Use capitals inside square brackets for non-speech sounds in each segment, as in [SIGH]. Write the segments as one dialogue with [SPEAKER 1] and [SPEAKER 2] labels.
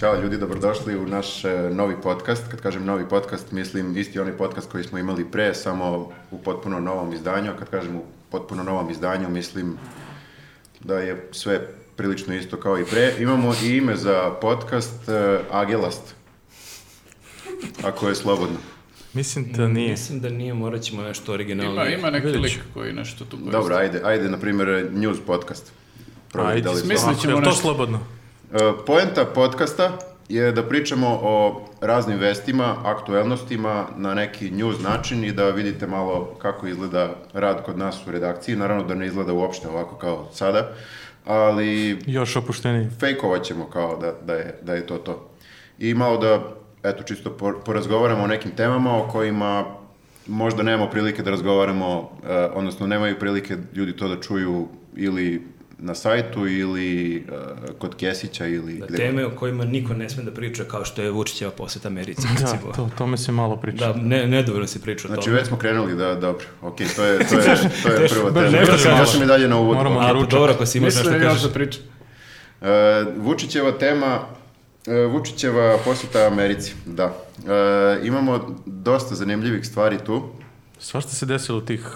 [SPEAKER 1] Ćao ljudi, dobrodošli u naš e, novi podcast. Kad kažem novi podcast, mislim isti onaj podcast koji smo imali pre, samo u potpuno novom izdanju. A kad kažem u potpuno novom izdanju, mislim da je sve prilično isto kao i pre. Imamo i ime za podcast e, Agelast. Ako je slobodno.
[SPEAKER 2] Mislim da nije.
[SPEAKER 3] Mislim da nije, morat ćemo nešto originalno.
[SPEAKER 4] Pa Ima, ima neki
[SPEAKER 2] Vidjet
[SPEAKER 4] lik
[SPEAKER 2] ću.
[SPEAKER 4] koji nešto tu koristi.
[SPEAKER 1] Dobro, ajde, ajde na primjer news podcast. Probaj
[SPEAKER 2] Ajde,
[SPEAKER 1] da li je
[SPEAKER 4] smislit
[SPEAKER 1] slobodno.
[SPEAKER 2] Ovako, je
[SPEAKER 4] ćemo
[SPEAKER 2] li to
[SPEAKER 4] nešto.
[SPEAKER 2] slobodno?
[SPEAKER 1] E, Poenta podcasta je da pričamo o raznim vestima, aktuelnostima na neki news način i da vidite malo kako izgleda rad kod nas u redakciji. Naravno da ne izgleda uopšte ovako kao sada, ali
[SPEAKER 2] Još opušteniji.
[SPEAKER 1] fejkovat ćemo kao da, da, je, da je to to. I malo da, eto, čisto por- porazgovaramo o nekim temama o kojima možda nemamo prilike da razgovaramo, eh, odnosno nemaju prilike ljudi to da čuju ili na sajtu ili eh, kod Kesića ili...
[SPEAKER 3] Da
[SPEAKER 1] gde
[SPEAKER 3] teme o kojima niko ne sme da priča, kao što je Vučićeva poseta Americi,
[SPEAKER 2] Da,
[SPEAKER 3] recimo.
[SPEAKER 2] to, o tome se malo priča.
[SPEAKER 3] Da, ne, nedovoljno si pričao o
[SPEAKER 1] Znači
[SPEAKER 3] tome.
[SPEAKER 1] već smo krenuli da, dobro, ok, to je, to je, to je prva
[SPEAKER 2] baš
[SPEAKER 1] tema.
[SPEAKER 2] nešto
[SPEAKER 1] Ja sam- Ja
[SPEAKER 2] malo.
[SPEAKER 1] sam i dalje na uvodu.
[SPEAKER 2] Moramo
[SPEAKER 1] E,
[SPEAKER 2] na
[SPEAKER 3] A, pa
[SPEAKER 2] ručak.
[SPEAKER 3] dobro, ako si imaš
[SPEAKER 4] Mislim
[SPEAKER 3] nešto
[SPEAKER 4] da
[SPEAKER 3] da
[SPEAKER 4] još
[SPEAKER 3] kažeš.
[SPEAKER 4] da pričam.
[SPEAKER 1] Eh, Vučićeva tema, e, Vučićeva posjeta Americi, da. E, imamo dosta zanimljivih stvari tu.
[SPEAKER 2] Svašta se desilo u tih...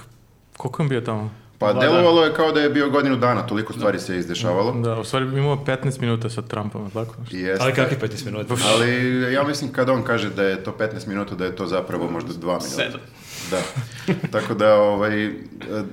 [SPEAKER 2] Koliko je bio tamo?
[SPEAKER 1] Pa
[SPEAKER 4] Dva
[SPEAKER 1] delovalo je kao da je bio godinu dana, toliko stvari se je izdešavalo.
[SPEAKER 2] Da, u stvari imamo 15 minuta sa Trumpom, je li tako?
[SPEAKER 1] I jeste.
[SPEAKER 3] Ali kakvi 15 minuta?
[SPEAKER 1] [LAUGHS] Ali ja mislim kad on kaže da je to 15 minuta, da je to zapravo možda 2 minuta.
[SPEAKER 4] Sedam.
[SPEAKER 1] Da. Tako da, ovaj, e,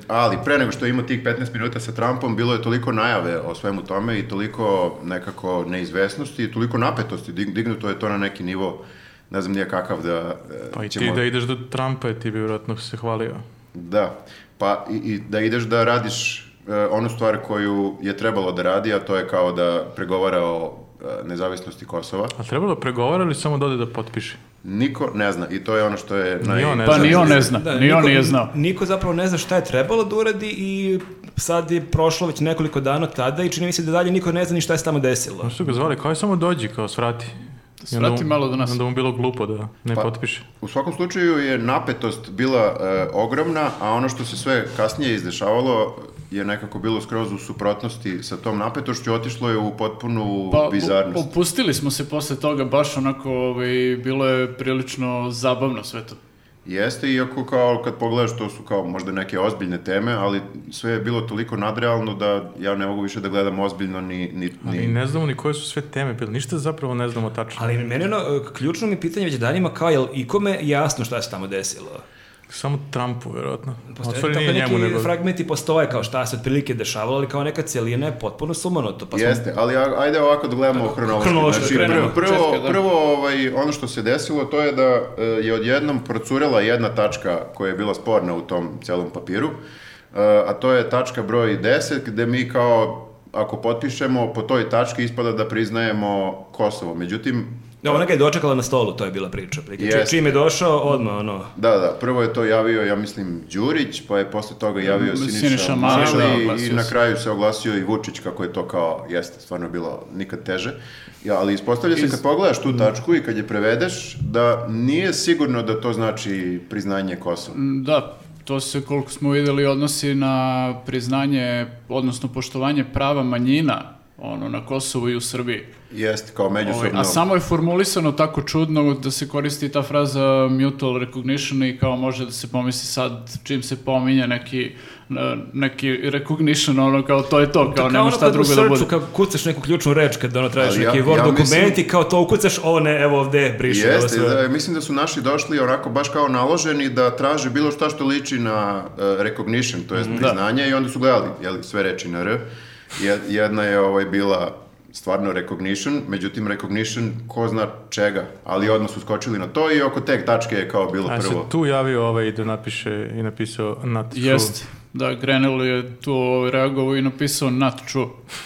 [SPEAKER 1] ali pre nego što je imao tih 15 minuta sa Trumpom, bilo je toliko najave o svemu tome i toliko nekako neizvesnosti i toliko napetosti. Dig- Dignuto je to na neki nivo, ne znam nije kakav da... e,
[SPEAKER 2] Pa i ti
[SPEAKER 1] ćemo-
[SPEAKER 2] da ideš do Trumpa, i ti bi vjerojatno se hvalio.
[SPEAKER 1] Da, pa i, i da ideš da radiš e, onu stvar koju je trebalo da radi, a to je kao da pregovara o e, nezavisnosti Kosova.
[SPEAKER 2] A trebalo je pregovara ili samo da ode da potpiše?
[SPEAKER 1] Niko ne zna i to je ono što je... naj-
[SPEAKER 2] on ne
[SPEAKER 4] Pa
[SPEAKER 2] znam. Da,
[SPEAKER 4] ni on ne zna, ni on nije znao.
[SPEAKER 3] Da, Niko zapravo ne zna šta je trebalo da uradi i sad je prošlo već nekoliko dana od tada i čini mi se da dalje niko ne zna ni šta je se tamo desilo.
[SPEAKER 2] Pa su ga zvali, kao je samo dođi, kao svrati. I onda
[SPEAKER 4] Svrati
[SPEAKER 2] mu-
[SPEAKER 4] malo do nas.
[SPEAKER 2] Onda mu bilo glupo da ne potpiše.
[SPEAKER 1] U svakom slučaju je napetost bila e, ogromna, a ono što se sve kasnije izdešavalo je nekako bilo skroz u suprotnosti sa tom napetošću, otišlo je u potpunu
[SPEAKER 4] Pa, u-
[SPEAKER 1] bizarnost.
[SPEAKER 4] opustili smo se posle toga, baš onako, ovaj, bilo je prilično zabavno sve to.
[SPEAKER 1] Jeste, iako kao kad pogledaš to su kao možda neke ozbiljne teme, ali sve je bilo toliko nadrealno da ja ne mogu više da gledam ozbiljno ni... ni,
[SPEAKER 2] Ali
[SPEAKER 1] ni...
[SPEAKER 2] ne znamo ni koje su sve teme bile, ništa zapravo ne znamo tačno.
[SPEAKER 3] Ali meni ono, e, ključno mi je pitanje već danima kao, jel ikome jasno šta se tamo desilo?
[SPEAKER 2] Samo Trumpu, vjerojatno. A U
[SPEAKER 3] Postoje
[SPEAKER 2] stvari
[SPEAKER 3] Znači, tako
[SPEAKER 2] nije
[SPEAKER 3] neki
[SPEAKER 2] njemu, nego...
[SPEAKER 3] fragmenti postoje kao šta se otprilike dešavalo, ali kao neka cijelina je potpuno sumanuto. Pa smo-
[SPEAKER 1] Jeste, ali a- ajde ovako da gledamo hronološki.
[SPEAKER 3] Hronološki
[SPEAKER 1] Znači,
[SPEAKER 3] krenemo.
[SPEAKER 1] prvo, prvo,
[SPEAKER 4] Četka, da.
[SPEAKER 1] prvo ovaj, ono što se desilo to je da e, je odjednom procurela jedna tačka koja je bila sporna u tom celom papiru, e, a to je tačka broj 10 gde mi kao ako potpišemo po toj tački ispada da priznajemo Kosovo. Međutim,
[SPEAKER 3] Da, ona ga je dočekala na stolu, to je bila priča. Prike.
[SPEAKER 1] Jeste.
[SPEAKER 3] Čim je došao, odmah ono...
[SPEAKER 1] Da, da, prvo je to javio, ja mislim, Đurić, pa je posle toga javio
[SPEAKER 4] Mm,
[SPEAKER 1] Siniša,
[SPEAKER 4] Siniša
[SPEAKER 1] Mali,
[SPEAKER 4] Mali, da, oglasio
[SPEAKER 1] i na
[SPEAKER 4] se.
[SPEAKER 1] kraju se oglasio i Vučić, kako je to kao, jeste, stvarno je bilo nikad teže. Ja, ali ispostavlja se
[SPEAKER 4] Iz- Mm.
[SPEAKER 1] kad pogledaš tu tačku i kad je prevedeš, da nije sigurno da to znači priznanje Kosova.
[SPEAKER 4] Mm, Da, to se koliko smo videli odnosi na priznanje, odnosno poštovanje prava manjina ono, na Kosovu i u Srbiji.
[SPEAKER 1] Jeste, kao
[SPEAKER 4] Ovaj,
[SPEAKER 1] međusobno.
[SPEAKER 4] a samo je formulisano tako čudno da se koristi ta fraza mutual recognition i kao može da se pomisli sad čim se pominje neki, e, neki recognition, ono kao to je to, kao, nema
[SPEAKER 3] ono
[SPEAKER 4] šta
[SPEAKER 3] kad u
[SPEAKER 4] drugo da
[SPEAKER 3] srcu,
[SPEAKER 4] bude.
[SPEAKER 3] kad kucaš neku ključnu reč, kad ono tražiš
[SPEAKER 1] Ali ja-
[SPEAKER 3] neki Word
[SPEAKER 1] ja mislim-
[SPEAKER 3] dokument i kao to ukucaš, ovo ne, evo ovde, briši ovo
[SPEAKER 1] Jeste,
[SPEAKER 3] sve.
[SPEAKER 1] da, mislim da su naši došli onako baš kao naloženi da traže bilo šta što liči na e, recognition, to jest priznanje i onda su gledali jeli, sve reči na R. Je- Jedna je ovaj, bila stvarno recognition, međutim recognition ko zna čega, ali odmah su skočili na to i oko te tačke je kao bilo
[SPEAKER 2] A se
[SPEAKER 1] prvo.
[SPEAKER 2] tu javio ovaj da napiše i napisao not true.
[SPEAKER 4] Jest, da, Grenell je tu ovaj, reagovao i napisao not true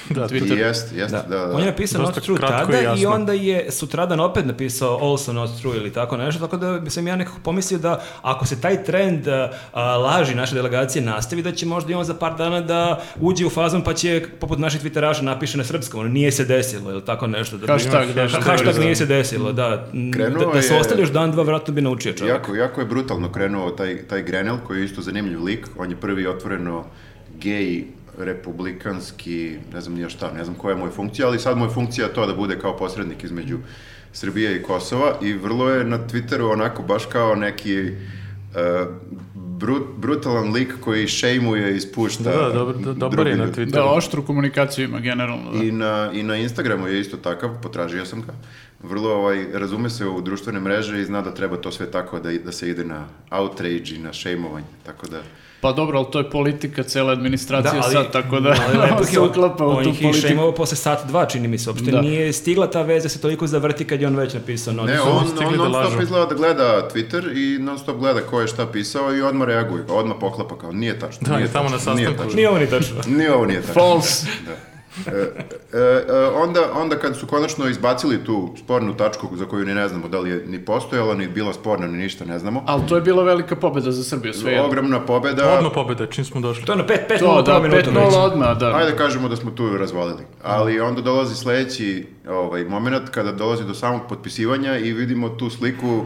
[SPEAKER 4] Da, na
[SPEAKER 1] I
[SPEAKER 4] Twitteru.
[SPEAKER 1] Jest, jest, da, da.
[SPEAKER 3] On je napisao
[SPEAKER 2] Dosta
[SPEAKER 3] Not True
[SPEAKER 2] kratko i
[SPEAKER 3] tada i,
[SPEAKER 2] jasno.
[SPEAKER 3] onda je sutradan opet napisao Also Not True ili tako nešto, tako da bi sam ja nekako pomislio da ako se taj trend a, a, laži naše delegacije nastavi, da će možda i on za par dana da uđe u fazon pa će poput naših twitteraša napiše na srpskom, ono nije se desilo ili tako nešto. Da
[SPEAKER 4] Hashtag, da,
[SPEAKER 3] Hashtag
[SPEAKER 4] hashtag.
[SPEAKER 3] nije se desilo, da. Mm,
[SPEAKER 1] Krenuo
[SPEAKER 3] da, da se
[SPEAKER 1] je-
[SPEAKER 3] ostali još dan, dva, vratno bi naučio čovjek.
[SPEAKER 1] Jako, jako je brutalno krenuo taj, taj Grenell, koji je isto zanimljiv lik. On je prvi otvoreno gej e, republikanski, ne znam nije šta, ne znam koja je moja funkcija, ali sad moja funkcija je to da bude kao posrednik između Srbije i Kosova i vrlo je na Twitteru onako baš kao neki e, brut, brutalan lik koji šejmuje i ispušta.
[SPEAKER 2] Da, da, dobro, da, dobar je
[SPEAKER 1] drugi
[SPEAKER 2] na
[SPEAKER 1] ljudi.
[SPEAKER 2] Twitteru.
[SPEAKER 4] Da, oštru komunikaciju ima generalno. Da.
[SPEAKER 1] I na, I na Instagramu je isto takav, potražio sam ga. Vrlo ovaj, razume se u društvene mreže i zna da treba to sve tako da, i- da se ide na outrage i na šejmovanje, tako da...
[SPEAKER 4] Pa dobro, ali to je politika cele administracije sad, tako da
[SPEAKER 3] ali
[SPEAKER 4] [LAUGHS]
[SPEAKER 3] lepo
[SPEAKER 4] se
[SPEAKER 3] on-
[SPEAKER 4] uklapa u
[SPEAKER 3] on
[SPEAKER 4] tu
[SPEAKER 3] ih je
[SPEAKER 4] politiku.
[SPEAKER 3] šejmovao posle sat dva, čini mi se, uopšte
[SPEAKER 4] Da.
[SPEAKER 3] nije stigla ta veza se toliko zavrti kad je on već napisao noć.
[SPEAKER 1] Ne,
[SPEAKER 2] su
[SPEAKER 1] on,
[SPEAKER 2] stigli
[SPEAKER 1] on
[SPEAKER 2] da
[SPEAKER 1] non
[SPEAKER 2] lažu.
[SPEAKER 1] stop izgleda da gleda Twitter i non stop gleda ko je šta pisao i odmah reaguje, odmah poklapa kao nije tačno.
[SPEAKER 2] Da,
[SPEAKER 1] nije
[SPEAKER 2] je tamo na
[SPEAKER 1] tačno, nije
[SPEAKER 2] sastanku.
[SPEAKER 1] tačno."
[SPEAKER 3] Nije ovo ni tačno.
[SPEAKER 1] Ni ovo nije tačno.
[SPEAKER 4] False.
[SPEAKER 1] Da. E, e, e, onda, onda kad su konačno izbacili tu spornu tačku za koju ni ne znamo da li je ni postojala, ni bila sporna, ni ništa ne znamo.
[SPEAKER 4] Ali to je bila velika pobjeda za Srbiju, sve jedno.
[SPEAKER 1] Ogromna pobeda.
[SPEAKER 2] Odmah pobjeda, čim smo došli.
[SPEAKER 3] [LAUGHS] To je ono 5 5
[SPEAKER 4] To,
[SPEAKER 3] nula
[SPEAKER 4] da,
[SPEAKER 3] prva minuta.
[SPEAKER 4] 5-0 odmah, da.
[SPEAKER 1] Ajde kažemo da smo tu razvalili. Ali onda dolazi sledeći ovaj, moment kada dolazi do samog potpisivanja i vidimo tu sliku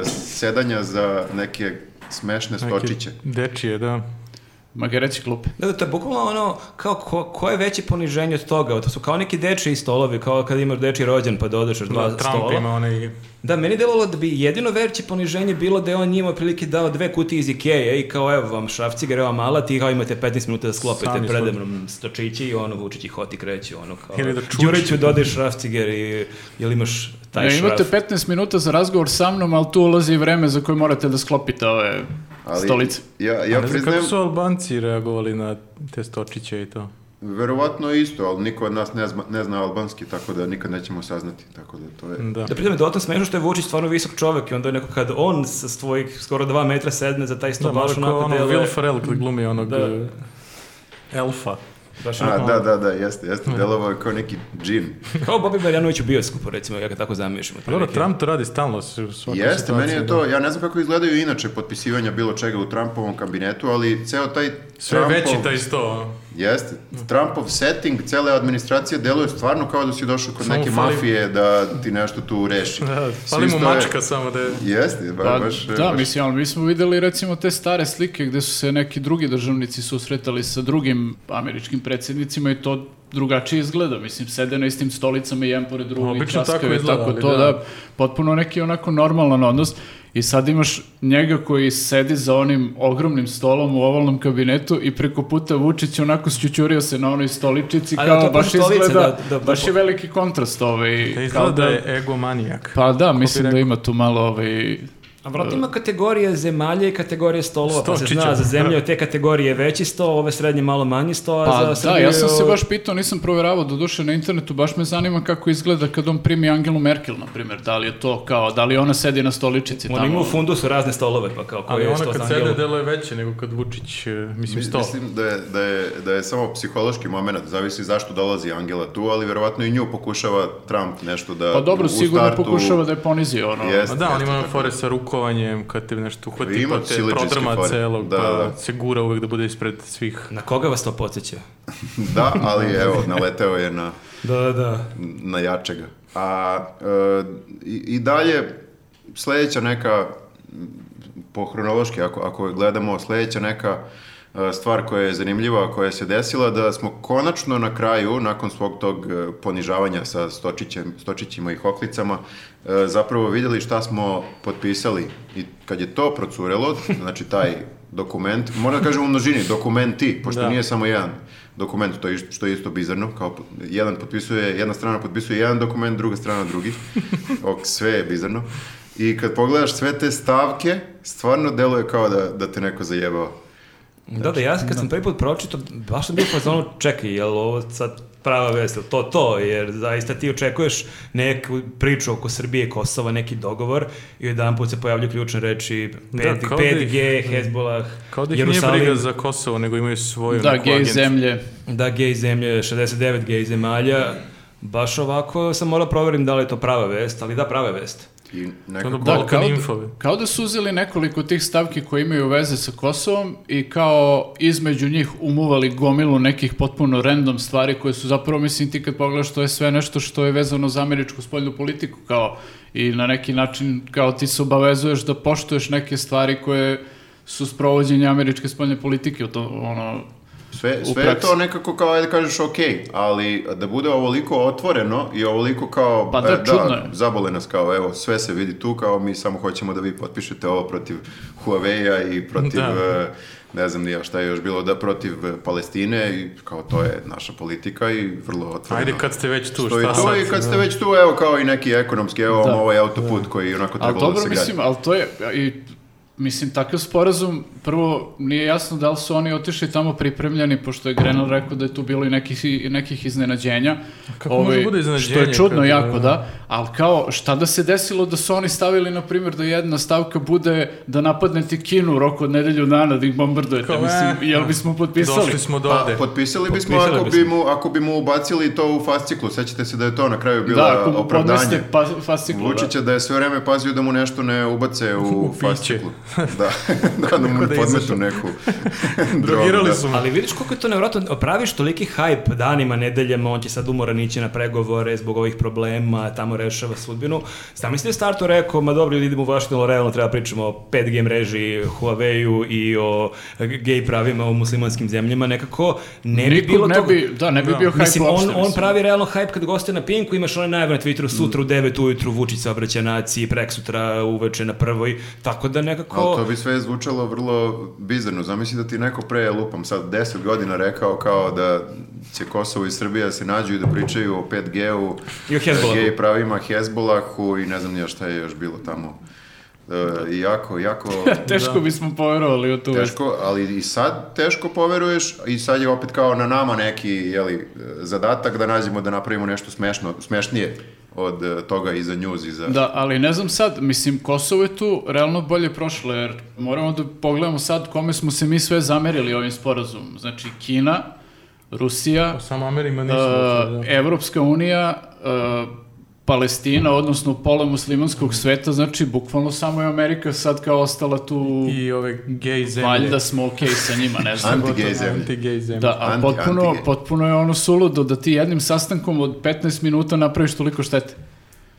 [SPEAKER 1] e, sedanja za neke smešne stočiće.
[SPEAKER 2] Dečije, da.
[SPEAKER 4] Magareći klupe.
[SPEAKER 3] Da, da, to je bukvalno ono, kao, ko, ko je veće poniženje od toga? To su kao neki dečiji stolovi, kao kad imaš deči rođen pa dodaš još dva
[SPEAKER 2] Da, Trump
[SPEAKER 3] stola.
[SPEAKER 2] ima onaj...
[SPEAKER 3] Da, meni je delovalo da bi jedino veće poniženje bilo da je on njima prilike dao dve kutije iz Ikeje i kao evo vam šrafciger, evo vam alat i kao imate 15 minuta da sklopite
[SPEAKER 2] Sami
[SPEAKER 3] prede mnom stočići i ono Vučić ih hoti kreću, ono kao
[SPEAKER 2] Ili da čuči.
[SPEAKER 3] Đuriću dodaj šrafciger i jel imaš taj
[SPEAKER 4] Ne,
[SPEAKER 3] šraf?
[SPEAKER 4] imate 15 minuta za razgovor sa mnom, ali tu ulazi i vreme za koje morate da sklopite ove
[SPEAKER 1] Ali
[SPEAKER 4] stolice.
[SPEAKER 1] Ja, ja
[SPEAKER 2] Ja ne znam kako
[SPEAKER 1] priznajem,
[SPEAKER 2] su Albanci reagovali na te stočiće i to. Da.
[SPEAKER 1] verovatno isto, ali niko od nas ne zna, ne zna albanski, tako da nikad nećemo saznati. Tako da to je...
[SPEAKER 2] Da.
[SPEAKER 3] Da pritom je dotan smešno što je Vučić stvarno visok čovek i onda je neko kad on sa svojih skoro dva metra sedne za taj sto
[SPEAKER 2] Da, malo
[SPEAKER 3] baš
[SPEAKER 2] kao
[SPEAKER 3] onako
[SPEAKER 2] ono
[SPEAKER 3] deluje.
[SPEAKER 2] Will Ferrell kad glumi onog
[SPEAKER 3] Da.
[SPEAKER 2] eh, elfa.
[SPEAKER 3] Baš
[SPEAKER 1] A,
[SPEAKER 3] onako
[SPEAKER 1] da, da, da, jeste, jeste,
[SPEAKER 2] Mm.
[SPEAKER 1] delovao je kao neki džin.
[SPEAKER 3] [LAUGHS] Kao Bobi Marjanović u bioskopu, recimo, ja ga tako zamišljam.
[SPEAKER 2] Pa Dobro, Trump to radi stalno. s- u svakoj
[SPEAKER 1] Jeste,
[SPEAKER 2] situaciji,
[SPEAKER 1] meni je
[SPEAKER 2] da.
[SPEAKER 1] to, ja ne znam kako izgledaju inače potpisivanja bilo čega u Trumpovom kabinetu, ali ceo taj
[SPEAKER 2] Sve je
[SPEAKER 1] Trumpov-
[SPEAKER 2] veći taj sto. ono.
[SPEAKER 1] Jeste. Trumpov setting cele administracije deluje stvarno kao da si došao kod
[SPEAKER 2] Samo
[SPEAKER 1] neke
[SPEAKER 2] fali-
[SPEAKER 1] mafije da ti nešto tu
[SPEAKER 4] [LAUGHS]
[SPEAKER 1] reši.
[SPEAKER 2] Da,
[SPEAKER 1] Svi
[SPEAKER 2] fali mu
[SPEAKER 1] stoje-
[SPEAKER 2] mačka samo da je...
[SPEAKER 1] Jeste, ba,
[SPEAKER 4] Pa,
[SPEAKER 1] baš...
[SPEAKER 4] da,
[SPEAKER 1] baš-
[SPEAKER 4] mislim, ali mi smo videli recimo te stare slike gde su se neki drugi državnici susretali sa drugim američkim predsjednicima i to drugačije izgleda, mislim, sede na istim stolicama i jedan pored drugog i
[SPEAKER 2] Obično tako
[SPEAKER 4] časkaju i
[SPEAKER 2] izgleda,
[SPEAKER 4] tako
[SPEAKER 2] ali
[SPEAKER 4] to, da.
[SPEAKER 2] da.
[SPEAKER 4] potpuno neki onako normalan odnos i sad imaš njega koji sedi za onim ogromnim stolom u ovalnom kabinetu i preko puta Vučić onako sćućurio se na onoj stoličici,
[SPEAKER 3] A da,
[SPEAKER 4] kao
[SPEAKER 3] to je
[SPEAKER 4] baš
[SPEAKER 3] baš stolica,
[SPEAKER 4] izgleda,
[SPEAKER 3] da, da,
[SPEAKER 4] baš je veliki kontrast ovaj,
[SPEAKER 2] Da
[SPEAKER 4] kao
[SPEAKER 2] izgleda
[SPEAKER 4] da,
[SPEAKER 2] da je egomanijak.
[SPEAKER 4] pa da, mislim da ima tu malo ovaj,
[SPEAKER 3] A vratno ima kategorije zemalja i kategorije stolova, pa se
[SPEAKER 2] Stočića.
[SPEAKER 3] zna za zemlje od te kategorije je veći sto, ove srednje malo manji sto, a
[SPEAKER 4] Pa
[SPEAKER 3] za
[SPEAKER 4] da,
[SPEAKER 3] Srbiju...
[SPEAKER 4] ja sam se
[SPEAKER 3] je-
[SPEAKER 4] baš pitao, nisam provjeravao do duše na internetu, baš me zanima kako izgleda kad on primi Angelu Merkel, na primjer, da li je to kao, da li ona sedi na stoličici
[SPEAKER 3] Oni imaju
[SPEAKER 4] tamo.
[SPEAKER 3] u fundusu razne stolove, pa kao koji
[SPEAKER 2] Ali
[SPEAKER 3] je
[SPEAKER 2] ona
[SPEAKER 3] sto
[SPEAKER 2] kad
[SPEAKER 3] za
[SPEAKER 2] sede
[SPEAKER 3] Angelu.
[SPEAKER 2] delo je veće nego kad Vučić, eh, mislim, sto.
[SPEAKER 1] Mislim da je, da, je, da je samo psihološki moment, zavisi zašto dolazi Angela tu, ali verovatno i nju pokušava Trump nešto da...
[SPEAKER 4] Pa dobro,
[SPEAKER 1] u
[SPEAKER 4] sigurno
[SPEAKER 1] startu-
[SPEAKER 4] pokušava da je ponizio ono.
[SPEAKER 1] Jeste.
[SPEAKER 2] A da, on
[SPEAKER 1] jeste,
[SPEAKER 2] ima
[SPEAKER 1] tako.
[SPEAKER 2] fore sa rukovanjem, kad te nešto uhvati,
[SPEAKER 1] Ima
[SPEAKER 2] pa te
[SPEAKER 1] sileđijske
[SPEAKER 2] prodrma
[SPEAKER 1] fore.
[SPEAKER 2] celog,
[SPEAKER 1] Da,
[SPEAKER 2] pa
[SPEAKER 1] da.
[SPEAKER 2] se gura uvek da bude ispred svih.
[SPEAKER 3] Na koga vas to podsjeća?
[SPEAKER 1] Da, ali evo, naleteo je na...
[SPEAKER 3] Da, da.
[SPEAKER 1] na jačega. A e, i, i dalje sledeća neka m, po hronološki ako ako gledamo sledeća neka e, stvar koja je zanimljiva, koja se desila da smo konačno na kraju nakon svog tog e, ponižavanja sa stočićem, stočićima i hoklicama e, zapravo vidjeli šta smo potpisali i kad je to procurelo, znači taj dokument, moram da kažem u množini, dokumenti, pošto
[SPEAKER 2] Da.
[SPEAKER 1] nije samo jedan dokument, to je, ist- što je isto bizarno, kao po- jedan potpisuje, jedna strana potpisuje jedan dokument, druga strana drugi, ok, sve je bizarno. I kad pogledaš sve te stavke, stvarno deluje kao da, da te neko zajebao.
[SPEAKER 3] Da, da, ja kad sam prvi put pročito, baš sam bio pa zonu, čekaj, je ovo sad prava vest, jel to to, jer zaista ti očekuješ neku priču oko Srbije i Kosova, neki dogovor i jedan put se pojavljuju ključne reči
[SPEAKER 2] Da,
[SPEAKER 3] 5,
[SPEAKER 2] kao da ih-
[SPEAKER 3] 5G, Hezbollah,
[SPEAKER 2] Kao da ih
[SPEAKER 3] Jerusalim,
[SPEAKER 2] nije briga za Kosovo, nego imaju svoju
[SPEAKER 4] Da,
[SPEAKER 2] neku
[SPEAKER 4] gej
[SPEAKER 2] agenciju.
[SPEAKER 4] zemlje.
[SPEAKER 3] da, gej zemlje, 69 gej zemalja, baš ovako sam morao proverim da li je to prava vest, ali da, prava je vest.
[SPEAKER 1] I
[SPEAKER 2] Onda
[SPEAKER 1] nekako,
[SPEAKER 4] Da,
[SPEAKER 2] Balkan
[SPEAKER 4] kao da,
[SPEAKER 2] Infove.
[SPEAKER 4] kao da su uzeli nekoliko tih stavki koje imaju veze sa Kosovom i kao između njih umuvali gomilu nekih potpuno random stvari koje su zapravo, mislim, ti kad pogledaš to je sve nešto što je vezano za američku spoljnu politiku, kao i na neki način kao ti se obavezuješ da poštuješ neke stvari koje su sprovođenje američke spoljne politike, to ono,
[SPEAKER 1] Sve,
[SPEAKER 4] u
[SPEAKER 1] sve je
[SPEAKER 4] praksi.
[SPEAKER 1] to nekako kao, ajde kažeš, ok, ali da bude ovoliko otvoreno i ovoliko kao, e,
[SPEAKER 4] Pa da, čudno je.
[SPEAKER 1] zabole nas kao, evo, sve se vidi tu, kao mi samo hoćemo da vi potpišete ovo protiv Huawei-a i protiv,
[SPEAKER 2] Da.
[SPEAKER 1] e, ne znam ni ja šta je još bilo, da protiv e, Palestine i kao to je naša politika i vrlo otvoreno.
[SPEAKER 2] Ajde kad ste već tu,
[SPEAKER 1] Što je
[SPEAKER 2] šta
[SPEAKER 1] to
[SPEAKER 2] sad?
[SPEAKER 1] i kad ste već tu, evo, kao i neki ekonomski, evo,
[SPEAKER 4] Da.
[SPEAKER 1] vam ovaj autoput koji je onako
[SPEAKER 4] Ali
[SPEAKER 1] trebalo da
[SPEAKER 4] dobro,
[SPEAKER 1] se gradi.
[SPEAKER 4] mislim, ali to je, i, mislim, takav sporazum, prvo, nije jasno da li su oni otišli tamo pripremljeni, pošto je Grenell rekao da je tu bilo i nekih, i nekih iznenađenja. Ovaj,
[SPEAKER 2] kako može da bude
[SPEAKER 4] Što
[SPEAKER 2] iznenađenje
[SPEAKER 4] je čudno
[SPEAKER 2] kad-
[SPEAKER 4] jako, da. Ali kao, šta da se desilo da su oni stavili, na primjer, da jedna stavka bude da napadnete Kinu u roku od nedelju dana, da ih bombardujete.
[SPEAKER 2] Kao, eh,
[SPEAKER 4] mislim, e, jel bismo potpisali?
[SPEAKER 2] Došli smo do
[SPEAKER 1] Pa,
[SPEAKER 2] ovde.
[SPEAKER 1] potpisali bismo
[SPEAKER 3] Potpisali
[SPEAKER 1] ako, bi
[SPEAKER 3] bismo.
[SPEAKER 1] mu, ako bi mu ubacili to u fasciklu. Sećate se da je to na kraju bilo
[SPEAKER 4] Da, ako mu
[SPEAKER 1] opravdanje.
[SPEAKER 4] podnesete pa, fasciklu, da.
[SPEAKER 1] Vučića da je sve vreme pazio da mu nešto ne ubace u,
[SPEAKER 2] U piće.
[SPEAKER 1] fasciklu. Da, [LAUGHS] da, da mu
[SPEAKER 2] Kako
[SPEAKER 1] ne
[SPEAKER 2] da
[SPEAKER 1] podmetu
[SPEAKER 2] izašao.
[SPEAKER 1] neku drogu, da.
[SPEAKER 2] Drogirali su me.
[SPEAKER 3] Ali vidiš koliko je to nevjerojatno, praviš toliki hype danima, nedeljama, on će sad umoran ići na pregovore zbog ovih problema, tamo rešava sudbinu. Sam si u startu rekao, ma dobro, ljudi, idemo u Washington, realno treba pričamo o 5G mreži, Huawei-u i o gej pravima u muslimanskim zemljama, nekako ne bi
[SPEAKER 4] Nikog
[SPEAKER 3] bilo
[SPEAKER 4] ne
[SPEAKER 3] toga.
[SPEAKER 4] bi, da, ne bi
[SPEAKER 2] Da.
[SPEAKER 4] bio hype
[SPEAKER 3] Mislim, on,
[SPEAKER 4] uopšte,
[SPEAKER 3] on
[SPEAKER 4] mislim.
[SPEAKER 3] pravi realno hype kad gostuje na Pinku, imaš one najave na Twitteru sutra u 9 ujutru, Vučić se obraća naciji, preksutra uveče na prvoj, tako da nekako...
[SPEAKER 1] Ali to bi sve zvučalo vrlo bizarno. Zamisli da ti neko pre, lupam sad, 10 godina rekao kao da će Kosovo i Srbija se nađu i da pričaju o 5G-u,
[SPEAKER 3] I o Hezbollahu.
[SPEAKER 1] gej pravima, Hezbolahu i ne znam ja šta je još bilo tamo. E, I jako, jako...
[SPEAKER 2] Da.
[SPEAKER 4] Teško bismo povjerovali u tu vest.
[SPEAKER 1] Teško, ali i sad teško poveruješ i sad je opet kao na nama neki jeli, e, zadatak da nađemo da napravimo nešto smešno, smešnije od e, toga i za njuz i za...
[SPEAKER 4] Da, ali ne znam sad, mislim, Kosovo je tu realno bolje prošlo, jer moramo da pogledamo sad kome smo se mi sve zamerili ovim sporazumom. Znači, Kina, Rusija,
[SPEAKER 2] Samo Amerima
[SPEAKER 4] e,
[SPEAKER 2] nismo. Uh,
[SPEAKER 4] Evropska unija, e, Palestina, odnosno pola
[SPEAKER 2] Mhm.
[SPEAKER 4] muslimanskog sveta, znači, bukvalno samo je Amerika sad kao ostala tu,
[SPEAKER 2] I ove gej zemlje.
[SPEAKER 4] valjda smo okej sa njima, ne znam.
[SPEAKER 1] Anti-gej zemlje.
[SPEAKER 2] Anti-gej zemlje.
[SPEAKER 4] Da, a
[SPEAKER 1] Anti-
[SPEAKER 4] potpuno,
[SPEAKER 1] anti-gej.
[SPEAKER 4] potpuno je ono suludo da ti jednim sastankom od 15 minuta napraviš toliko štete.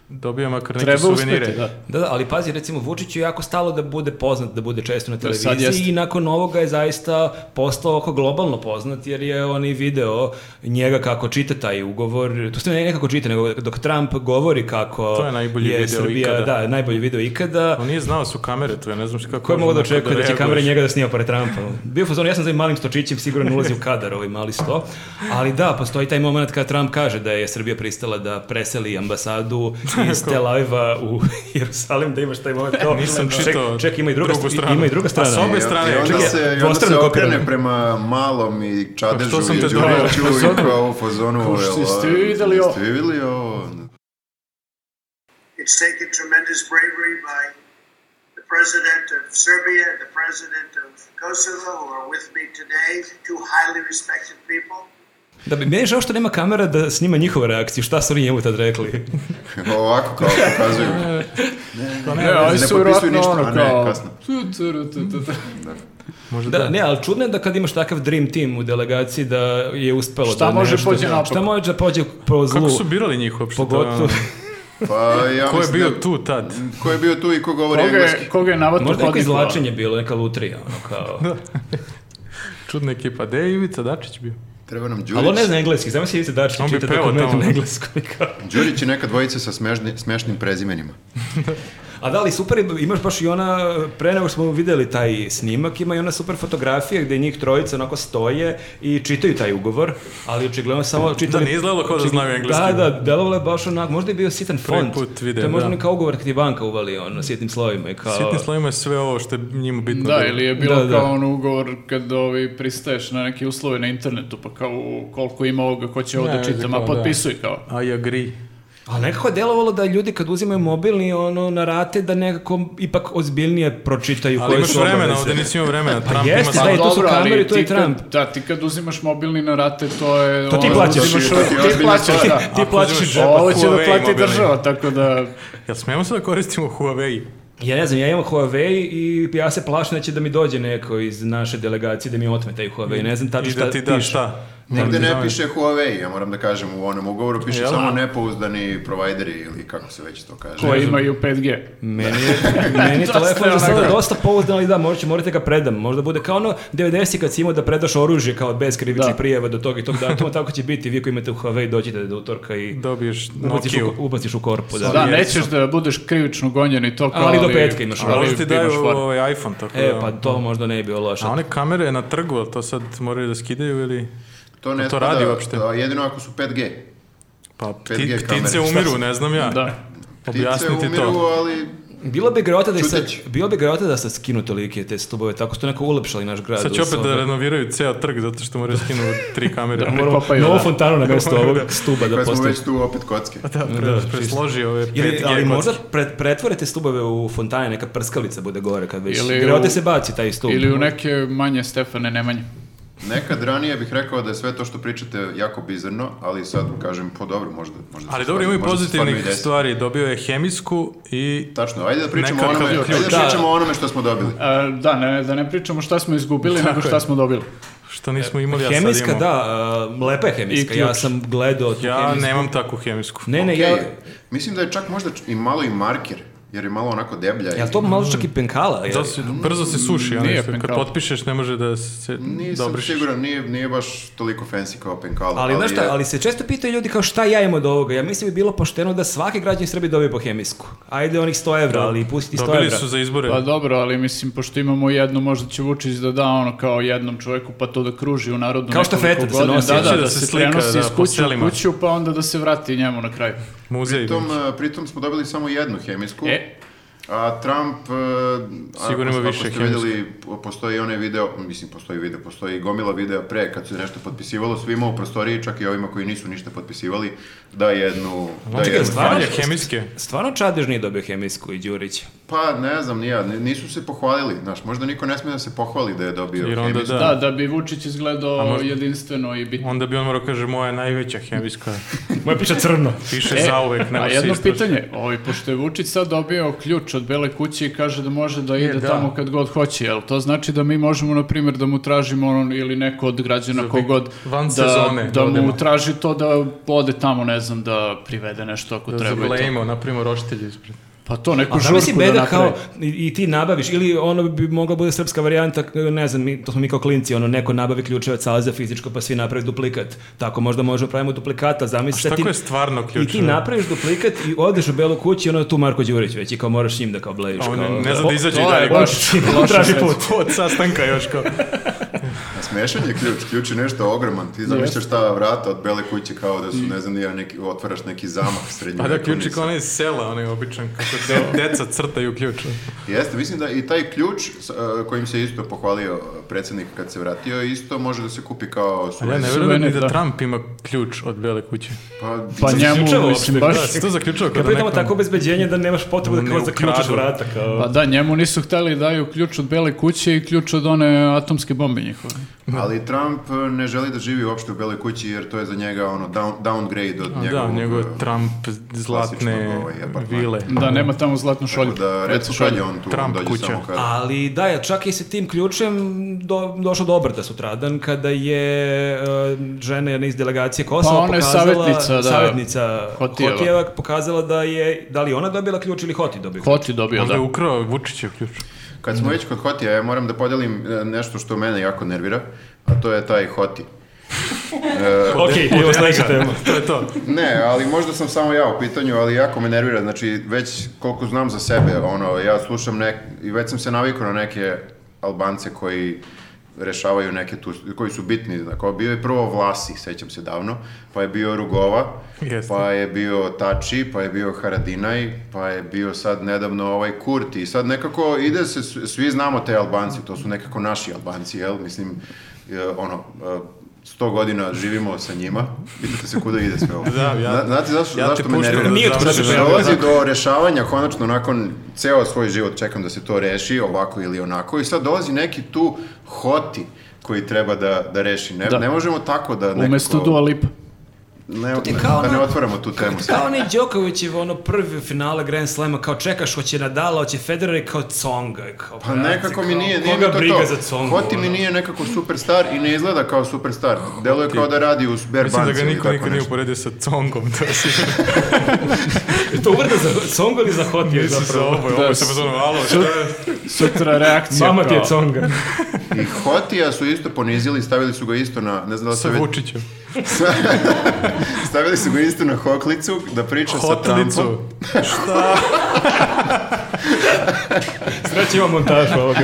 [SPEAKER 2] Dobio makar neke
[SPEAKER 4] Treba
[SPEAKER 2] suvenire.
[SPEAKER 4] uspeti, da.
[SPEAKER 3] Da, da, ali pazi, recimo Vučiću je jako stalo da bude poznat, da bude često na
[SPEAKER 4] Da, sad
[SPEAKER 3] televiziji
[SPEAKER 4] jeste.
[SPEAKER 3] i nakon ovoga je zaista postao oko globalno poznat jer je on i video njega kako čita taj ugovor, to ste ne nekako čita, nego dok Trump govori kako
[SPEAKER 2] To je najbolji video
[SPEAKER 3] Srbija,
[SPEAKER 2] ikada.
[SPEAKER 3] Da, najbolji video ikada.
[SPEAKER 2] [LAUGHS] On nije znao da su kamere tu, ja ne znam šta kako...
[SPEAKER 3] Ko je mogao da
[SPEAKER 2] možemo
[SPEAKER 3] očekuje da, će
[SPEAKER 2] reaguješ.
[SPEAKER 3] kamera njega da snima pored Trumpa? Bio je u fazonu, ja sam za ovim malim stočićem, sigurno ne ulazi u kadar ovaj mali sto. Ali da, postoji taj moment kada Trump kaže da je Srbija pristala da preseli ambasadu iz
[SPEAKER 2] [LAUGHS]
[SPEAKER 3] Tel Aviva u [LAUGHS] Jerusalim, da imaš taj moment kao...
[SPEAKER 2] Nisam
[SPEAKER 3] ček-
[SPEAKER 2] čitao
[SPEAKER 3] Ček, ima i druga,
[SPEAKER 2] drugu
[SPEAKER 3] st-
[SPEAKER 2] stranu.
[SPEAKER 3] Ima i druga
[SPEAKER 2] Pa
[SPEAKER 3] strana.
[SPEAKER 2] s obe
[SPEAKER 1] I-
[SPEAKER 2] strane,
[SPEAKER 1] I onda
[SPEAKER 3] čekaj,
[SPEAKER 1] se, i onda se
[SPEAKER 3] dvostrano
[SPEAKER 1] okrene
[SPEAKER 3] kopirano.
[SPEAKER 1] prema malom i čadežu
[SPEAKER 2] što sam
[SPEAKER 1] i
[SPEAKER 2] te
[SPEAKER 1] Đuriću i kao u fazonu.
[SPEAKER 4] Kao što
[SPEAKER 1] jel,
[SPEAKER 4] ste vidjeli ovo?
[SPEAKER 1] Ste vidjeli ovo?
[SPEAKER 5] It's taken tremendous bravery by the president of Serbia and the president of Kosovo, who are with me today, two highly respected people.
[SPEAKER 3] Da bi, meni je žao što nema kamera da snima njihove reakcije, šta su oni njemu tad rekli.
[SPEAKER 1] Ovako kao pokazuju.
[SPEAKER 2] Pa
[SPEAKER 4] Ne, oni
[SPEAKER 1] ne
[SPEAKER 4] su
[SPEAKER 1] potpisuju
[SPEAKER 4] vjerojatno
[SPEAKER 1] ništa, a
[SPEAKER 4] ono
[SPEAKER 1] ne,
[SPEAKER 4] kao...
[SPEAKER 1] kasno.
[SPEAKER 4] Tu, tu, ru, tu, tu, tu.
[SPEAKER 2] Možda
[SPEAKER 3] Da,
[SPEAKER 2] da.
[SPEAKER 3] ne, ali čudno je da kad imaš takav dream team u delegaciji da je uspelo
[SPEAKER 4] Šta
[SPEAKER 3] da
[SPEAKER 4] može
[SPEAKER 3] nešto-
[SPEAKER 4] pođe naopako?
[SPEAKER 3] Šta može da pođe po zlu?
[SPEAKER 2] Kako su birali njih uopšte? da-
[SPEAKER 4] [LAUGHS]
[SPEAKER 3] Pogotovo...
[SPEAKER 1] Pa, ja
[SPEAKER 2] Ko je
[SPEAKER 1] mislim
[SPEAKER 2] bio
[SPEAKER 1] da-
[SPEAKER 2] tu tad?
[SPEAKER 1] Ko je bio tu i ko govori
[SPEAKER 4] Koga
[SPEAKER 1] engleski?
[SPEAKER 4] je, koga je navato
[SPEAKER 3] Možda neko
[SPEAKER 4] hodnikovao?
[SPEAKER 3] izlačenje bilo, neka lutrija, ono kao...
[SPEAKER 2] Da, Čudna ekipa. Gde je Ivica Dačić bio?
[SPEAKER 1] Treba nam Đurić.
[SPEAKER 3] Ali on ne zna engleski, znam si Ivica Dačić
[SPEAKER 2] On bi
[SPEAKER 3] čita
[SPEAKER 2] pevao
[SPEAKER 3] dokument
[SPEAKER 2] tamo.
[SPEAKER 3] na engleskom. i [LAUGHS] kao-
[SPEAKER 1] Đurić i neka dvojica sa smežni- smešnim prezimenima.
[SPEAKER 3] A da li super, je, imaš baš i ona, pre nego smo videli taj snimak, ima i ona super fotografija gde njih trojica onako stoje i čitaju taj ugovor, ali očigledno samo čitali...
[SPEAKER 2] nije izgledalo kao da
[SPEAKER 3] očigl-
[SPEAKER 2] znaju engleski.
[SPEAKER 3] Da, da, delovalo je baš onako, možda je bio sitan font.
[SPEAKER 2] put video,
[SPEAKER 3] to je možda
[SPEAKER 2] da.
[SPEAKER 3] neka ugovor kad je banka uvali ono, sitnim slovima i kao...
[SPEAKER 2] Sitni slovima je sve ovo što je njima bitno.
[SPEAKER 4] Pa- Da,
[SPEAKER 2] bilo.
[SPEAKER 4] ili je bilo
[SPEAKER 3] Da, da.
[SPEAKER 4] kao on ugovor kad ovi pristaješ na neke uslove na internetu, pa kao u, koliko ima ovoga, ko će ovo
[SPEAKER 2] Ne,
[SPEAKER 4] da čita,
[SPEAKER 2] kao,
[SPEAKER 4] ma
[SPEAKER 2] da.
[SPEAKER 4] potpisuj kao.
[SPEAKER 2] I agree.
[SPEAKER 3] Ali nekako je delovalo da ljudi kad uzimaju mobilni ono, na rate da nekako ipak ozbiljnije pročitaju
[SPEAKER 2] Ali
[SPEAKER 3] koje
[SPEAKER 2] imaš
[SPEAKER 3] su
[SPEAKER 2] vremena,
[SPEAKER 3] obaveze.
[SPEAKER 2] ovde nisi imao vremena. Trump ima
[SPEAKER 3] jeste,
[SPEAKER 2] sad-
[SPEAKER 3] da, i to su
[SPEAKER 4] Dobro, ali
[SPEAKER 3] kamere, to je
[SPEAKER 4] ti kad-
[SPEAKER 3] Trump.
[SPEAKER 4] Da, ti kad uzimaš mobilni na rate, to je...
[SPEAKER 3] To ti
[SPEAKER 4] ono,
[SPEAKER 3] plaćaš.
[SPEAKER 4] uzimaš-
[SPEAKER 1] To ti je
[SPEAKER 4] Ti
[SPEAKER 1] ozbiljna
[SPEAKER 4] plaćaš,
[SPEAKER 1] stvar.
[SPEAKER 4] da.
[SPEAKER 2] Ti
[SPEAKER 3] Ako
[SPEAKER 2] plaćaš
[SPEAKER 3] uzmeš
[SPEAKER 2] džepa
[SPEAKER 4] Ovo će da
[SPEAKER 2] Huawei
[SPEAKER 4] plati
[SPEAKER 2] mobilni.
[SPEAKER 4] država, tako da...
[SPEAKER 2] Jel smemo se da koristimo Huawei?
[SPEAKER 3] Ja ne znam, ja imam Huawei i ja se plašim da će da mi dođe neko iz naše delegacije da mi otme taj Huawei, ne znam tačno
[SPEAKER 2] I
[SPEAKER 3] šta
[SPEAKER 2] da ti da
[SPEAKER 3] piše.
[SPEAKER 2] šta?
[SPEAKER 1] Nigde
[SPEAKER 2] Moram da
[SPEAKER 1] ne
[SPEAKER 2] znam.
[SPEAKER 1] piše Huawei, ja moram da kažem u onom ugovoru, piše
[SPEAKER 2] Jel? da?
[SPEAKER 1] samo nepouzdani provideri ili kako se već to kaže.
[SPEAKER 4] koji imaju 5G.
[SPEAKER 3] Meni je, meni
[SPEAKER 4] [LAUGHS]
[SPEAKER 3] je
[SPEAKER 4] Dosta
[SPEAKER 3] telefon
[SPEAKER 4] je
[SPEAKER 3] za sada
[SPEAKER 4] onako.
[SPEAKER 3] dosta pouzdan, ali da, možda ću morati da ga predam. Možda bude kao ono 90 kad si imao da predaš oružje kao bez krivičnih
[SPEAKER 4] Da.
[SPEAKER 3] prijeva do tog i tog
[SPEAKER 4] [LAUGHS]
[SPEAKER 3] datuma, tako će biti. Vi koji imate u Huawei dođite do utorka i
[SPEAKER 2] Dobiješ
[SPEAKER 3] ubaciš
[SPEAKER 2] Nokia.
[SPEAKER 3] u, ubaciš u korpu. Da.
[SPEAKER 4] Da, nećeš da budeš krivično gonjen i to kao...
[SPEAKER 3] Ali do petka imaš
[SPEAKER 4] ali
[SPEAKER 2] Ali ti daju
[SPEAKER 4] imaš for.
[SPEAKER 2] ovaj iPhone, tako
[SPEAKER 3] E,
[SPEAKER 2] da...
[SPEAKER 3] pa to možda ne bi bilo loše.
[SPEAKER 2] A one kamere na trgu, jel to sad moraju da skidaju ili...
[SPEAKER 1] To ne
[SPEAKER 2] Pa To
[SPEAKER 1] spada,
[SPEAKER 2] radi uopšte?
[SPEAKER 1] a, jedino ako su 5G.
[SPEAKER 2] Pa
[SPEAKER 1] 5G
[SPEAKER 2] pti, ptice
[SPEAKER 1] kamere.
[SPEAKER 2] umiru, ne znam ja.
[SPEAKER 4] Da.
[SPEAKER 1] Ptice
[SPEAKER 2] Objasniti
[SPEAKER 1] umiru,
[SPEAKER 2] to.
[SPEAKER 1] ali
[SPEAKER 3] Bilo bi grota da je sad,
[SPEAKER 1] Čudeć.
[SPEAKER 3] bilo bi grota da se skinu tolike te stubove, tako što neko ulepšali naš grad.
[SPEAKER 2] Sad će
[SPEAKER 3] u
[SPEAKER 2] opet
[SPEAKER 3] svom-
[SPEAKER 2] da renoviraju ceo trg zato što moraju skinu tri kamere.
[SPEAKER 4] Da.
[SPEAKER 3] Moramo
[SPEAKER 4] Pripapaju,
[SPEAKER 3] novu
[SPEAKER 4] da.
[SPEAKER 3] fontanu
[SPEAKER 2] [LAUGHS]
[SPEAKER 3] na mesto ovog stuba da
[SPEAKER 1] kada smo
[SPEAKER 3] postavi.
[SPEAKER 1] već tu opet kocke.
[SPEAKER 2] Da, pre,
[SPEAKER 3] Da,
[SPEAKER 2] presloži ove 5G
[SPEAKER 4] da
[SPEAKER 3] Ili, ali
[SPEAKER 2] kocke.
[SPEAKER 3] možda pre, pretvore te stubove u fontane, neka prskalica bude gore kad već
[SPEAKER 4] Ili
[SPEAKER 3] grote
[SPEAKER 4] u-
[SPEAKER 3] se baci taj stub.
[SPEAKER 4] Ili u neke manje Stefane Nemanje.
[SPEAKER 1] Nekad ranije bih rekao da je sve to što pričate jako bizarno, ali sad kažem, po dobro, možda... možda se
[SPEAKER 2] Ali dobro,
[SPEAKER 1] stvarno-
[SPEAKER 2] imaju
[SPEAKER 1] možda se stvarno
[SPEAKER 2] pozitivnih
[SPEAKER 1] i desi.
[SPEAKER 2] stvari. Dobio je hemijsku i...
[SPEAKER 1] Tačno, ajde da pričamo o
[SPEAKER 2] Nekakav
[SPEAKER 1] onome,
[SPEAKER 2] ključ.
[SPEAKER 1] ajde da
[SPEAKER 3] Da.
[SPEAKER 1] pričamo o onome što smo dobili.
[SPEAKER 4] E, da, ne, da ne pričamo šta smo izgubili, nego šta smo dobili.
[SPEAKER 2] Što nismo imali, ja sad imam.
[SPEAKER 3] E, Hemijska, da, a, lepa je hemijska.
[SPEAKER 4] I
[SPEAKER 3] Ja
[SPEAKER 4] ključ.
[SPEAKER 3] sam gledao tu
[SPEAKER 2] Ja
[SPEAKER 3] hemijsku.
[SPEAKER 2] nemam takvu hemijsku.
[SPEAKER 3] Ne, ne,
[SPEAKER 1] Okej,
[SPEAKER 3] E, ja...
[SPEAKER 1] Mislim da je čak možda č- i malo i marker, jer je malo onako deblja. i-
[SPEAKER 3] Jel to malo čak i penkala? Jel?
[SPEAKER 2] Zato se- brzo se suši, ono
[SPEAKER 4] Nije
[SPEAKER 2] što kad
[SPEAKER 4] penkal.
[SPEAKER 2] potpišeš ne može da se
[SPEAKER 1] Nisam
[SPEAKER 2] dobriš.
[SPEAKER 1] siguran, nije, nije baš toliko fancy kao penkala.
[SPEAKER 3] Ali, znaš šta,
[SPEAKER 1] je-
[SPEAKER 3] ali se često pitaju ljudi kao šta ja imam od ovoga. Ja mislim bi bilo pošteno da svaki građan Srbije dobije po hemijsku. Ajde onih 100 evra, ali pusti 100 evra.
[SPEAKER 2] Da. Dobili su za izbore.
[SPEAKER 4] Pa dobro, ali mislim, pošto imamo jednu, možda će Vučić da da ono kao jednom čoveku, pa to da kruži u narodu
[SPEAKER 3] Kao što
[SPEAKER 4] nekoliko
[SPEAKER 3] fete da se
[SPEAKER 4] godina.
[SPEAKER 3] nosi.
[SPEAKER 4] Da, da,
[SPEAKER 2] Znači
[SPEAKER 4] da,
[SPEAKER 2] da se
[SPEAKER 4] se
[SPEAKER 2] slika,
[SPEAKER 4] prenosi
[SPEAKER 2] da,
[SPEAKER 4] iz
[SPEAKER 2] po
[SPEAKER 4] kuće u
[SPEAKER 2] selima.
[SPEAKER 4] kuću, pa onda da se vrati njemu na kraju.
[SPEAKER 2] Muzej.
[SPEAKER 1] Pritom, e, pritom smo dobili samo jednu hemijsku.
[SPEAKER 4] E.
[SPEAKER 1] A Trump, e,
[SPEAKER 2] Sigurno ima
[SPEAKER 1] ako,
[SPEAKER 2] više
[SPEAKER 1] ako ste
[SPEAKER 2] hemijske.
[SPEAKER 1] videli, po- postoji onaj video, mislim postoji video, postoji gomila videa pre kad se nešto potpisivalo svima u prostoriji, čak i ovima koji nisu ništa potpisivali, da jednu... Da
[SPEAKER 3] Čekaj,
[SPEAKER 1] jednu
[SPEAKER 3] stvarno?
[SPEAKER 2] Valje hemijske.
[SPEAKER 3] Stvarno Čadež nije dobio hemijsku i Đurić.
[SPEAKER 1] pa ne znam, nija, ni- nisu se pohvalili, znaš, možda niko ne smije da se pohvali da je dobio
[SPEAKER 2] Jer onda
[SPEAKER 1] hemijsku.
[SPEAKER 2] da.
[SPEAKER 4] Da, da bi Vučić izgledao
[SPEAKER 2] možda-
[SPEAKER 4] jedinstveno i bitno.
[SPEAKER 2] Onda bi on morao kaže moja najveća hemijska.
[SPEAKER 3] Moja piša crno.
[SPEAKER 2] Piše zauvek, nema
[SPEAKER 4] E, A
[SPEAKER 2] se
[SPEAKER 4] jedno
[SPEAKER 2] istražiti.
[SPEAKER 4] pitanje, ovaj, pošto je Vučić sad dobio ključ od Bele kuće i kaže da može da ide
[SPEAKER 2] da.
[SPEAKER 4] tamo kad god hoće, jel to znači da mi možemo, na primjer, da mu tražimo ono, ili neko od građana kogod
[SPEAKER 2] van sezone da
[SPEAKER 4] da, da
[SPEAKER 2] odemo.
[SPEAKER 4] mu traži to da ode tamo, ne znam, da privede nešto ako
[SPEAKER 2] Da
[SPEAKER 4] treba i to.
[SPEAKER 2] zablejimo, napravimo roštilje ispred.
[SPEAKER 4] Pa to, neku
[SPEAKER 3] A da
[SPEAKER 4] žurku da
[SPEAKER 3] beda
[SPEAKER 4] napravi.
[SPEAKER 3] kao i, i ti nabaviš ili ono bi mogla bude srpska varijanta, ne znam, mi, to smo mi kao klinci, ono neko nabavi ključeve cala za fizičko pa svi napravi duplikat. Tako možda možemo da pravimo duplikata, zamisli
[SPEAKER 2] Šta
[SPEAKER 3] sad ti-
[SPEAKER 2] ko je stvarno
[SPEAKER 3] I
[SPEAKER 2] ključ?
[SPEAKER 3] ti napraviš duplikat i odeš u belu kuću i ono je tu Marko Đurić već i kao moraš s njim da kao blejiš.
[SPEAKER 2] A on
[SPEAKER 3] kao,
[SPEAKER 2] ne zna da izađe i
[SPEAKER 4] to je
[SPEAKER 2] dalje.
[SPEAKER 4] baš loša
[SPEAKER 2] Traži
[SPEAKER 4] veza.
[SPEAKER 2] put. [LAUGHS] Od sastanka još kao.
[SPEAKER 1] A smešan je ključ, ključ je nešto ogroman, ti zamišljaš ta vrata od bele kuće kao da su, ne znam, nija neki, otvaraš neki zamak srednji.
[SPEAKER 2] Pa da ključ je kao onaj iz sela, onaj običan, kako de, deca crtaju ključ.
[SPEAKER 1] Jeste, mislim da i taj ključ s- e, kojim se isto pohvalio predsjednik kad se vratio, isto može da se kupi kao
[SPEAKER 2] Ali ja Pa ne
[SPEAKER 1] suvenir.
[SPEAKER 2] verujem
[SPEAKER 4] Suvenir,
[SPEAKER 2] ni da
[SPEAKER 4] da.
[SPEAKER 2] Trump ima ključ od Bele kuće.
[SPEAKER 1] Pa,
[SPEAKER 4] Pa njemu,
[SPEAKER 3] isključava
[SPEAKER 4] mislim,
[SPEAKER 2] Da,
[SPEAKER 4] baš...
[SPEAKER 2] se to zaključao
[SPEAKER 3] Ja
[SPEAKER 2] kada
[SPEAKER 3] pritamo
[SPEAKER 2] nekom...
[SPEAKER 3] tako obezbeđenje da nemaš potrebu da
[SPEAKER 2] Ne
[SPEAKER 3] kao zaključiš
[SPEAKER 2] ukradu.
[SPEAKER 3] vrata. Kao.
[SPEAKER 4] Pa da, njemu nisu hteli da daju ključ od Bele kuće i ključ od one atomske bombe njihove.
[SPEAKER 1] ali Trump e, ne želi da živi uopšte u Beloj kući jer to je za njega ono down- downgrade od
[SPEAKER 2] Da,
[SPEAKER 1] njegovog...
[SPEAKER 2] njegov
[SPEAKER 1] e,
[SPEAKER 2] Trump zlatne
[SPEAKER 1] ovaj apartman.
[SPEAKER 2] vile.
[SPEAKER 4] Da, nema tamo zlatnu šolju.
[SPEAKER 1] Tako da, recimo kad je on tu, on
[SPEAKER 2] Trump
[SPEAKER 1] dođe
[SPEAKER 2] kuća.
[SPEAKER 1] samo kada...
[SPEAKER 3] Ali da, ja čak i sa tim ključem do, došao do obrta sutradan kada je uh, žena jedna iz delegacije Kosova
[SPEAKER 4] Pa ona je
[SPEAKER 3] pokazala...
[SPEAKER 4] savjetnica, da,
[SPEAKER 3] savjetnica
[SPEAKER 4] Hotijeva.
[SPEAKER 3] Hotijeva pokazala da je... Da li je ona dobila ključ ili Hoti dobio ključ?
[SPEAKER 4] Hoti dobio,
[SPEAKER 2] Možda je
[SPEAKER 4] da.
[SPEAKER 2] ukrao Vučićev ključ.
[SPEAKER 1] Kad smo već kod Hotija, ja moram da podelim e, nešto što mene jako nervira, a to je taj Hoti.
[SPEAKER 3] Ok, evo sledeća tema.
[SPEAKER 2] [LAUGHS] to je to.
[SPEAKER 1] Ne, ali možda sam samo ja u pitanju, ali jako me nervira, znači već koliko znam za sebe, ono, ja slušam nek, i već sam se navikao na neke Albance koji rešavaju neke tu, koji su bitni, kao bio je prvo Vlasi, sećam se davno, pa je bio Rugova,
[SPEAKER 2] Jeste.
[SPEAKER 1] pa je bio Tači, pa je bio Haradinaj, pa je bio sad nedavno ovaj Kurti i sad nekako ide se, s- svi znamo te Albanci, to su nekako naši Albanci, jel, mislim, e, ono, e, 100 godina živimo sa njima, pitate se kuda ide sve ovo.
[SPEAKER 2] Da, ja-
[SPEAKER 1] Zna- Znate zašto,
[SPEAKER 2] Ja te
[SPEAKER 1] zašto me
[SPEAKER 2] puštam
[SPEAKER 1] nervira?
[SPEAKER 2] da
[SPEAKER 3] Nije otkuda
[SPEAKER 2] završiš.
[SPEAKER 3] se pojavio.
[SPEAKER 1] Dolazi do rešavanja, konačno nakon ceo svoj život čekam da se to reši, ovako ili onako, i sad dolazi neki tu hoti koji treba da, da reši. Ne,
[SPEAKER 4] Da.
[SPEAKER 1] ne možemo tako da nekako...
[SPEAKER 4] Umesto Dua Lipa.
[SPEAKER 1] Ne,
[SPEAKER 3] ti je kao
[SPEAKER 1] da ne
[SPEAKER 3] ono-
[SPEAKER 1] otvaramo tu temu. sad.
[SPEAKER 3] Kao onaj Đokovićev ono prvi finale Grand Slema, kao čekaš hoće Nadala, hoće Federer i kao Tsonga. Kao,
[SPEAKER 1] Pa
[SPEAKER 3] brate,
[SPEAKER 1] nekako mi
[SPEAKER 3] kao,
[SPEAKER 1] nije, nije mi
[SPEAKER 3] koga
[SPEAKER 1] to
[SPEAKER 3] briga
[SPEAKER 1] to.
[SPEAKER 3] za Tsongu.
[SPEAKER 1] Hoti mi
[SPEAKER 3] ono?
[SPEAKER 1] nije nekako superstar i ne izgleda kao superstar. Deluje kao da radi u Bear
[SPEAKER 2] Mislim da
[SPEAKER 1] Bands
[SPEAKER 2] ga
[SPEAKER 1] ili
[SPEAKER 2] niko
[SPEAKER 1] tako
[SPEAKER 2] nikad nije
[SPEAKER 1] nešto.
[SPEAKER 2] uporedio sa Congom, to je [LAUGHS] sigurno.
[SPEAKER 3] Je to uvreda za Tsonga ili za Hoti je
[SPEAKER 2] Mislim za
[SPEAKER 3] zapravo?
[SPEAKER 2] ovo,
[SPEAKER 4] Da,
[SPEAKER 2] ovo se
[SPEAKER 4] s-
[SPEAKER 2] pozvano, alo, šta je?
[SPEAKER 4] Sutra reakcija
[SPEAKER 3] Mama ti je
[SPEAKER 4] kao-
[SPEAKER 3] Tsonga.
[SPEAKER 1] I Hotija su isto ponizili, stavili su ga isto na, ne znam da li
[SPEAKER 2] Sa
[SPEAKER 1] ste već-
[SPEAKER 2] Vučićem.
[SPEAKER 1] stavili su ga isto na hoklicu da priča sa Trumpom.
[SPEAKER 2] Hotlicu.
[SPEAKER 3] Sreći ima montaž ovoga.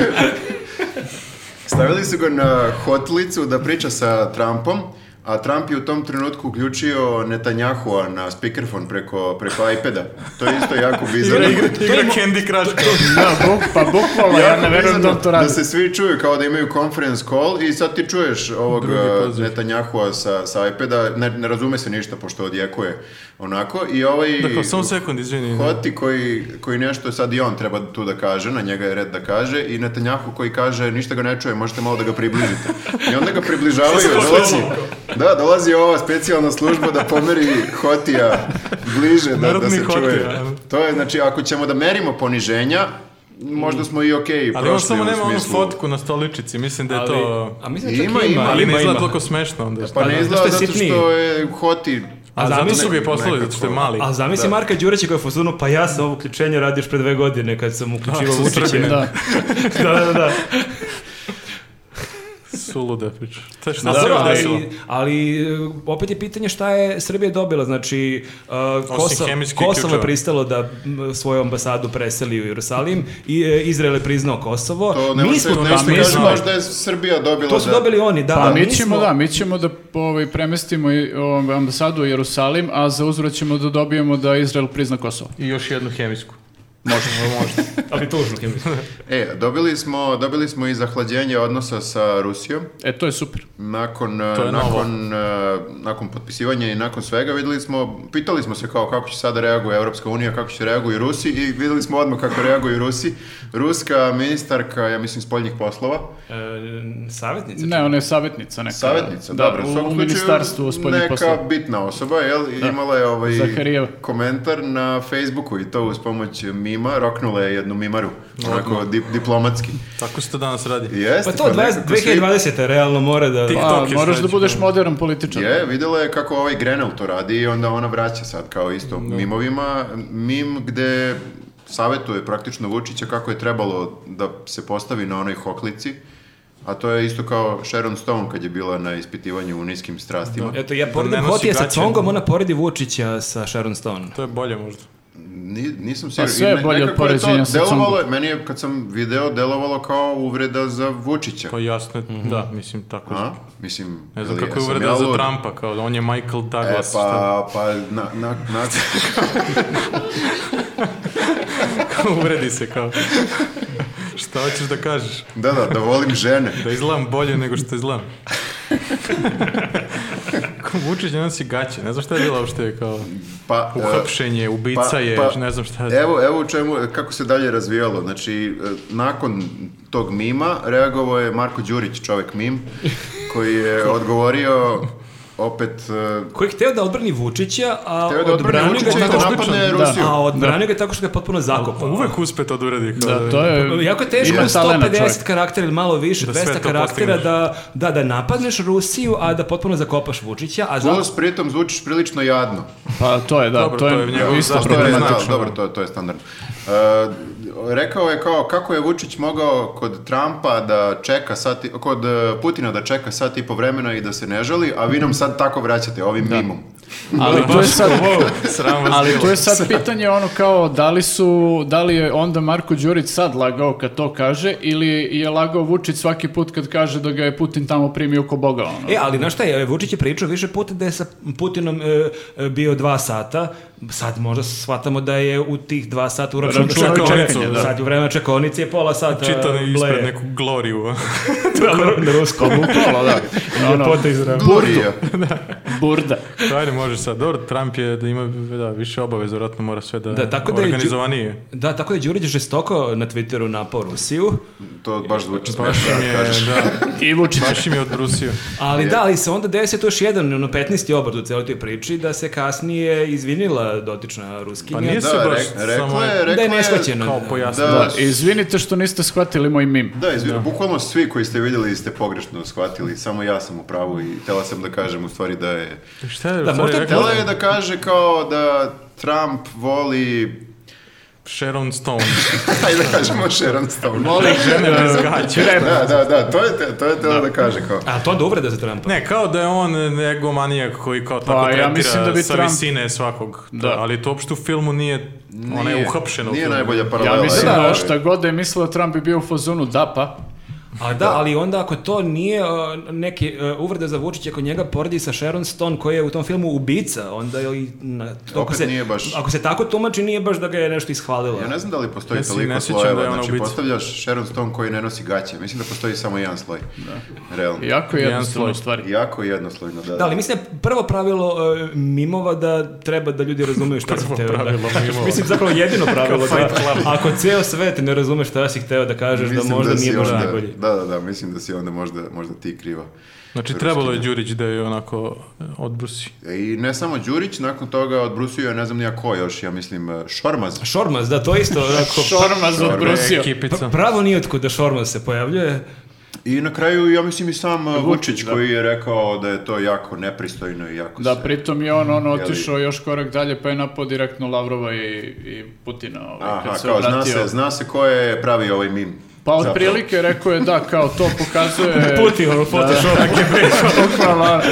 [SPEAKER 1] Stavili su ga na hotlicu da priča sa Trumpom, a Trump je u tom trenutku uključio Netanjahua na speakerphone preko, preko iPada. To je isto
[SPEAKER 2] [LAUGHS]
[SPEAKER 1] jako bizarno.
[SPEAKER 2] Igra Candy Crush kao
[SPEAKER 4] Da, buk, pa bukvalno, ja ne verujem da on to
[SPEAKER 1] da
[SPEAKER 4] radi.
[SPEAKER 1] se svi čuju kao da imaju conference call i sad ti čuješ ovog
[SPEAKER 2] Drugi
[SPEAKER 1] eh,
[SPEAKER 2] poziv.
[SPEAKER 1] Netanjahua sa, sa iPada, ne, ne razume se ništa pošto odjekuje onako i ovaj
[SPEAKER 2] Dakle, samo sekund, izvini.
[SPEAKER 1] Hoti koji, koji nešto sad i on treba tu da kaže, na njega je red da kaže i Netanjahu koji kaže ništa ga ne čuje, možete malo da ga približite. I onda ga približavaju, dolazi, da, dolazi ova specijalna služba da pomeri Hotija bliže da, da
[SPEAKER 2] Narodni
[SPEAKER 1] se čuje.
[SPEAKER 2] Hotija.
[SPEAKER 1] To je, znači, ako ćemo da merimo poniženja, možda smo i okej
[SPEAKER 2] Mm. Ali on
[SPEAKER 1] prošli
[SPEAKER 2] samo
[SPEAKER 1] u
[SPEAKER 2] nema onu
[SPEAKER 1] smislu.
[SPEAKER 2] fotku na stoličici, mislim da je
[SPEAKER 4] Ali-
[SPEAKER 2] to...
[SPEAKER 3] A mislim da čak
[SPEAKER 1] Ima,
[SPEAKER 3] ima,
[SPEAKER 1] ima,
[SPEAKER 2] Ali ne izgleda
[SPEAKER 3] ima.
[SPEAKER 2] toliko smešno onda.
[SPEAKER 1] Pa ne
[SPEAKER 3] zato
[SPEAKER 1] izgleda
[SPEAKER 3] što da,
[SPEAKER 1] zato
[SPEAKER 3] je sitniji.
[SPEAKER 1] što je Hoti...
[SPEAKER 2] A zato
[SPEAKER 3] zamisli-
[SPEAKER 2] su ga i poslali,
[SPEAKER 1] nekako-
[SPEAKER 2] zato što je mali.
[SPEAKER 3] A zamisli Marka Đurića koji je u fazonu, pa ja sam ovo uključenje radio još pre dve godine kad sam uključivao
[SPEAKER 2] su
[SPEAKER 3] Vučića.
[SPEAKER 2] Srbi, [LAUGHS]
[SPEAKER 4] Da.
[SPEAKER 3] da, da, da.
[SPEAKER 2] Suluda priča. To je šta
[SPEAKER 3] Da,
[SPEAKER 2] se
[SPEAKER 3] dobro,
[SPEAKER 2] još desilo?
[SPEAKER 3] ali, ali e, opet je pitanje šta je Srbija dobila, znači uh, Kosovo,
[SPEAKER 2] hemičkih
[SPEAKER 3] Kosovo je
[SPEAKER 2] ključeva.
[SPEAKER 3] pristalo da m, svoju ambasadu preseli u Jerusalim i e, Izrael je priznao Kosovo.
[SPEAKER 1] To ne
[SPEAKER 3] mi
[SPEAKER 1] možete
[SPEAKER 3] smo
[SPEAKER 1] da
[SPEAKER 3] to
[SPEAKER 1] kažete,
[SPEAKER 3] priznali.
[SPEAKER 1] možda je Srbija dobila
[SPEAKER 3] To su
[SPEAKER 1] da-
[SPEAKER 3] dobili oni, da.
[SPEAKER 4] Pa
[SPEAKER 3] da,
[SPEAKER 4] mi ćemo, da, mi ćemo da ovaj, premestimo i, ovaj, ambasadu u Jerusalim, a za uzvrat ćemo da dobijemo da Izrael prizna Kosovo.
[SPEAKER 2] I još jednu hemijsku.
[SPEAKER 3] Ali tužno. Kim.
[SPEAKER 1] E, dobili smo, dobili smo i zahlađenje odnosa sa Rusijom.
[SPEAKER 4] E, to je super.
[SPEAKER 1] Nakon, eh,
[SPEAKER 2] To je novo.
[SPEAKER 1] nakon, eh, nakon potpisivanja i nakon svega videli smo, pitali smo se kao kako će sada reaguje Evropska unija, kako će reaguju Rusi i videli smo odmah kako reaguju Rusi. Ruska ministarka, ja mislim, spoljnih poslova,
[SPEAKER 3] E, savjetnici.
[SPEAKER 4] Ne, ona je savjetnica neka.
[SPEAKER 1] savjetnica, dobro, u
[SPEAKER 4] Da, u,
[SPEAKER 1] svakom
[SPEAKER 4] u
[SPEAKER 1] slučaju
[SPEAKER 4] ministarstvu spoljnih
[SPEAKER 1] neka Pa,
[SPEAKER 4] poslova.
[SPEAKER 1] bitna osoba, jel, I imala je ovaj
[SPEAKER 4] Zaharijeva.
[SPEAKER 1] komentar na Facebooku i to uz pomoć mima, roknula je jednu mimaru, onako dip- diplomatski.
[SPEAKER 2] Tako se to danas radi.
[SPEAKER 1] Jeste,
[SPEAKER 3] Pa to 20,
[SPEAKER 1] nekako svi-
[SPEAKER 3] 2020. realno mora da...
[SPEAKER 2] Ti-
[SPEAKER 4] Pa,
[SPEAKER 2] TikTok je
[SPEAKER 4] moraš da
[SPEAKER 2] sledeći
[SPEAKER 4] budeš
[SPEAKER 2] problem.
[SPEAKER 4] modern političar.
[SPEAKER 1] Je, videla je kako ovaj Grenell to radi i onda ona vraća sad kao isto
[SPEAKER 2] Da.
[SPEAKER 1] mimovima. Mim gde savjetuje praktično Vučića kako je trebalo da se postavi na onoj hoklici, a to je isto kao Sharon Stone kad je bila na ispitivanju u niskim strastima.
[SPEAKER 3] Eto, ja
[SPEAKER 2] ne
[SPEAKER 3] poredim
[SPEAKER 2] nosi
[SPEAKER 3] Hotija sa
[SPEAKER 2] gaće.
[SPEAKER 3] Congom, ona poredi Vučića sa Sharon Stone.
[SPEAKER 2] To je bolje možda.
[SPEAKER 1] Ni- nisam
[SPEAKER 2] pa
[SPEAKER 1] siguran.
[SPEAKER 4] sve je
[SPEAKER 1] I
[SPEAKER 4] bolje od
[SPEAKER 1] nekako je to
[SPEAKER 4] poređenja sa
[SPEAKER 1] delovalo-
[SPEAKER 4] Congom.
[SPEAKER 1] Meni je kad sam video delovalo kao uvreda za Vučića.
[SPEAKER 2] Pa jasno, je, da, mislim tako.
[SPEAKER 1] A? Mislim,
[SPEAKER 2] Ne znam
[SPEAKER 1] ili
[SPEAKER 2] kako je
[SPEAKER 1] jesam
[SPEAKER 2] uvreda
[SPEAKER 1] ja
[SPEAKER 2] za
[SPEAKER 1] lud?
[SPEAKER 2] Trumpa, kao da on je Michael
[SPEAKER 1] E,
[SPEAKER 2] Douglas. šta?
[SPEAKER 1] pa, pa, na, na, na, pa-
[SPEAKER 2] [LAUGHS] Uvredi se
[SPEAKER 1] [LAUGHS]
[SPEAKER 2] kao. Šta hoćeš da kažeš?
[SPEAKER 1] da, da, da volim žene.
[SPEAKER 2] Da izgledam bolje nego što
[SPEAKER 1] [LAUGHS]
[SPEAKER 2] izgledam. Ko Vučić ne nosi gaće, ne znam šta je bilo uopšte kao
[SPEAKER 1] Pa, e,
[SPEAKER 2] uhapšenje, ubica
[SPEAKER 1] pa-
[SPEAKER 2] je,
[SPEAKER 1] pa-
[SPEAKER 2] ne znam šta je.
[SPEAKER 1] Evo, evo u čemu, kako se dalje razvijalo. Znači, e, nakon tog mima reagovao je Marko Đurić, čovek mim, koji je odgovorio opet... e,
[SPEAKER 3] Koji je hteo da odbrani Vučića, a
[SPEAKER 1] Hteo je da odbrani
[SPEAKER 3] odbranio
[SPEAKER 1] Vučića
[SPEAKER 3] ga
[SPEAKER 1] i da
[SPEAKER 3] tako što-
[SPEAKER 1] napadne
[SPEAKER 3] da,
[SPEAKER 1] Rusiju.
[SPEAKER 3] A odbranio ga je tako što ga je potpuno zakopao.
[SPEAKER 2] Uvek uspe to da uradi. Kao
[SPEAKER 4] Da, to je...
[SPEAKER 3] Jako je teško
[SPEAKER 4] Ima
[SPEAKER 3] u
[SPEAKER 4] talenta
[SPEAKER 3] 150
[SPEAKER 4] čovjek.
[SPEAKER 3] karaktera ili malo više,
[SPEAKER 2] Da sve
[SPEAKER 3] 200
[SPEAKER 2] to
[SPEAKER 3] karaktera
[SPEAKER 2] postigneš.
[SPEAKER 3] da, da, da napadneš Rusiju, a da potpuno zakopaš Vučića, a zato...
[SPEAKER 1] Plus, pritom zvučiš prilično jadno.
[SPEAKER 4] Pa, to je, da,
[SPEAKER 2] Dobro,
[SPEAKER 4] to
[SPEAKER 2] to je
[SPEAKER 4] je,
[SPEAKER 2] njegov
[SPEAKER 4] isto
[SPEAKER 2] zasluga,
[SPEAKER 1] To je,
[SPEAKER 4] problematično.
[SPEAKER 1] znao, dobro, to, to je standardno. E, rekao je kao, kako je Vučić mogao kod Trumpa da čeka sat, i- kod e, Putina da čeka sat i po vremena i da se ne žali, a vi nam sad tako vraćate ovim mimom.
[SPEAKER 4] Ali to je sad...
[SPEAKER 2] Sram vas
[SPEAKER 4] Ali
[SPEAKER 2] bilo.
[SPEAKER 4] to je sad pitanje ono kao da li su, da li je onda Marko Đurić sad lagao kad to kaže ili je lagao Vučić svaki put kad kaže da ga je Putin tamo primio ko boga ono.
[SPEAKER 3] E, ali znaš šta je, Vučić je pričao više puta da je sa Putinom e, e, bio dva sata, sad možda shvatamo da je u tih dva sata uračun
[SPEAKER 4] Računa čekanja, da.
[SPEAKER 3] sad u vreme čekonice je pola sata
[SPEAKER 2] Čitan je ispred
[SPEAKER 3] bleje.
[SPEAKER 2] neku gloriju.
[SPEAKER 3] na ruskom.
[SPEAKER 4] Bukvalno, da. Ono,
[SPEAKER 1] [LAUGHS]
[SPEAKER 2] [LAUGHS]
[SPEAKER 3] Ljepota iz rame.
[SPEAKER 1] Glorija.
[SPEAKER 4] burda.
[SPEAKER 2] Ajde, možeš sad. Dobro, Trump je da ima da, više obaveza, vjerojatno mora sve da,
[SPEAKER 3] Da, tako da je Đu-
[SPEAKER 2] organizovanije.
[SPEAKER 3] Da, tako da je Đurić žestoko na Twitteru napao Rusiju,
[SPEAKER 1] To baš zvuči
[SPEAKER 2] Baš
[SPEAKER 1] smešno,
[SPEAKER 2] im je,
[SPEAKER 1] E, kažeš.
[SPEAKER 2] da,
[SPEAKER 4] I Vučić.
[SPEAKER 2] baš im je odbrusio.
[SPEAKER 1] [LAUGHS]
[SPEAKER 3] ali da, ali se onda desio tu još jedan, ono, 15. obrt u cijeloj toj priči, da se kasnije izvinila dotična Ruskinja.
[SPEAKER 2] Pa nije
[SPEAKER 1] Da,
[SPEAKER 2] se baš
[SPEAKER 1] re-
[SPEAKER 2] samo
[SPEAKER 1] rekla je,
[SPEAKER 3] da je
[SPEAKER 1] rekla
[SPEAKER 3] neshvaćeno.
[SPEAKER 2] kao pojasnio.
[SPEAKER 1] Da.
[SPEAKER 4] Da, izvinite što niste shvatili moj mim.
[SPEAKER 1] Da, izvini, bukvalno svi koji ste vidjeli ste pogrešno shvatili, samo ja sam u pravu i htjela sam da kažem u stvari da je...
[SPEAKER 2] Šta je,
[SPEAKER 3] Da,
[SPEAKER 2] da,
[SPEAKER 3] možda-
[SPEAKER 2] možda rekla?
[SPEAKER 1] Htjela je da kaže kao da Trump voli... [LAUGHS]
[SPEAKER 2] Sharon Stone.
[SPEAKER 1] Ajde da kažemo Sharon Stone.
[SPEAKER 2] Žene bez gaća.
[SPEAKER 1] Da, da, da, to je, te- to je htjela da. kaže kao.
[SPEAKER 3] A to onda uvreda za Trumpa.
[SPEAKER 2] Ne, kao da je on egomanijak koji kao tako
[SPEAKER 4] ja
[SPEAKER 2] tretira
[SPEAKER 4] mislim da bi
[SPEAKER 2] sa
[SPEAKER 4] Trump-
[SPEAKER 2] visine svakog.
[SPEAKER 4] Da.
[SPEAKER 2] Ali to uopšte u filmu nije, ona je
[SPEAKER 1] Nije-
[SPEAKER 2] uhapšena u
[SPEAKER 1] Nije
[SPEAKER 2] filmu.
[SPEAKER 1] najbolja paralela.
[SPEAKER 4] Ja mislim
[SPEAKER 1] je.
[SPEAKER 4] da šta god da je mislila Trump bi bio u fazonu da pa.
[SPEAKER 3] A da, ali onda ako to nije a, neki a, uvreda za Vučića ako njega poredi sa Sharon Stone koji je u tom filmu ubica, onda je i na, to, ako
[SPEAKER 1] Opet
[SPEAKER 3] se,
[SPEAKER 1] nije baš-
[SPEAKER 3] ako se tako tumači nije baš da ga je nešto ishvalila.
[SPEAKER 1] Ja ne znam da li postoji
[SPEAKER 2] Ja se
[SPEAKER 1] toliko
[SPEAKER 2] ne sjećam
[SPEAKER 1] slojeva,
[SPEAKER 2] da je ona
[SPEAKER 1] znači
[SPEAKER 2] ubica.
[SPEAKER 1] postavljaš Sharon Stone koji ne nosi gaće, mislim da postoji samo jedan sloj,
[SPEAKER 2] Da.
[SPEAKER 1] realno.
[SPEAKER 4] Jako je
[SPEAKER 2] Jedan
[SPEAKER 4] jednostavno
[SPEAKER 2] sloj.
[SPEAKER 4] u stvari.
[SPEAKER 1] Jako jednoslojno, da.
[SPEAKER 3] Da, ali mislim da je prvo pravilo e, mimova da treba da ljudi razumeju šta si hteo. da-
[SPEAKER 2] pravilo mimova?
[SPEAKER 3] [LAUGHS] mislim zapravo jedino pravilo
[SPEAKER 2] Kao
[SPEAKER 3] da
[SPEAKER 2] Fight Club.
[SPEAKER 3] ako ceo svet ne razume šta si hteo da kažeš
[SPEAKER 1] Mislim
[SPEAKER 3] da možda
[SPEAKER 1] si
[SPEAKER 3] nije baš
[SPEAKER 1] onda-
[SPEAKER 3] najbolji.
[SPEAKER 1] Da, da, da, mislim da si onda možda, možda ti kriva.
[SPEAKER 2] Znači,
[SPEAKER 1] Ruski,
[SPEAKER 2] trebalo je
[SPEAKER 1] da.
[SPEAKER 2] Đurić da je onako e, odbrusi.
[SPEAKER 1] I ne samo Đurić, nakon toga odbrusio je ne znam nija ko još, ja mislim e, Šormaz.
[SPEAKER 3] Šormaz, da, to isto onako,
[SPEAKER 4] Šormaz od Brusija.
[SPEAKER 2] Ekipica.
[SPEAKER 3] pravo nije otkud da Šormaz se pojavljuje.
[SPEAKER 1] I na kraju, ja mislim i sam e, Vučić
[SPEAKER 4] da.
[SPEAKER 1] koji je rekao da je to jako nepristojno i jako
[SPEAKER 4] Da,
[SPEAKER 1] se...
[SPEAKER 4] pritom je on, on
[SPEAKER 1] Jeli-
[SPEAKER 4] otišao još korak dalje, pa je napao direktno Lavrova i, i Putina. Ovaj,
[SPEAKER 1] Aha,
[SPEAKER 4] kad se
[SPEAKER 1] kao zna
[SPEAKER 4] obratio.
[SPEAKER 1] se, zna se ko je pravi ovaj mim.
[SPEAKER 4] Pa
[SPEAKER 1] Zapravo.
[SPEAKER 4] otprilike rekao je da, kao to
[SPEAKER 1] [LAUGHS]
[SPEAKER 4] pokazuje...
[SPEAKER 2] Da.
[SPEAKER 3] Putin, ono, Photoshop.
[SPEAKER 4] [LAUGHS] Bukvalno. da.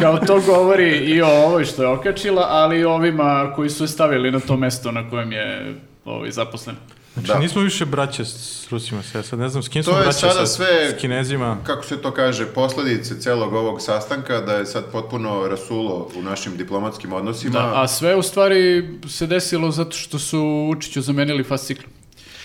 [SPEAKER 4] Kao to govori i o ovoj što je okačila, ali i o ovima koji su je stavili na to mesto na kojem je ovaj, zaposlen.
[SPEAKER 2] Znači,
[SPEAKER 1] Da.
[SPEAKER 2] nismo više braće s Rusima se, ja sad ne znam s kim smo
[SPEAKER 1] je
[SPEAKER 2] braće
[SPEAKER 1] sada
[SPEAKER 2] sad,
[SPEAKER 1] sve-
[SPEAKER 2] s Kinezima.
[SPEAKER 1] Kako se to kaže, posljedice celog ovog sastanka da je sad potpuno rasulo u našim diplomatskim odnosima.
[SPEAKER 4] Da, A sve u stvari se desilo zato što su Vučiću zamenili fascikl.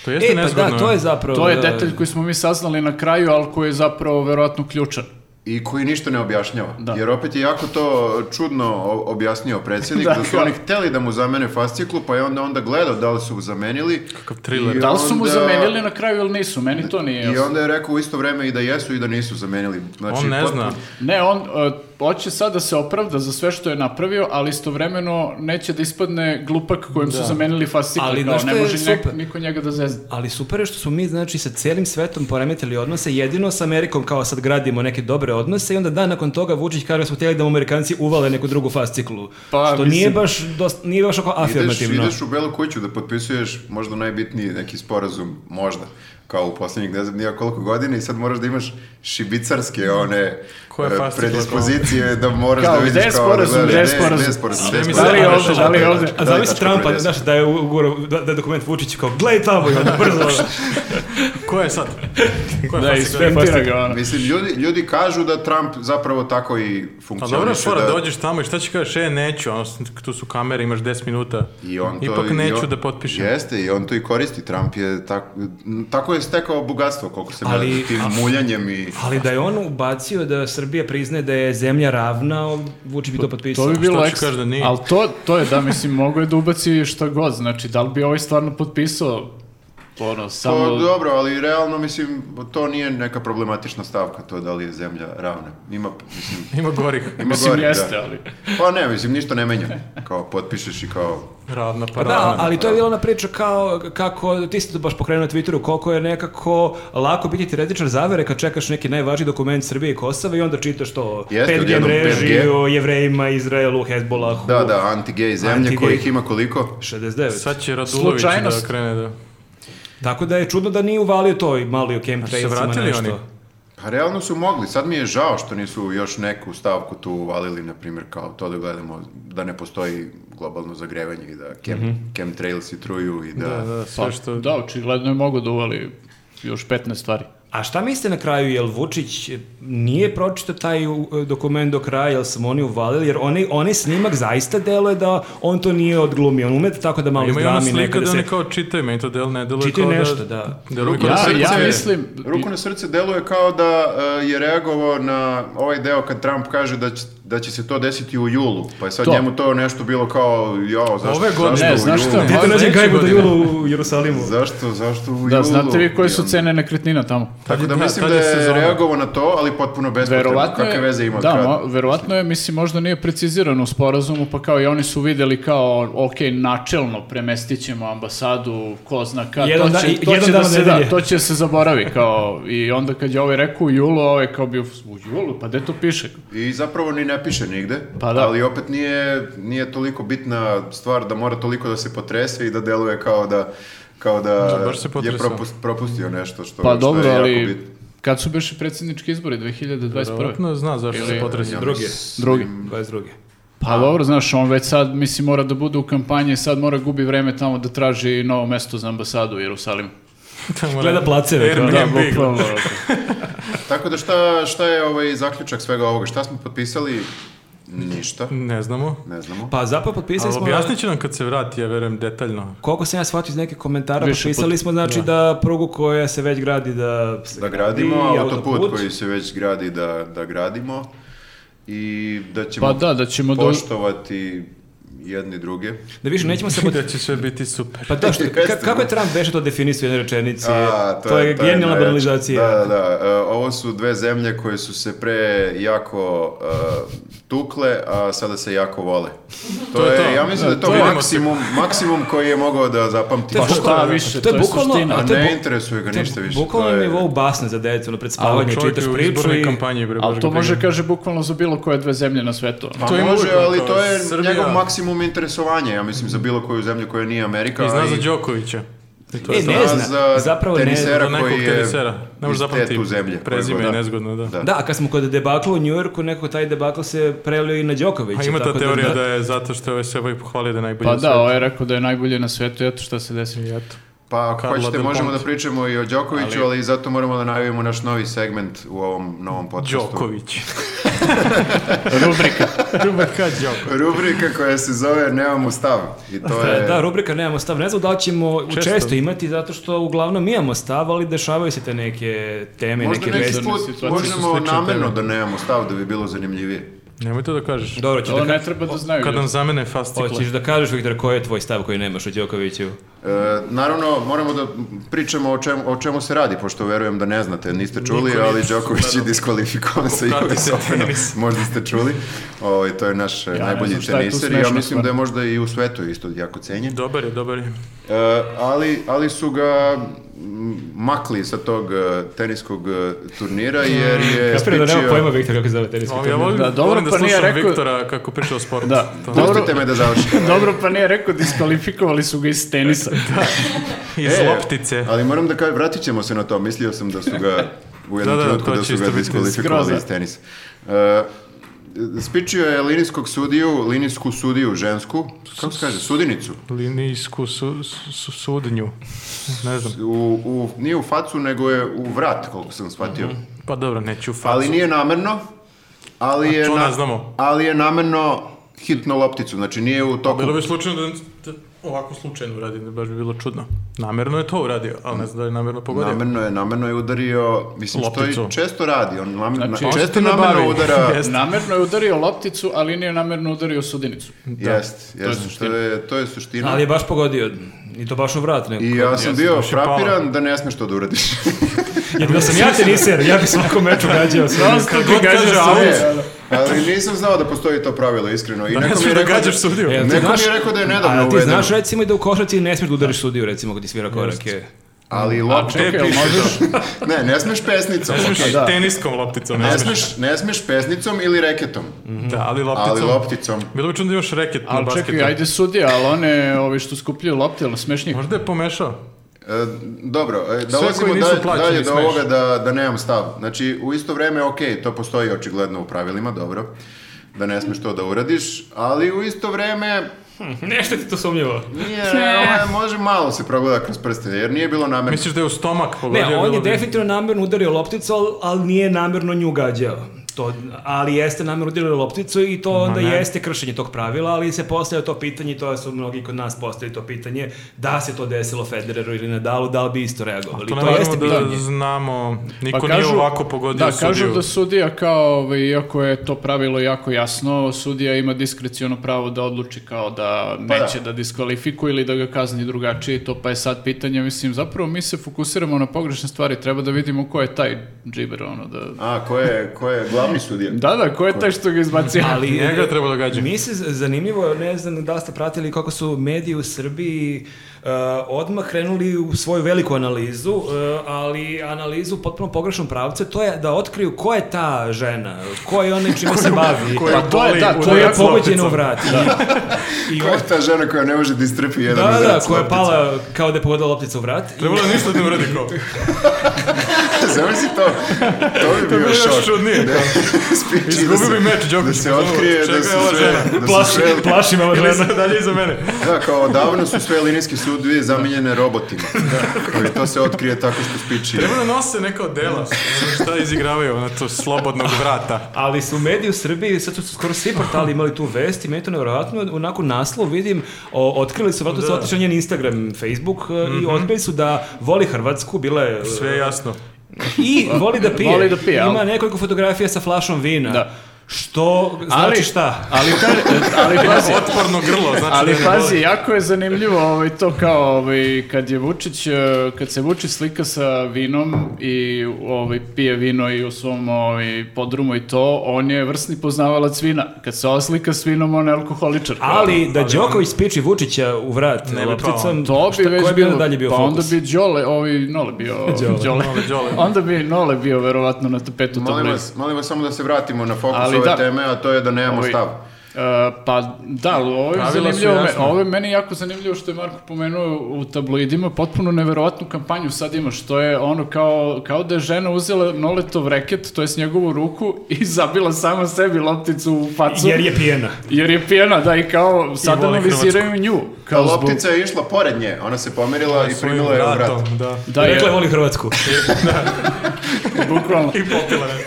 [SPEAKER 2] To jeste
[SPEAKER 3] E, pa
[SPEAKER 2] nezgodno.
[SPEAKER 3] da, to je zapravo...
[SPEAKER 4] To je
[SPEAKER 3] da.
[SPEAKER 4] detalj koji smo mi saznali na kraju, ali koji je zapravo verovatno ključan.
[SPEAKER 1] I koji ništa ne objašnjava.
[SPEAKER 4] Da.
[SPEAKER 1] Jer opet je jako to čudno o- objasnio predsjednik, da,
[SPEAKER 4] Da,
[SPEAKER 1] su
[SPEAKER 4] kao-
[SPEAKER 1] oni hteli da mu zamene fasciklu, pa je onda onda gledao da li su mu zamenili.
[SPEAKER 2] Kakav thriller.
[SPEAKER 1] I
[SPEAKER 4] Da li su mu
[SPEAKER 1] onda-
[SPEAKER 4] zamenili na kraju ili nisu? Meni to nije
[SPEAKER 1] I
[SPEAKER 4] jasno.
[SPEAKER 1] onda je rekao u isto vreme i da jesu i da nisu zamenili. Znači,
[SPEAKER 2] On ne
[SPEAKER 1] potpuno-
[SPEAKER 2] zna.
[SPEAKER 4] Ne, on e, hoće sad da se opravda za sve što je napravio, ali istovremeno neće da ispadne glupak kojim
[SPEAKER 1] Da.
[SPEAKER 4] su zamenili fascikl.
[SPEAKER 3] Ali,
[SPEAKER 4] kao,
[SPEAKER 3] znaš što
[SPEAKER 4] ne
[SPEAKER 3] je
[SPEAKER 4] može nek-
[SPEAKER 3] super?
[SPEAKER 4] niko njega da zezne.
[SPEAKER 3] Ali super je što smo mi, znači, sa cijelim svetom poremetili odnose, jedino sa Amerikom kao sad gradimo neke dobre odnose i onda dan nakon toga Vučić kaže da smo htjeli da mu Amerikanci uvale neku drugu fasciklu.
[SPEAKER 4] Pa,
[SPEAKER 3] što nije
[SPEAKER 4] mislim-
[SPEAKER 3] baš, dost, nije baš ako
[SPEAKER 1] Ideš,
[SPEAKER 3] afirmativno.
[SPEAKER 1] ideš u Belu kuću da potpisuješ možda najbitniji neki sporazum, možda, kao u posljednjih ne znam nija koliko godina i sad moraš da imaš šibicarske one
[SPEAKER 2] Koja
[SPEAKER 1] e,
[SPEAKER 2] fascikla,
[SPEAKER 1] predispozicije da moraš
[SPEAKER 4] Kao,
[SPEAKER 1] da vidiš
[SPEAKER 4] gde je sporazum,
[SPEAKER 1] da,
[SPEAKER 4] gde je
[SPEAKER 1] gde-
[SPEAKER 4] sporazum?
[SPEAKER 1] gde je sporazum, gde je
[SPEAKER 2] Sve mi se
[SPEAKER 4] Da li je
[SPEAKER 1] sporazum.
[SPEAKER 4] ovde, da li je ovde?
[SPEAKER 3] A
[SPEAKER 1] Da,
[SPEAKER 3] zamisli
[SPEAKER 1] tačka
[SPEAKER 3] Trumpa,
[SPEAKER 1] 50.
[SPEAKER 3] znaš, da je, uguro, da, da je dokument Vučiću kao, gledaj tamo i onda brzo.
[SPEAKER 4] [LAUGHS]
[SPEAKER 2] Ko je sad? Ko je
[SPEAKER 4] Da,
[SPEAKER 2] fascikl?
[SPEAKER 4] isfentira ga ono.
[SPEAKER 1] Mislim, ljudi, ljudi kažu da Trump zapravo tako i
[SPEAKER 2] A
[SPEAKER 1] funkcioniše. da
[SPEAKER 2] Pa dobro je fora, dođeš tamo i šta će kažeš, e, neću, ono, s- tu su kamere, imaš 10 minuta.
[SPEAKER 1] I on to,
[SPEAKER 2] Ipak
[SPEAKER 1] i
[SPEAKER 2] neću
[SPEAKER 1] on-
[SPEAKER 2] da potpišem.
[SPEAKER 1] Jeste, i on to i koristi. Trump je tako, tako je stekao bogatstvo, koliko se
[SPEAKER 3] Ali-
[SPEAKER 1] gleda tim muljanjem i...
[SPEAKER 3] Ali da je on ubacio da Srbija priznaje da je zemlja ravna, Vučić bi to potpisao.
[SPEAKER 4] Pa, To bi bilo
[SPEAKER 2] ću
[SPEAKER 4] ekstra.
[SPEAKER 2] kaži da nije?
[SPEAKER 4] Ali to, to je da, mislim, mogo je da ubaci šta god. Znači, da li bi ovaj stvarno potpisao ono, samo...
[SPEAKER 1] Pa dobro, ali realno mislim to nije neka problematična stavka to da li je zemlja ravna. Ima mislim
[SPEAKER 2] [LAUGHS] Ima
[SPEAKER 1] [LAUGHS]
[SPEAKER 2] gorih.
[SPEAKER 1] ima
[SPEAKER 4] Mislim,
[SPEAKER 1] gore,
[SPEAKER 4] jeste,
[SPEAKER 1] da.
[SPEAKER 4] ali...
[SPEAKER 1] Pa ne, mislim ništa ne menja. Kao potpišeš i kao
[SPEAKER 2] Ravna pa
[SPEAKER 3] Pa
[SPEAKER 2] ravna.
[SPEAKER 3] da, ali to je bila ona priča kao kako, ti si to baš pokrenuo na Twitteru, koliko je nekako lako biti teoretičar zavere kad čekaš neki najvažniji dokument Srbije i Kosova i onda čitaš to
[SPEAKER 1] Jeste,
[SPEAKER 3] 5G
[SPEAKER 1] odjednom
[SPEAKER 3] mreži
[SPEAKER 1] 5G.
[SPEAKER 3] o jevrejima, Izraelu, Hezbolahu,
[SPEAKER 1] da, da, anti-gay zemlje
[SPEAKER 3] Anti-gay.
[SPEAKER 1] kojih ima koliko?
[SPEAKER 3] 69.
[SPEAKER 2] Sad će Radulović
[SPEAKER 4] Slučajnost.
[SPEAKER 2] da krene da...
[SPEAKER 3] Tako da je čudno da nije uvalio to i malo i o chemtrailsima
[SPEAKER 2] vratili
[SPEAKER 3] nešto.
[SPEAKER 2] oni?
[SPEAKER 1] Pa realno su mogli. Sad mi je žao što nisu još neku stavku tu uvalili, na primjer, kao to da gledamo da ne postoji globalno zagrevanje i da chem, chemtrailsi truju i da...
[SPEAKER 2] Da, da,
[SPEAKER 4] Pa,
[SPEAKER 2] sve što...
[SPEAKER 4] Mhm. Da, očigledno je mogo da uvali još 15 stvari.
[SPEAKER 3] A šta mislite na kraju, jel Vučić nije pročitao taj u, dokument do kraja, jel sam oni uvalili, jer onaj, onaj snimak zaista deluje da on to nije odglumio, on ume tako da malo
[SPEAKER 2] Ima i ona
[SPEAKER 3] izdrami
[SPEAKER 2] slika
[SPEAKER 3] nekada
[SPEAKER 2] da
[SPEAKER 3] se...
[SPEAKER 2] oni kao čitaju, meni to del ne deluje
[SPEAKER 3] Čitaju
[SPEAKER 2] kao
[SPEAKER 3] nešto,
[SPEAKER 2] da...
[SPEAKER 3] da.
[SPEAKER 2] Deluje kao
[SPEAKER 4] Ja,
[SPEAKER 2] da se-
[SPEAKER 4] ja mislim...
[SPEAKER 1] eh, Ruku na srce deluje kao da e, je reagovao na ovaj deo kad Trump kaže da će da će se to desiti u julu, pa je sad
[SPEAKER 4] To.
[SPEAKER 1] njemu to nešto bilo kao, jao, zašto,
[SPEAKER 2] Ove godine,
[SPEAKER 1] zašto
[SPEAKER 4] Ne,
[SPEAKER 1] u
[SPEAKER 4] znaš
[SPEAKER 1] julu? Da,
[SPEAKER 4] šta?
[SPEAKER 3] Gdje te
[SPEAKER 4] Pa,
[SPEAKER 3] nađe
[SPEAKER 2] sledeće
[SPEAKER 3] gajbu da
[SPEAKER 2] godine.
[SPEAKER 3] julu u Jerusalimu?
[SPEAKER 1] Zašto, zašto u
[SPEAKER 4] Da,
[SPEAKER 1] julu?
[SPEAKER 4] znate vi koje su
[SPEAKER 1] I
[SPEAKER 4] cene nekretnina tamo?
[SPEAKER 1] Tako
[SPEAKER 2] Tad
[SPEAKER 1] da
[SPEAKER 2] je- da,
[SPEAKER 1] mislim
[SPEAKER 2] tad
[SPEAKER 1] da
[SPEAKER 2] je
[SPEAKER 1] je
[SPEAKER 2] sezona.
[SPEAKER 1] reagovao na to, ali potpuno bespotrebno.
[SPEAKER 4] Verovatno
[SPEAKER 1] Kakve
[SPEAKER 4] je,
[SPEAKER 1] veze ima
[SPEAKER 4] da,
[SPEAKER 1] kad?
[SPEAKER 4] mo- verovatno je, mislim, možda nije precizirano u sporazumu, pa kao i oni su videli kao, ok, načelno premestit ćemo ambasadu, ko zna kad,
[SPEAKER 3] Jedan
[SPEAKER 4] to
[SPEAKER 3] dan-
[SPEAKER 4] će,
[SPEAKER 3] i-
[SPEAKER 4] to
[SPEAKER 3] jedan
[SPEAKER 4] će da
[SPEAKER 3] dan
[SPEAKER 4] se
[SPEAKER 3] nedelje.
[SPEAKER 4] da, to će da se zaboravi, kao, i onda kad je ovaj rekao u julu, ovaj kao bio, u julu, pa gde to piše?
[SPEAKER 1] I zapravo ni ne piše nigde,
[SPEAKER 4] Pa da.
[SPEAKER 1] ali opet nije, nije toliko bitna stvar da mora toliko da se potrese i da deluje kao da, kao da,
[SPEAKER 2] Da, baš se
[SPEAKER 1] je
[SPEAKER 2] potresao.
[SPEAKER 1] propus- propustio nešto što,
[SPEAKER 4] Pa
[SPEAKER 1] što
[SPEAKER 4] dobro,
[SPEAKER 1] je jako
[SPEAKER 4] ali
[SPEAKER 1] bitno.
[SPEAKER 4] kad su beše predsjednički izbori, 2021.
[SPEAKER 2] Verovatno zna zašto
[SPEAKER 4] Ili-
[SPEAKER 2] se potresi.
[SPEAKER 1] Ja
[SPEAKER 3] Drugi.
[SPEAKER 2] [LAUGHS]
[SPEAKER 4] Drugi.
[SPEAKER 3] 22.
[SPEAKER 4] Pa dobro, znaš, on već sad, mislim, mora da bude u kampanji, sad mora gubi vreme tamo da traži novo mesto za ambasadu u Jerusalimu.
[SPEAKER 3] Gleda placeve, kao.
[SPEAKER 4] Da,
[SPEAKER 2] Airbnb.
[SPEAKER 4] bukvalno.
[SPEAKER 1] Tako da šta, šta je ovaj zaključak svega ovoga? Šta smo potpisali? Ništa,
[SPEAKER 2] Ne znamo.
[SPEAKER 1] ne znamo.
[SPEAKER 3] Pa zapravo potpisali
[SPEAKER 2] Ali
[SPEAKER 3] smo...
[SPEAKER 2] objasnit će nam kad se vrati, ja verujem, detaljno.
[SPEAKER 3] Koliko sam ja shvatio iz nekih komentara,
[SPEAKER 4] Više
[SPEAKER 3] potpisali
[SPEAKER 4] put.
[SPEAKER 3] smo znači da. prugu koja se već gradi da se
[SPEAKER 1] Da gradimo,
[SPEAKER 3] gradi,
[SPEAKER 1] autoput koji se već gradi da, da gradimo i da ćemo
[SPEAKER 4] Pa da, da ćemo do...
[SPEAKER 1] poštovati jedni druge.
[SPEAKER 3] Da više nećemo se...
[SPEAKER 2] [LAUGHS] Da će sve biti super.
[SPEAKER 3] Pa
[SPEAKER 1] [LAUGHS]
[SPEAKER 3] da, što,
[SPEAKER 1] Jeste,
[SPEAKER 3] ka- kako je Trump beše to definisao u jednoj rečenici? to, je, genijalna
[SPEAKER 1] najjače.
[SPEAKER 3] banalizacija.
[SPEAKER 1] Da, da, da. E, ovo su dve zemlje koje su se pre jako e, tukle, a sada se jako vole. To,
[SPEAKER 2] je
[SPEAKER 1] je,
[SPEAKER 2] to.
[SPEAKER 1] ja mislim da,
[SPEAKER 2] Da,
[SPEAKER 1] je to,
[SPEAKER 2] to je-
[SPEAKER 1] maksimum, maksimum koji je mogao da zapamti.
[SPEAKER 4] Pa šta
[SPEAKER 3] Bukvalno,
[SPEAKER 4] više,
[SPEAKER 3] to je
[SPEAKER 4] to je
[SPEAKER 3] bukvalno-
[SPEAKER 4] suština.
[SPEAKER 1] A
[SPEAKER 3] a to je
[SPEAKER 1] ne
[SPEAKER 3] bu-
[SPEAKER 1] interesuje ga
[SPEAKER 3] To je
[SPEAKER 1] ništa više.
[SPEAKER 3] Bukvalno
[SPEAKER 1] to
[SPEAKER 3] na
[SPEAKER 1] je-
[SPEAKER 3] nivou basne za decu, ono, pred
[SPEAKER 2] Ali
[SPEAKER 3] spavanje,
[SPEAKER 2] čovjek
[SPEAKER 3] čitaš
[SPEAKER 2] je u
[SPEAKER 3] priču
[SPEAKER 2] izbornoj
[SPEAKER 3] i...
[SPEAKER 2] kampanji, bre,
[SPEAKER 4] Ali
[SPEAKER 2] baš
[SPEAKER 4] to
[SPEAKER 2] ga briga.
[SPEAKER 4] može, kaže, bukvalno za bilo koje dve zemlje na svetu.
[SPEAKER 1] Pa
[SPEAKER 2] to je
[SPEAKER 1] može,
[SPEAKER 2] uvijek
[SPEAKER 1] ali
[SPEAKER 2] kao
[SPEAKER 1] to je
[SPEAKER 2] Srbija.
[SPEAKER 1] njegov maksimum interesovanja, ja mislim, za bilo koju zemlju koja nije Amerika.
[SPEAKER 2] I zna za
[SPEAKER 1] i-
[SPEAKER 2] Đokovića. To
[SPEAKER 3] E,
[SPEAKER 2] je to.
[SPEAKER 3] ne
[SPEAKER 1] zna
[SPEAKER 3] zna,
[SPEAKER 1] za
[SPEAKER 3] zapravo ne zna.
[SPEAKER 1] tenisera
[SPEAKER 2] Za nekog
[SPEAKER 1] koji je
[SPEAKER 2] tenisera. Ne može
[SPEAKER 1] iz te
[SPEAKER 2] zapamti
[SPEAKER 1] tu zemlje,
[SPEAKER 2] prezime,
[SPEAKER 1] koje god.
[SPEAKER 2] nezgodno, da.
[SPEAKER 1] Da.
[SPEAKER 3] Da, a kad smo kod debakla u Njujorku, nekako taj debakl se prelio i na Đokovića.
[SPEAKER 2] A
[SPEAKER 4] Znači,
[SPEAKER 2] ima ta
[SPEAKER 3] tako
[SPEAKER 2] teorija da je zato što je ovaj se ovaj pohvalio da je najbolji
[SPEAKER 4] Pa
[SPEAKER 2] na svetu.
[SPEAKER 4] da, ovo je rekao da je najbolje na svetu, eto šta se desi. Eto.
[SPEAKER 1] Pa ako
[SPEAKER 2] Karla
[SPEAKER 1] hoćete
[SPEAKER 2] Del
[SPEAKER 1] možemo
[SPEAKER 2] Ponte.
[SPEAKER 1] da pričamo i o Đokoviću, ali, zato moramo da najavimo naš novi segment u ovom novom podcastu.
[SPEAKER 2] Đoković.
[SPEAKER 1] Pa
[SPEAKER 2] [LAUGHS]
[SPEAKER 4] Rubrika.
[SPEAKER 2] Rubrika Đoković.
[SPEAKER 1] Rubrika koja se zove Nemamo stav. I to je...
[SPEAKER 3] Da, rubrika nemamo stav. Ne znam da li ćemo često.
[SPEAKER 2] Često.
[SPEAKER 3] imati, zato što uglavnom imamo stav, ali dešavaju se te neke teme,
[SPEAKER 1] Možda
[SPEAKER 3] neke
[SPEAKER 1] neki
[SPEAKER 3] vesti.
[SPEAKER 4] veze.
[SPEAKER 1] put
[SPEAKER 4] Situacije su
[SPEAKER 1] možemo
[SPEAKER 4] slične
[SPEAKER 1] namerno
[SPEAKER 4] teme.
[SPEAKER 1] da nemamo stav da bi bilo zanimljivije.
[SPEAKER 2] Nemoj to da kažeš.
[SPEAKER 3] Dobro, ćeš
[SPEAKER 4] Ovo
[SPEAKER 3] da,
[SPEAKER 4] ne
[SPEAKER 3] ka...
[SPEAKER 4] treba da znaju.
[SPEAKER 2] Kad
[SPEAKER 4] ljudi.
[SPEAKER 2] nam zamene fascikle.
[SPEAKER 3] hoćeš da kažeš, Viktor, koji je tvoj stav koji nemaš o Đokoviću?
[SPEAKER 1] E, naravno, moramo da pričamo o čemu, o čemu se radi, pošto verujem da ne znate, niste čuli,
[SPEAKER 2] Niko nije
[SPEAKER 1] ali Đoković je
[SPEAKER 2] gledao.
[SPEAKER 1] diskvalifikovan sa US
[SPEAKER 2] Pratite
[SPEAKER 1] Openom.
[SPEAKER 2] tenis.
[SPEAKER 1] Možda ste čuli. Ovaj, to je naš
[SPEAKER 4] ne
[SPEAKER 1] najbolji
[SPEAKER 4] znam šta je tu
[SPEAKER 1] teniser i ja
[SPEAKER 4] smešno
[SPEAKER 1] mislim
[SPEAKER 4] stvarno.
[SPEAKER 1] da je možda i u svetu isto jako cenjen.
[SPEAKER 2] Dobar je, dobar je.
[SPEAKER 1] E, ali, ali su ga mm, makli sa tog e, teniskog e, turnira jer je
[SPEAKER 3] Kaspira da nema
[SPEAKER 1] spičio...
[SPEAKER 3] pojma, Viktor, kako se zove teniski
[SPEAKER 2] Ja volim
[SPEAKER 4] Da,
[SPEAKER 2] da,
[SPEAKER 4] dobro,
[SPEAKER 2] volim da
[SPEAKER 4] pa nije
[SPEAKER 2] slušam
[SPEAKER 4] rekao-
[SPEAKER 2] Viktora kako priča o sportu.
[SPEAKER 4] Da.
[SPEAKER 2] To.
[SPEAKER 4] Da.
[SPEAKER 1] Pustite me da završim.
[SPEAKER 4] Dobro, pa nije rekao, diskvalifikovali su ga iz tenisa.
[SPEAKER 2] [LAUGHS] Da, Iz
[SPEAKER 1] E,
[SPEAKER 2] loptice.
[SPEAKER 1] Ali moram da kažem, vratit ćemo se na to. Mislio sam da su ga u jednom
[SPEAKER 2] Da, da,
[SPEAKER 1] trenutku
[SPEAKER 2] to
[SPEAKER 1] da
[SPEAKER 2] će
[SPEAKER 1] su ga
[SPEAKER 2] isto biti
[SPEAKER 1] diskvalifikovali
[SPEAKER 4] zgroza.
[SPEAKER 1] iz tenisa. E, spičio je linijskog sudiju, linijsku sudiju žensku, kako se kaže, sudinicu.
[SPEAKER 2] Linijsku su, su- su- sudnju. Ne znam.
[SPEAKER 1] U, u, nije u facu, nego je u vrat, koliko sam shvatio.
[SPEAKER 2] Pa dobro, neću u facu.
[SPEAKER 1] Ali nije namerno, ali je,
[SPEAKER 2] to ne
[SPEAKER 1] na-
[SPEAKER 2] znamo.
[SPEAKER 1] ali je namerno hitno lopticu, znači nije u toku
[SPEAKER 2] Bilo bi slučajno da, da ovako slučajno uradi, da baš bi bilo čudno. Namerno je to uradio, ali ne znam da li je namerno pogodio.
[SPEAKER 1] Namerno je, namerno je udario, mislim što i
[SPEAKER 2] Lopticu.
[SPEAKER 1] često radi, on nam,
[SPEAKER 4] Znači,
[SPEAKER 1] na-
[SPEAKER 4] on se
[SPEAKER 1] često
[SPEAKER 2] time
[SPEAKER 1] namerno
[SPEAKER 2] bavi.
[SPEAKER 1] udara.
[SPEAKER 2] [LAUGHS] Jeste.
[SPEAKER 4] Namerno je udario lopticu, ali nije namerno udario sudinicu.
[SPEAKER 1] Jest, jest, to je
[SPEAKER 4] suština.
[SPEAKER 1] to je, suština.
[SPEAKER 3] Ali je baš pogodio, i to baš u vrat neko.
[SPEAKER 1] I ja sam
[SPEAKER 4] jeste,
[SPEAKER 1] bio
[SPEAKER 2] baš je
[SPEAKER 1] frapiran da ne smeš to da uradiš.
[SPEAKER 3] Jer da sam ja teniser, ja bi svakom
[SPEAKER 2] Da.
[SPEAKER 3] meču gađao sve.
[SPEAKER 4] Kad
[SPEAKER 2] god
[SPEAKER 4] ti
[SPEAKER 2] kaže
[SPEAKER 4] gađaš
[SPEAKER 2] out,
[SPEAKER 4] sudiju.
[SPEAKER 1] E, Ali nisam znao da postoji to pravilo, iskreno. I
[SPEAKER 2] Da ne
[SPEAKER 1] neko mi
[SPEAKER 2] smiješ
[SPEAKER 1] je
[SPEAKER 2] da
[SPEAKER 1] rekao,
[SPEAKER 2] gađaš sudiju.
[SPEAKER 3] E, ti
[SPEAKER 1] neko mi
[SPEAKER 3] znaš-
[SPEAKER 1] je rekao da je
[SPEAKER 3] A
[SPEAKER 1] nedavno
[SPEAKER 3] ti
[SPEAKER 1] uvedeno.
[SPEAKER 3] znaš recimo i da u košarci ne smiješ da udariš sudiju recimo kad ti svira korake.
[SPEAKER 1] Ali lopta...
[SPEAKER 4] Čekaj, jel možeš?
[SPEAKER 1] [LAUGHS] Ne, ne smeš pesnicom.
[SPEAKER 2] Ne smiješ
[SPEAKER 1] okej.
[SPEAKER 4] da.
[SPEAKER 2] teniskom lopticom, ne
[SPEAKER 1] Ne
[SPEAKER 2] smiješ.
[SPEAKER 1] smeš, ne smeš pesnicom ili reketom,
[SPEAKER 2] Da, ali lopticom.
[SPEAKER 1] ali lopticom.
[SPEAKER 2] Bilo bi čudno da imaš reket na
[SPEAKER 4] Ali
[SPEAKER 2] basketu.
[SPEAKER 4] čekaj, ajde sudija, ali one ovi ovaj, što skupljaju lopte, ali smešnije.
[SPEAKER 2] Možda je pomešao.
[SPEAKER 1] E, dobro, e,
[SPEAKER 2] Sve
[SPEAKER 1] dolazimo
[SPEAKER 2] koji nisu
[SPEAKER 1] dalje,
[SPEAKER 2] plaćeni,
[SPEAKER 1] dalje do
[SPEAKER 2] smeš.
[SPEAKER 1] ovoga da, da nemam stav. Znači, u isto vreme, ok, to postoji očigledno u pravilima, dobro, da ne smeš to da uradiš, ali u isto vreme,
[SPEAKER 3] Hm, Nešto ti to sumnjivo.
[SPEAKER 1] nije, ovo je- može malo se progleda kroz prste, jer nije bilo namerno.
[SPEAKER 2] Misliš da je u stomak pogodio?
[SPEAKER 3] Ne, on je
[SPEAKER 2] bilo bi-
[SPEAKER 3] definitivno namjerno udario lopticu, ali, ali nije namjerno nju gađao. Sto, ali jeste namjerno udirali lopticu i to onda
[SPEAKER 2] ne.
[SPEAKER 3] jeste kršenje tog pravila, ali se postavlja to pitanje i to su mnogi kod nas postavili to pitanje da se to desilo Federeru ili Nadalu, da li bi isto reagovali.
[SPEAKER 2] To ne
[SPEAKER 3] to jeste
[SPEAKER 2] možemo da
[SPEAKER 3] pitanje. Pa
[SPEAKER 2] znamo, niko nije ovako pogodio
[SPEAKER 4] Pa da,
[SPEAKER 2] sudiju.
[SPEAKER 4] kažu da sudija kao, ovaj, iako je to pravilo jako jasno, sudija ima diskreciono pravo da odluči kao da neće da. diskvalifikuje ili da ga kazni drugačije i to pa je sad pitanje, mislim, zapravo mi se fokusiramo na pogrešne stvari, treba da vidimo ko je taj džiber, ono, da...
[SPEAKER 1] A, ko je, ko je glavni sudija?
[SPEAKER 4] Da, da, ko je taj što ga izbacio?
[SPEAKER 3] [LAUGHS] Ali
[SPEAKER 2] [LAUGHS] Njega treba da gađa.
[SPEAKER 3] Mi se z- zanimljivo, ne znam da li ste pratili kako su mediji u Srbiji e, odmah krenuli u svoju veliku analizu, e, ali analizu u potpuno pogrešnom pravcu, to je da otkriju ko je ta žena, ko je ona i čime se bavi,
[SPEAKER 4] Pa to je, da,
[SPEAKER 2] boli [LAUGHS]
[SPEAKER 4] to
[SPEAKER 3] koja je
[SPEAKER 4] je
[SPEAKER 2] udarac
[SPEAKER 3] pogođena u
[SPEAKER 2] lopticom.
[SPEAKER 3] vrat. I, i
[SPEAKER 1] Ko
[SPEAKER 3] on-
[SPEAKER 1] je ta žena koja ne može da istrpi
[SPEAKER 3] da,
[SPEAKER 1] jedan
[SPEAKER 3] da, da,
[SPEAKER 1] udarac
[SPEAKER 3] koja je
[SPEAKER 1] loptice?
[SPEAKER 3] pala kao da je pogodila loptica u vrat. I-
[SPEAKER 2] Trebalo je ništa da ne uradi kao.
[SPEAKER 1] [LAUGHS] Zamisli to. To bi
[SPEAKER 2] To je
[SPEAKER 1] bio [LAUGHS]
[SPEAKER 2] još
[SPEAKER 1] šok.
[SPEAKER 2] čudnije. kao.
[SPEAKER 1] Spiči da
[SPEAKER 2] Izgubio
[SPEAKER 1] se-
[SPEAKER 2] bi meč Đoković.
[SPEAKER 1] Da se otkrije
[SPEAKER 2] Čega
[SPEAKER 1] da
[SPEAKER 2] je
[SPEAKER 1] su
[SPEAKER 2] ova
[SPEAKER 1] sve...
[SPEAKER 2] žena?
[SPEAKER 1] da su
[SPEAKER 3] Plaši,
[SPEAKER 1] sve-
[SPEAKER 3] plaši me ova
[SPEAKER 2] Ili
[SPEAKER 3] žena.
[SPEAKER 2] sad dalje iza mene.
[SPEAKER 1] Da, kao davno su sve linijski sudije zamenjene robotima. Ali to se otkrije tako što spiči.
[SPEAKER 2] Treba da nose neka odela. ono Šta izigravaju, ono to slobodnog vrata.
[SPEAKER 3] Ali su mediji u Srbiji, sad su skoro svi portali imali tu vest i meni je to nevjerojatno, onako naslov vidim, o, otkrili su, vratno su
[SPEAKER 2] Da.
[SPEAKER 3] otišao njen Instagram, Facebook e,
[SPEAKER 4] Mhm.
[SPEAKER 3] i otkrili su da voli Hrvatsku, bila je...
[SPEAKER 2] Sve je jasno.
[SPEAKER 3] I voli da pije.
[SPEAKER 4] [LAUGHS] Voli da pije, ali-
[SPEAKER 3] Ima nekoliko fotografija sa flašom vina.
[SPEAKER 4] Da.
[SPEAKER 3] Što znači šta?
[SPEAKER 4] Ali, ta- ali pazi,
[SPEAKER 2] Otporno grlo, znači
[SPEAKER 4] Ali
[SPEAKER 2] da ne
[SPEAKER 4] pazi,
[SPEAKER 2] boli.
[SPEAKER 4] jako je zanimljivo ovaj, to kao ovaj, kad je Vučić, eh, kad se Vučić slika sa vinom i ovaj, pije vino i u svom ovaj, podrumu i to, on je vrsni poznavalac vina. Kad se oslika s vinom, on je alkoholičar.
[SPEAKER 3] Ali da Đoković spiči Vučića u vrat
[SPEAKER 2] Ne bi
[SPEAKER 3] lopticom,
[SPEAKER 4] To bi
[SPEAKER 3] šta- ko
[SPEAKER 4] već
[SPEAKER 3] je bio
[SPEAKER 4] bilo,
[SPEAKER 3] dalje bio
[SPEAKER 4] pa
[SPEAKER 3] fokus?
[SPEAKER 4] onda bi Đole, ovaj, Nole bio,
[SPEAKER 3] [LAUGHS] Đole.
[SPEAKER 4] Đole.
[SPEAKER 2] Nole, Đole.
[SPEAKER 4] onda bi Nole bio verovatno na tapetu to
[SPEAKER 1] Molim
[SPEAKER 4] blizu.
[SPEAKER 1] vas, molim vas samo da se vratimo na fokus
[SPEAKER 4] Ali
[SPEAKER 1] ove
[SPEAKER 4] da.
[SPEAKER 1] teme, a to je da nemamo
[SPEAKER 4] Ovi-
[SPEAKER 1] stav.
[SPEAKER 4] E, pa da, ali ovo je
[SPEAKER 2] Pravila su
[SPEAKER 4] zanimljivo, me-
[SPEAKER 2] jasna.
[SPEAKER 4] ovo je meni jako zanimljivo što je Marko pomenuo u tabloidima, potpuno neverovatnu kampanju sad ima, što je ono kao, kao da je žena uzela Noletov reket, to je s njegovu ruku i [LAUGHS] zabila sama sebi lopticu u facu.
[SPEAKER 3] Jer je pijena.
[SPEAKER 4] jer je pijena, da, i kao sada
[SPEAKER 2] voli
[SPEAKER 4] analiziraju nju.
[SPEAKER 1] Ta
[SPEAKER 4] Kao zbog-
[SPEAKER 1] loptica je išla pored nje, ona se pomerila i
[SPEAKER 2] Svojim
[SPEAKER 1] primila je u vrat.
[SPEAKER 2] vratom, da.
[SPEAKER 4] Da, je, Da.
[SPEAKER 3] Rekla je Dakle, voli Hrvatsku.
[SPEAKER 4] bukvalno.
[SPEAKER 2] I popila je.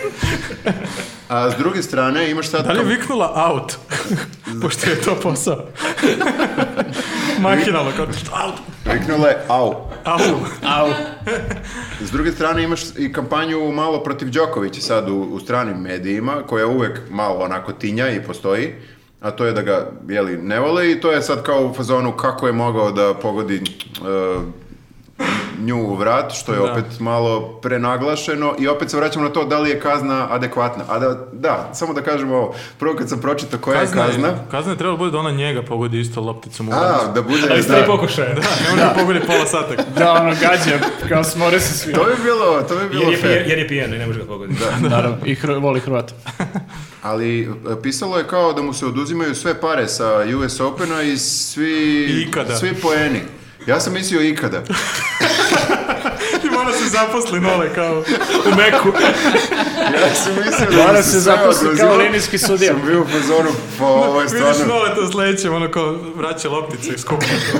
[SPEAKER 1] A s druge strane imaš sad...
[SPEAKER 2] Da li je
[SPEAKER 1] kam-
[SPEAKER 2] viknula out? [LAUGHS] Pošto je to [LAUGHS] posao. Mahinalno, kao out,
[SPEAKER 1] Viknula je au.
[SPEAKER 2] au.
[SPEAKER 4] Au.
[SPEAKER 1] S druge strane imaš i kampanju malo protiv Đokovića sad u, u stranim medijima, koja uvek malo onako tinja i postoji, a to je da ga jeli, ne vole i to je sad kao u fazonu kako je mogao da pogodi e, nju u vrat, što je
[SPEAKER 2] Da.
[SPEAKER 1] opet malo prenaglašeno i opet se vraćamo na to da li je kazna adekvatna. A da, da samo da kažemo ovo, prvo kad sam pročitao koja je kazna,
[SPEAKER 2] je- Kazna je trebalo bude da ona njega pogodi isto lopticom u [LAUGHS] vrat.
[SPEAKER 1] a, da bude...
[SPEAKER 3] Ali ste
[SPEAKER 1] da.
[SPEAKER 3] i pokušaje.
[SPEAKER 2] Da, ne može da pogodi pola sata.
[SPEAKER 4] Da, ono, gađa, kao smore se svi.
[SPEAKER 1] To bi bilo, to bi bilo
[SPEAKER 3] Jer je,
[SPEAKER 1] fair.
[SPEAKER 3] pije- jer je pijena i ne može ga pogoditi.
[SPEAKER 1] da.
[SPEAKER 4] Naravno, i Hr- voli Hrvata.
[SPEAKER 1] Ali e, pisalo je kao da mu se oduzimaju sve pare sa US Opena i svi,
[SPEAKER 2] I ikada.
[SPEAKER 1] svi poeni. Ja sam mislio
[SPEAKER 2] [LAUGHS]
[SPEAKER 1] ikada.
[SPEAKER 2] I mora se zaposli nole
[SPEAKER 3] [LAUGHS]
[SPEAKER 2] kao u meku.
[SPEAKER 1] Ja sam mislio da mu
[SPEAKER 4] Mora
[SPEAKER 1] se
[SPEAKER 4] se
[SPEAKER 1] sve
[SPEAKER 4] zaposli kao
[SPEAKER 1] oduzima.
[SPEAKER 4] linijski sudija.
[SPEAKER 1] Sam bio u fazonu, pa ovo je
[SPEAKER 2] Vidiš
[SPEAKER 1] stvarno...
[SPEAKER 2] nole to sledećem, ono kao vraća loptice i skuplja to.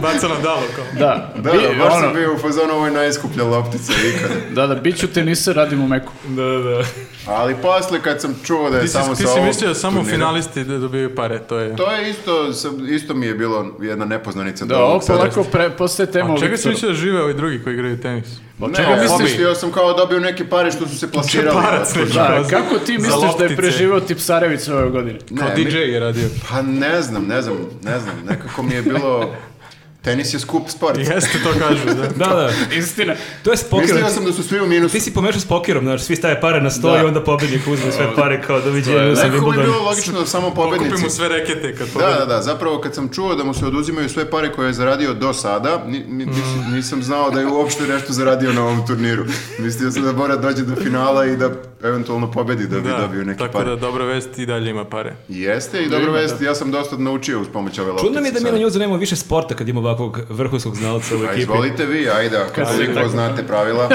[SPEAKER 2] Baca na dalo kao.
[SPEAKER 4] Da,
[SPEAKER 1] Da,
[SPEAKER 4] bi-
[SPEAKER 1] da, baš
[SPEAKER 4] ono,
[SPEAKER 1] sam bio u fazonu, ovo je najskuplja loptica ikada.
[SPEAKER 4] da, da, bit ću tenisa, radim u meku.
[SPEAKER 3] Da, da.
[SPEAKER 1] Ali posle kad sam čuo da je
[SPEAKER 2] Ti si,
[SPEAKER 1] samo
[SPEAKER 2] ti
[SPEAKER 1] sa
[SPEAKER 2] si
[SPEAKER 1] ovog
[SPEAKER 2] mislio da samo
[SPEAKER 1] turnira-
[SPEAKER 2] finalisti da dobijaju pare, to je.
[SPEAKER 1] To je isto, sam- isto mi je bilo jedna nepoznanica.
[SPEAKER 4] Da,
[SPEAKER 1] do ovog
[SPEAKER 4] ovo
[SPEAKER 1] sada.
[SPEAKER 4] polako pre, postaje tema o
[SPEAKER 2] A čega si
[SPEAKER 4] Viktoru.
[SPEAKER 2] mislio da žive ovi drugi koji igraju tenis?
[SPEAKER 1] da Ne,
[SPEAKER 4] čega
[SPEAKER 1] ja
[SPEAKER 4] misliš?
[SPEAKER 1] mislio sam kao dobio neke pare što su se plasirali.
[SPEAKER 2] Čeparac neki.
[SPEAKER 4] Da,
[SPEAKER 2] Za-
[SPEAKER 4] kako ti
[SPEAKER 2] za
[SPEAKER 4] misliš da je
[SPEAKER 2] loptice.
[SPEAKER 4] preživao Tipsarević ove godine?
[SPEAKER 1] Ne,
[SPEAKER 2] Kao
[SPEAKER 1] mi-
[SPEAKER 2] DJ
[SPEAKER 1] [LAUGHS]
[SPEAKER 2] je radio.
[SPEAKER 1] Pa ne znam, ne znam, ne znam, nekako mi je bilo... Tenis je skup sport.
[SPEAKER 2] Jeste to kažu, da.
[SPEAKER 3] Da, da.
[SPEAKER 4] [LAUGHS] Istina.
[SPEAKER 3] To je s pokerom.
[SPEAKER 1] Mislio sam da su svi u minusu.
[SPEAKER 3] Ti si pomešao s pokerom, znaš, svi staje pare na sto
[SPEAKER 4] Da.
[SPEAKER 3] i onda pobednik uzme sve pare kao doviđenja sa
[SPEAKER 1] Nekako mi je
[SPEAKER 3] Wimbledonom.
[SPEAKER 1] bilo logično da samo
[SPEAKER 2] Kupimo
[SPEAKER 1] pobednici.
[SPEAKER 2] sve rekete kad
[SPEAKER 1] Da, da,
[SPEAKER 2] pobedi.
[SPEAKER 1] da, zapravo kad sam čuo da mu se oduzimaju sve pare koje je zaradio do sada, ni, ni- nis- nisam znao da je uopšte nešto zaradio na ovom turniru. Mislio sam da mora dođe do finala i da eventualno pobedi da bi dobio neke
[SPEAKER 2] tako
[SPEAKER 1] pare.
[SPEAKER 2] da dobra vest i dalje ima pare.
[SPEAKER 1] Jeste i dobro vest, ja sam dosta naučio uz pomoć ove loptice.
[SPEAKER 3] Čudno mi je da mi
[SPEAKER 1] sada.
[SPEAKER 3] na njuzu nemamo više sporta kad ima ovakvog vrhunskog znalca u
[SPEAKER 1] A
[SPEAKER 3] ekipi.
[SPEAKER 1] izvolite vi, ajde, ako
[SPEAKER 4] Kad se
[SPEAKER 3] [LAUGHS]
[SPEAKER 1] toliko
[SPEAKER 4] tako-
[SPEAKER 1] znate pravila.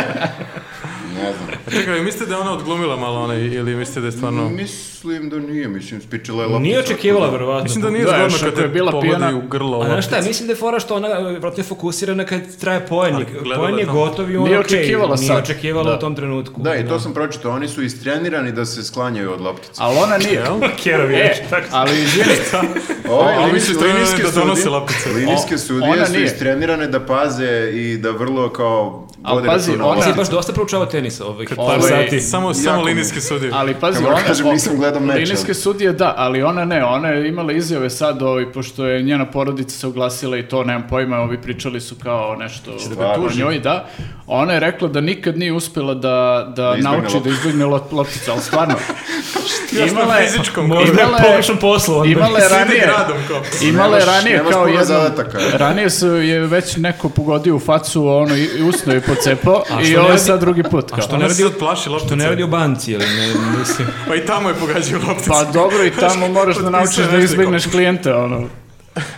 [SPEAKER 1] Ne znam.
[SPEAKER 2] A čekaj, mislite da je ona odglumila malo onaj, ili mislite da je
[SPEAKER 1] Mm,
[SPEAKER 2] stvarno...
[SPEAKER 1] Mislim da nije, mislim, spičila je loptu.
[SPEAKER 3] Nije
[SPEAKER 1] svakako.
[SPEAKER 3] očekivala, verovatno.
[SPEAKER 2] Mislim da nije
[SPEAKER 4] Da,
[SPEAKER 2] zgodno
[SPEAKER 4] još
[SPEAKER 2] kad
[SPEAKER 4] ako je
[SPEAKER 2] te
[SPEAKER 4] bila
[SPEAKER 2] pogodi
[SPEAKER 4] pijana-
[SPEAKER 2] u grlo.
[SPEAKER 3] A znaš šta,
[SPEAKER 2] loptica.
[SPEAKER 3] mislim da je fora što ona e, vratno je fokusirana kad traje poen.
[SPEAKER 2] Ali
[SPEAKER 3] i-
[SPEAKER 2] gledala
[SPEAKER 3] Poen je
[SPEAKER 2] je tamo.
[SPEAKER 3] gotov i on
[SPEAKER 4] Nije
[SPEAKER 3] okej,
[SPEAKER 4] očekivala
[SPEAKER 3] nije
[SPEAKER 4] sad.
[SPEAKER 3] očekivala
[SPEAKER 4] Da.
[SPEAKER 3] u tom trenutku.
[SPEAKER 1] Da, i to sam pročitao, oni su istrenirani da se sklanjaju od loptice.
[SPEAKER 4] Ali ona nije.
[SPEAKER 3] [LAUGHS] Kerov je,
[SPEAKER 4] E, ali izvini,
[SPEAKER 1] Ovi,
[SPEAKER 2] A ovi su trenirani da
[SPEAKER 1] sudije-
[SPEAKER 2] donose loptice.
[SPEAKER 1] Linijske
[SPEAKER 4] O,
[SPEAKER 1] sudije
[SPEAKER 4] ona
[SPEAKER 1] su
[SPEAKER 4] nije.
[SPEAKER 1] istrenirane da paze i da vrlo kao
[SPEAKER 4] Ali
[SPEAKER 1] vode
[SPEAKER 4] pazi,
[SPEAKER 1] računa o
[SPEAKER 4] ona-
[SPEAKER 3] Ti
[SPEAKER 1] loptici.
[SPEAKER 3] baš dosta proučavao tenis ovih
[SPEAKER 4] Ovaj,
[SPEAKER 3] par sati.
[SPEAKER 2] Samo, samo
[SPEAKER 1] mi je.
[SPEAKER 2] linijski sudije.
[SPEAKER 4] ali pazi,
[SPEAKER 1] Ja moram
[SPEAKER 4] ona...
[SPEAKER 1] kažem,
[SPEAKER 4] o-
[SPEAKER 1] nisam gledao meč,
[SPEAKER 4] Linijske
[SPEAKER 1] ali-
[SPEAKER 4] sudije, da, ali ona ne, ona je imala izjave sad, ovaj, pošto je njena porodica se oglasila i to, nemam pojma, ovi pričali su kao nešto
[SPEAKER 1] ga
[SPEAKER 4] o
[SPEAKER 1] tuži.
[SPEAKER 4] njoj, da. Ona je rekla da nikad nije uspela da, da,
[SPEAKER 1] izbegne
[SPEAKER 4] nauči da
[SPEAKER 1] lopticu.
[SPEAKER 4] izbjegne lop- lopticu, ali stvarno.
[SPEAKER 2] na fizičkom, kao-
[SPEAKER 3] Možda je
[SPEAKER 4] imala je-
[SPEAKER 3] pogrešan poslu. onda.
[SPEAKER 4] Imala je
[SPEAKER 2] Sidi
[SPEAKER 4] ranije,
[SPEAKER 2] gradom, kao.
[SPEAKER 4] imala je
[SPEAKER 1] Nemaš-
[SPEAKER 4] ranije
[SPEAKER 1] nemaš
[SPEAKER 4] kao
[SPEAKER 1] puno
[SPEAKER 4] jednom,
[SPEAKER 1] zadataka.
[SPEAKER 4] ranije su je već neko pogodio u facu, a ono i i usno je pocepao i
[SPEAKER 3] što
[SPEAKER 4] ovo
[SPEAKER 3] ne
[SPEAKER 4] je
[SPEAKER 3] radi-
[SPEAKER 4] sad drugi put. Kao.
[SPEAKER 3] što
[SPEAKER 2] Ona
[SPEAKER 3] ne
[SPEAKER 2] se
[SPEAKER 3] radi-
[SPEAKER 2] sad plaši
[SPEAKER 3] Što
[SPEAKER 2] loptice.
[SPEAKER 3] ne radi u banci, ili ne, mislim.
[SPEAKER 2] Pa i tamo je pogađao loptice.
[SPEAKER 4] Pa dobro, i
[SPEAKER 2] [LAUGHS]
[SPEAKER 4] tamo moraš da
[SPEAKER 2] Potpisao
[SPEAKER 4] naučiš da
[SPEAKER 2] nešto
[SPEAKER 4] izbjegneš klijente, ono.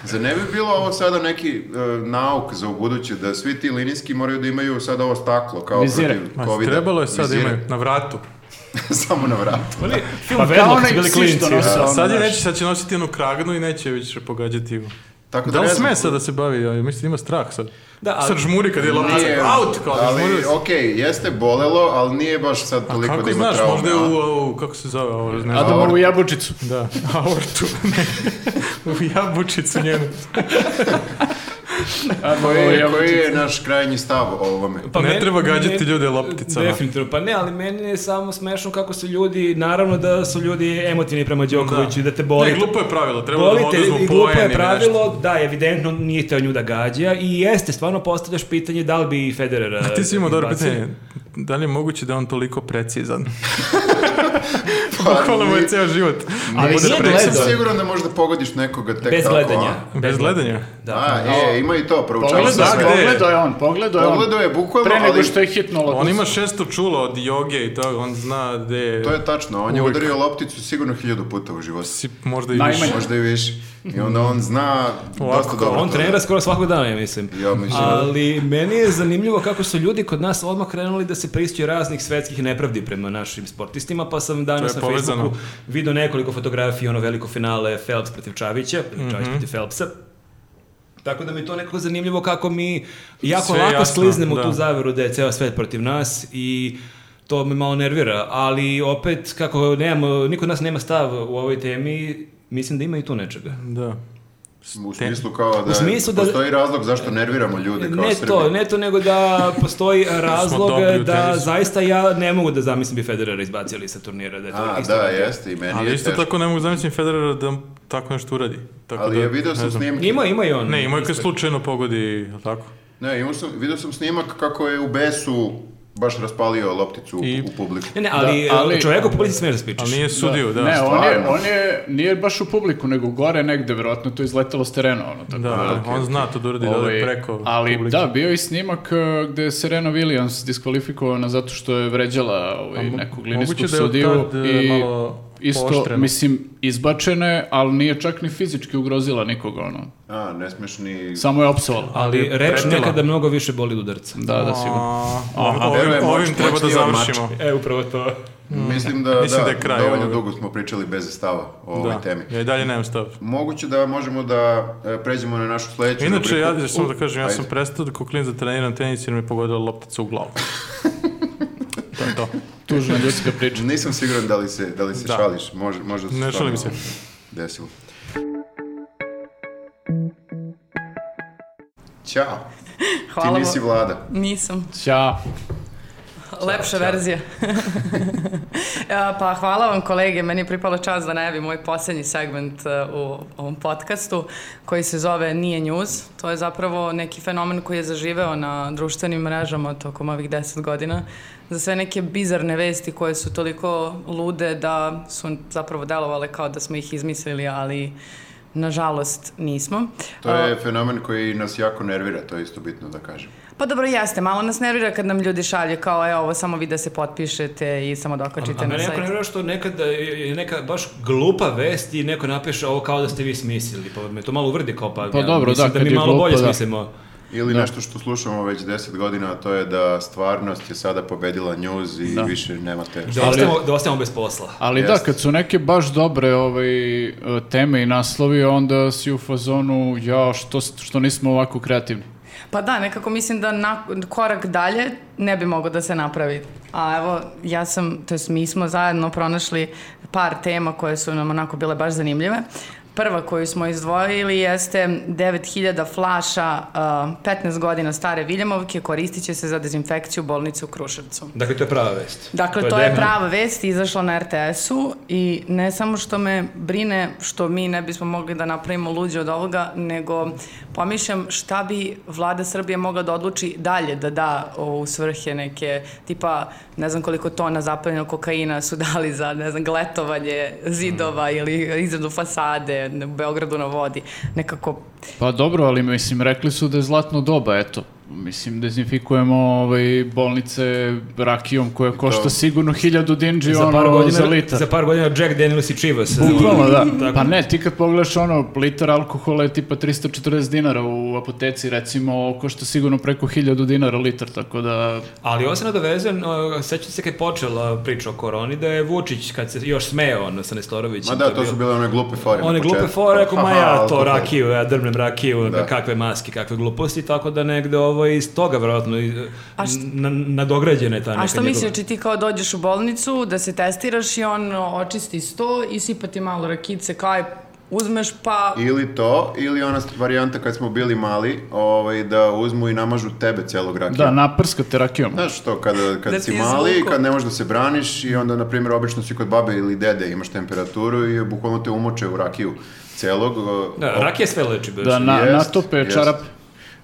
[SPEAKER 1] Zar ne bi bilo ovo sada neki e, nauk za ubuduće, da svi ti linijski moraju da imaju sada ovo staklo, kao
[SPEAKER 4] Vizire.
[SPEAKER 1] protiv
[SPEAKER 2] Ma,
[SPEAKER 1] covid
[SPEAKER 2] trebalo je sad imaju, na vratu.
[SPEAKER 1] [LAUGHS] Samo na vratu.
[SPEAKER 3] Film
[SPEAKER 4] Pa kao
[SPEAKER 3] Vedlok su
[SPEAKER 4] onaj
[SPEAKER 3] bili
[SPEAKER 4] psi
[SPEAKER 3] klinci.
[SPEAKER 4] što nose ono,
[SPEAKER 2] sad je
[SPEAKER 4] znaš.
[SPEAKER 2] neće, sad će nositi onu kragnu i neće više pogađati u...
[SPEAKER 1] Tako
[SPEAKER 2] Da li
[SPEAKER 1] ne znam.
[SPEAKER 2] sme sad da se bavi, ja mislim da ima strah sad.
[SPEAKER 3] Da, ali-
[SPEAKER 2] Sad žmuri kad je loptica,
[SPEAKER 1] Nije,
[SPEAKER 2] out, kao da žmuri
[SPEAKER 1] ali,
[SPEAKER 2] se.
[SPEAKER 1] ok, jeste bolelo, ali nije baš sad toliko da
[SPEAKER 2] Kako
[SPEAKER 1] ima
[SPEAKER 2] znaš,
[SPEAKER 1] traume.
[SPEAKER 2] možda je
[SPEAKER 1] a?
[SPEAKER 2] u, u, kako se zove ovo, ne znam.
[SPEAKER 4] Adamo u jabučicu.
[SPEAKER 2] Da, [LAUGHS] aortu, ne, u jabučicu njenu.
[SPEAKER 4] Adamo u
[SPEAKER 1] Koji je, E, koji
[SPEAKER 4] jabučicu.
[SPEAKER 1] je naš krajnji stav o ovome?
[SPEAKER 2] Ne
[SPEAKER 3] Pa meni-
[SPEAKER 2] treba gađati ljude lopticama.
[SPEAKER 3] Definitivno, pa ne, ali meni je samo smešno kako su ljudi, naravno da su ljudi emotivni prema Đokoviću i da te boli.
[SPEAKER 2] Ne, glupo je pravilo, trebalo da mu
[SPEAKER 3] Volite
[SPEAKER 2] oduzmu
[SPEAKER 3] i glupo
[SPEAKER 2] poen
[SPEAKER 3] je
[SPEAKER 2] ili nešto.
[SPEAKER 3] pravilo, da, evidentno nije teo nju da gađa i jeste, stvarno postavljaš pitanje da li bi i Federer...
[SPEAKER 2] A ti si imao dobro pitanje, da li je moguće da je on toliko
[SPEAKER 1] [LAUGHS]
[SPEAKER 2] precizan?
[SPEAKER 1] Pa
[SPEAKER 2] Bukvalno mu je
[SPEAKER 1] ni-
[SPEAKER 2] ceo život.
[SPEAKER 1] Ali
[SPEAKER 2] bude
[SPEAKER 1] nisam
[SPEAKER 2] precizan.
[SPEAKER 3] gledao.
[SPEAKER 1] siguran da možda pogodiš nekoga tek
[SPEAKER 3] Pa, Bez
[SPEAKER 1] tako, a?
[SPEAKER 3] gledanja.
[SPEAKER 2] Bez gledanja.
[SPEAKER 3] Da.
[SPEAKER 1] A, e, ima i to, proučavao sam
[SPEAKER 4] Pogledao
[SPEAKER 1] sve.
[SPEAKER 2] Pogledaj, da, gde je?
[SPEAKER 4] pogledao je on, pogledao je on.
[SPEAKER 1] Pogledao je bukvalno,
[SPEAKER 4] Pre nego
[SPEAKER 1] ali-
[SPEAKER 4] što je hitno
[SPEAKER 1] Pa
[SPEAKER 4] lopticu.
[SPEAKER 2] On ima šesto čulo od joge i toga, on zna gde je...
[SPEAKER 1] To je tačno, on je
[SPEAKER 2] Uvijek.
[SPEAKER 1] udario lopticu sigurno hiljadu puta u životu.
[SPEAKER 2] Si- Možda i
[SPEAKER 4] Najmanje.
[SPEAKER 2] više.
[SPEAKER 1] Možda i više. I onda on zna
[SPEAKER 2] Ovako,
[SPEAKER 1] dosta dobro.
[SPEAKER 3] On
[SPEAKER 1] to.
[SPEAKER 3] trenira skoro svakog dana, ja mislim.
[SPEAKER 1] Ja mislim.
[SPEAKER 2] da.
[SPEAKER 3] Ali meni je zanimljivo kako su ljudi kod nas odmah krenuli da se pristuju raznih svetskih nepravdi prema našim sportistima, pa sam danas
[SPEAKER 2] To
[SPEAKER 3] na
[SPEAKER 2] je povezano.
[SPEAKER 3] Facebooku vidio nekoliko fotografija ono veliko finale Phelps protiv Čavića, ili
[SPEAKER 2] Mhm.
[SPEAKER 3] Čavić protiv Phelpsa. Tako da mi je to nekako zanimljivo kako mi jako
[SPEAKER 2] Sve je
[SPEAKER 3] lako
[SPEAKER 2] jasno,
[SPEAKER 3] skliznemo u
[SPEAKER 2] da.
[SPEAKER 3] tu zaveru da je ceo svet protiv nas i to me malo nervira, ali opet kako nemamo, niko od nas nema stav u ovoj temi, mislim da ima i tu nečega.
[SPEAKER 2] Da.
[SPEAKER 1] U smislu kao da,
[SPEAKER 3] U smislu da-
[SPEAKER 1] postoji razlog zašto nerviramo ljude kao
[SPEAKER 3] Ne
[SPEAKER 1] Srbi.
[SPEAKER 3] to, ne to, nego da postoji razlog
[SPEAKER 2] dobri u
[SPEAKER 3] da
[SPEAKER 2] tenisu.
[SPEAKER 3] zaista ja ne mogu da zamislim bi Federera izbacili sa turnira. Da je to
[SPEAKER 1] A,
[SPEAKER 3] isto
[SPEAKER 1] da,
[SPEAKER 3] tako.
[SPEAKER 1] jeste, i meni
[SPEAKER 2] Ali
[SPEAKER 1] je
[SPEAKER 2] isto
[SPEAKER 1] teško.
[SPEAKER 2] tako ne mogu zamisliti Federera da tako nešto uradi. Tako
[SPEAKER 1] Ali
[SPEAKER 2] da,
[SPEAKER 1] je video
[SPEAKER 2] ne
[SPEAKER 1] sam
[SPEAKER 2] znam.
[SPEAKER 1] snimke.
[SPEAKER 3] Ima, ima i on.
[SPEAKER 2] Ne, imao je kad slučajno pogodi, jel tako?
[SPEAKER 1] Ne, imao sam, vidio sam snimak kako je u besu baš raspalio lopticu u-
[SPEAKER 2] I-
[SPEAKER 1] u publiku.
[SPEAKER 3] Ne, ne, ali,
[SPEAKER 4] Da, ali-
[SPEAKER 3] čovjeku publici smiješ da spičeš.
[SPEAKER 2] Ali nije sudio, da.
[SPEAKER 4] Znači, Ne, on je,
[SPEAKER 1] stvarno.
[SPEAKER 4] on je, nije baš u publiku, nego gore negde, verovatno to je izletelo s terena, ono, tako.
[SPEAKER 2] Da, da, on zna to da uradi da
[SPEAKER 4] Ovaj,
[SPEAKER 2] ode preko
[SPEAKER 4] ali
[SPEAKER 2] publike.
[SPEAKER 4] da, bio je i snimak uh, gde je Serena Williams diskvalifikovana zato što je vređala ovaj,
[SPEAKER 2] mo-
[SPEAKER 4] nekog
[SPEAKER 2] moguće
[SPEAKER 4] linijskog
[SPEAKER 2] da je od
[SPEAKER 4] sudiju
[SPEAKER 2] tad, e,
[SPEAKER 4] i
[SPEAKER 2] malo
[SPEAKER 4] isto,
[SPEAKER 2] pooštreno.
[SPEAKER 4] mislim, izbačena je, ali nije čak ni fizički ugrozila nikoga, ono.
[SPEAKER 1] A, ne smiješ ni...
[SPEAKER 4] Samo je opsovala.
[SPEAKER 3] Ali
[SPEAKER 2] je
[SPEAKER 3] reč
[SPEAKER 2] pretila.
[SPEAKER 3] nekada mnogo više boli od udarca.
[SPEAKER 4] Da, da, sigurno.
[SPEAKER 2] A, ovim,
[SPEAKER 1] verujem,
[SPEAKER 2] ovim, ovim
[SPEAKER 1] moć-
[SPEAKER 2] treba da
[SPEAKER 1] moćniji od
[SPEAKER 2] završimo.
[SPEAKER 3] E, upravo to.
[SPEAKER 1] Mislim da,
[SPEAKER 2] Mislim
[SPEAKER 1] da,
[SPEAKER 2] da je kraj
[SPEAKER 1] dovoljno
[SPEAKER 2] ovoga.
[SPEAKER 1] dugo smo pričali bez stava o ovoj
[SPEAKER 2] Da,
[SPEAKER 1] temi.
[SPEAKER 2] ja i dalje nemam stav.
[SPEAKER 1] Moguće da možemo da e, pređemo na našu sljedeću
[SPEAKER 2] Inače,
[SPEAKER 1] rubriku.
[SPEAKER 2] ja samo da kažem, ja
[SPEAKER 1] Ajde.
[SPEAKER 2] sam prestao da kuklin za treniram tenis jer mi je pogodila loptica u
[SPEAKER 1] [LAUGHS]
[SPEAKER 2] glavu. to je to.
[SPEAKER 4] Tužna ljudska priča.
[SPEAKER 1] Nisam siguran da li se, da li se
[SPEAKER 2] Da.
[SPEAKER 1] šališ, može, možda se
[SPEAKER 2] Ne
[SPEAKER 1] stvarno
[SPEAKER 2] šalim se.
[SPEAKER 1] Desilo. Ćao, ti
[SPEAKER 6] Hvala vam.
[SPEAKER 1] nisi vlada.
[SPEAKER 6] Nisam.
[SPEAKER 4] Ćao.
[SPEAKER 6] Lepša
[SPEAKER 1] [LAUGHS]
[SPEAKER 6] verzija. Ja, pa hvala vam kolege, meni je pripala čast da najavim moj posljednji segment e, u ovom podcastu koji se zove Nije news. To je zapravo neki fenomen koji je zaživeo na društvenim mrežama tokom ovih deset godina. Za sve neke bizarne vesti koje su toliko lude da su zapravo delovale kao da smo ih izmislili, ali nažalost nismo.
[SPEAKER 1] To je fenomen koji nas jako nervira, to je isto bitno da kažem.
[SPEAKER 6] Pa dobro jeste, malo nas nervira kad nam ljudi šalju kao e ovo samo vi da se potpišete i samo dokačite
[SPEAKER 3] A
[SPEAKER 6] na
[SPEAKER 3] mene
[SPEAKER 6] sajt.
[SPEAKER 3] jako nervira što nekada je je neka baš glupa vest i neko napiše ovo kao da ste vi smislili, pa me to malo uvrdi kao pa...
[SPEAKER 4] Pa
[SPEAKER 3] ja
[SPEAKER 4] dobro,
[SPEAKER 3] mislim
[SPEAKER 4] da,
[SPEAKER 3] da
[SPEAKER 4] kad
[SPEAKER 3] mi
[SPEAKER 4] je
[SPEAKER 3] malo
[SPEAKER 4] glupo,
[SPEAKER 3] bolje
[SPEAKER 4] da.
[SPEAKER 3] smislimo.
[SPEAKER 1] Ili nešto što slušamo već deset godina, a to je da stvarnost je sada pobedila news i više nema te...
[SPEAKER 3] Da,
[SPEAKER 4] Ali-
[SPEAKER 3] ostajemo, da ostajemo bez posla.
[SPEAKER 4] Ali da,
[SPEAKER 1] Jeste.
[SPEAKER 4] kad su neke baš dobre ovaj, e, teme i naslovi, onda si u fazonu, ja, što, s- što nismo ovako kreativni.
[SPEAKER 6] Pa da, nekako mislim da na, korak dalje ne bi mogao da se napravi. A evo, ja sam, to jest mi smo zajedno pronašli par tema koje su nam onako bile baš zanimljive. Prva koju smo izdvojili jeste 9000 flaša uh, 15 godina stare Viljemovke koristit će se za dezinfekciju bolnice u Kruševcu.
[SPEAKER 3] Dakle, to je prava vest.
[SPEAKER 6] Dakle, to je
[SPEAKER 3] definitivno-
[SPEAKER 6] prava vest izašla na RTS-u i ne samo što me brine što mi ne bismo mogli da napravimo luđe od ovoga, nego pomišljam šta bi vlada Srbije mogla da odluči dalje da da u svrhe neke, tipa ne znam koliko tona zapaljenog kokaina su [LAUGHS] dali za, ne znam, gletovanje zidova ili izradu fasade u Beogradu na vodi. Nekako
[SPEAKER 4] Pa dobro, ali mislim, rekli su da je zlatno doba, eto. Mislim, dezinfikujemo ovaj, bolnice rakijom koja košta sigurno hiljadu dinđi
[SPEAKER 3] Za par,
[SPEAKER 4] ono,
[SPEAKER 3] godina,
[SPEAKER 4] za litar.
[SPEAKER 3] za par godina Jack Daniels i Chivas.
[SPEAKER 4] Bukvalno, da.
[SPEAKER 3] Tako.
[SPEAKER 4] Pa ne, ti kad pogledaš ono, litar alkohola je tipa 340 dinara u apoteci, recimo, košta sigurno preko 1000 dinara litar, tako da...
[SPEAKER 3] Ali ovo se nadovezujem, uh, sećam se kad je počela priča o koroni, da je Vučić, kad se još smeo ono, sa Nestorovićem.
[SPEAKER 1] Ma da,
[SPEAKER 3] je
[SPEAKER 1] to su
[SPEAKER 3] bilo-
[SPEAKER 1] bile one glupe fore. na
[SPEAKER 3] One glupe
[SPEAKER 1] početku.
[SPEAKER 3] fore, rekao, ma
[SPEAKER 1] Aha,
[SPEAKER 3] ja to
[SPEAKER 1] alkohol.
[SPEAKER 3] rakiju, ja drmnem rakiju,
[SPEAKER 1] Da.
[SPEAKER 3] kakve maske, kakve gluposti, tako da negde ovo iz toga vjerojatno i-
[SPEAKER 6] A št-
[SPEAKER 3] na, nadograđena je ta neka
[SPEAKER 6] A šta
[SPEAKER 3] njegova-
[SPEAKER 6] misliš, znači ti kao dođeš u bolnicu, da se testiraš i on očisti sto i sipa ti malo rakice, kao uzmeš pa...
[SPEAKER 1] Ili to, ili ona varijanta kad smo bili mali, ovaj, da uzmu i namažu tebe celog rakija.
[SPEAKER 4] Da, naprskate rakijom.
[SPEAKER 1] Znaš što, kada, kad
[SPEAKER 6] Da
[SPEAKER 1] si
[SPEAKER 6] ti je
[SPEAKER 1] mali,
[SPEAKER 6] izvuku.
[SPEAKER 1] kad ne možeš da se braniš i onda, na primjer, obično si kod babe ili dede, imaš temperaturu i bukvalno te umoče u rakiju celog. o-
[SPEAKER 3] Da, rakija sve leči, beše.
[SPEAKER 4] Da, na,
[SPEAKER 1] Jest,
[SPEAKER 4] natope
[SPEAKER 1] jest.
[SPEAKER 4] čarape.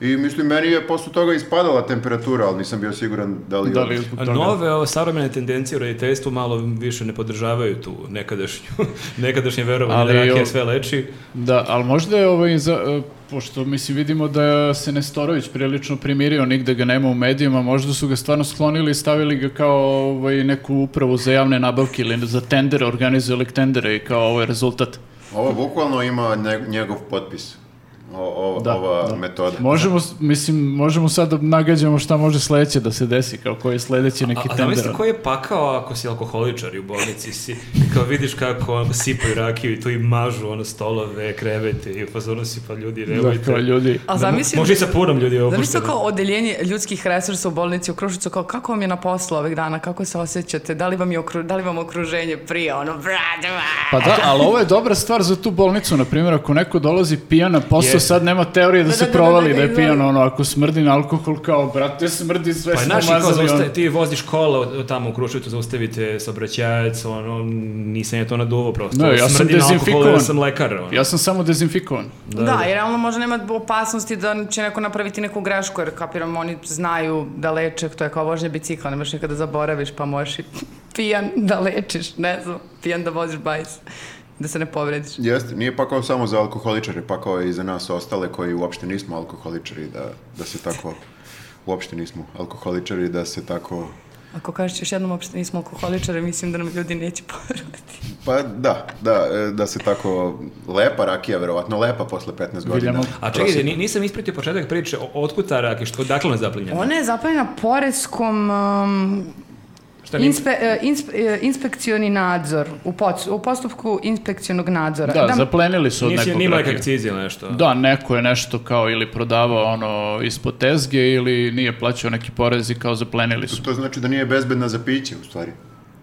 [SPEAKER 1] I mislim, meni je posle toga ispadala temperatura, ali nisam bio siguran da li...
[SPEAKER 4] Da li je zbog toga?
[SPEAKER 3] Nove ove savremene tendencije u roditeljstvu malo više ne podržavaju tu nekadašnju, [LAUGHS] nekadašnje verovanje
[SPEAKER 4] Ali,
[SPEAKER 3] da rakija
[SPEAKER 4] o-
[SPEAKER 3] sve leči.
[SPEAKER 4] Da, ali možda je ovaj, za, e, pošto mislim vidimo da se Nestorović prilično primirio, nigde ga nema u medijima, možda su ga stvarno sklonili i stavili ga kao ovaj, neku upravu za javne nabavke ili za tendere, organizovali tendere i kao ovaj rezultat.
[SPEAKER 1] Ovo bukvalno ima nje- njegov potpis. O, ova-
[SPEAKER 4] Da,
[SPEAKER 1] ova
[SPEAKER 4] da.
[SPEAKER 1] metoda.
[SPEAKER 4] Možemo, s- mislim, možemo sad da nagađamo šta može sledeće da se desi, kao koji je sledeći neki
[SPEAKER 3] A
[SPEAKER 4] tender.
[SPEAKER 3] zamisli koji je pakao ako si alkoholičar i u bolnici si, i kao vidiš kako ono, sipaju rakiju i tu im mažu ono stolove, krevete i u fazonu si pa ljudi
[SPEAKER 4] Da,
[SPEAKER 3] reagujte.
[SPEAKER 4] kao ljudi.
[SPEAKER 6] A zamisli...
[SPEAKER 3] Može i sa punom ljudi ovo.
[SPEAKER 6] Zamisli to kao odeljenje ljudskih resursa u bolnici u Krušicu, kao kako vam je na poslu ovih dana, kako se osjećate, da li vam, je okru, da li vam okruženje prija, ono, bradava.
[SPEAKER 4] Pa da, ali ovo je dobra stvar za tu bolnicu, na primjer, ako neko dolazi pijan na posao,
[SPEAKER 3] Je.
[SPEAKER 4] sad nema teorije da,
[SPEAKER 6] Da,
[SPEAKER 4] se
[SPEAKER 6] da, da,
[SPEAKER 4] provali
[SPEAKER 6] da,
[SPEAKER 4] da,
[SPEAKER 6] da,
[SPEAKER 4] je pijan,
[SPEAKER 6] izvoli.
[SPEAKER 4] ono, ako smrdi na alkohol, kao, brate, smrdi, sve
[SPEAKER 3] Pa
[SPEAKER 4] smo
[SPEAKER 3] znaš, i kao
[SPEAKER 4] mazali, ono.
[SPEAKER 3] zaustavi, ti voziš kola od- tamo u Kruševicu, zaustavite saobraćajac, ono, nisam je to naduvao prosto.
[SPEAKER 4] Ne, Da, ja sam
[SPEAKER 3] Smrdi na alkohol,
[SPEAKER 4] dezinfikovan.
[SPEAKER 3] ja sam lekar, ono.
[SPEAKER 4] Ja sam samo dezinfikovan.
[SPEAKER 6] Da, jer realno možda nema opasnosti da će neko napraviti neku grešku, jer kapiram, oni znaju da leče, to je kao vožnje bicikla, nemaš nikada zaboraviš, pa možeš i [LAUGHS] pijan da lečiš, ne znam, pijan da voziš bajs, da se ne povrediš.
[SPEAKER 1] Jeste, nije pakao samo za alkoholičare, pakao je i za nas ostale koji uopšte nismo alkoholičari, da, da se tako, uopšte nismo alkoholičari, da se tako,
[SPEAKER 6] Ako kažeš još jednom, uopšte nismo alkoholičare, mislim da nam ljudi neće [LAUGHS] poverovati.
[SPEAKER 1] pa da, da, e, da se tako lepa rakija, verovatno lepa posle 15 godina.
[SPEAKER 4] Viljamo.
[SPEAKER 3] A čekaj, ni- nisam ispratio početak priče, o- otkud ta rakija, što dakle ona zaplinjena?
[SPEAKER 6] Ona je zapaljena poreskom um,
[SPEAKER 3] Šta nije-
[SPEAKER 6] inspe, e, inspe- e, inspekcioni nadzor, u, poc- u postupku inspekcionog nadzora.
[SPEAKER 4] Da, zaplenili su od
[SPEAKER 3] Nisi
[SPEAKER 4] nekog
[SPEAKER 3] ni neka
[SPEAKER 4] rakija.
[SPEAKER 3] akciza ili nešto.
[SPEAKER 4] Da, neko je nešto kao ili prodavao ono ispod tezge ili nije plaćao neki porez i kao zaplenili su.
[SPEAKER 1] To znači da nije bezbedna za piće, u stvari.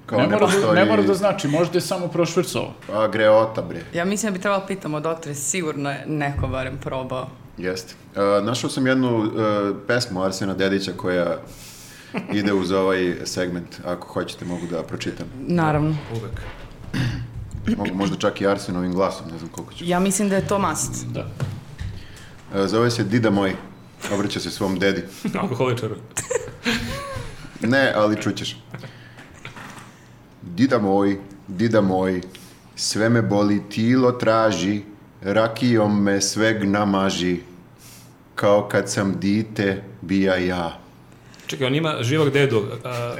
[SPEAKER 1] Kao
[SPEAKER 4] Ne
[SPEAKER 1] ne,
[SPEAKER 4] mora, da,
[SPEAKER 1] postoji
[SPEAKER 4] ne mora da znači, možda je samo prošvrcovo.
[SPEAKER 1] A, greota, bre.
[SPEAKER 6] Ja mislim da bi trebalo pitamo doktore, sigurno je neko barem probao.
[SPEAKER 1] Jeste. E, našao sam jednu e, pesmu Arsena Dedića koja ide uz ovaj segment, ako hoćete mogu da pročitam.
[SPEAKER 6] Naravno.
[SPEAKER 3] Uvek. [LAUGHS]
[SPEAKER 1] Mogu možda čak i Arsenovim glasom, ne znam koliko ću.
[SPEAKER 6] Ja mislim da je to mast.
[SPEAKER 4] Da.
[SPEAKER 1] E, Zove se Dida moj. Obraća se svom dedi.
[SPEAKER 3] Alkoholičaru.
[SPEAKER 1] Ne, ali čućeš. Dida moj, dida moj, sve me boli, tilo traži, rakijom me sveg namaži, kao kad sam dite, bija ja.
[SPEAKER 3] Čekaj, on ima živog dedu. a,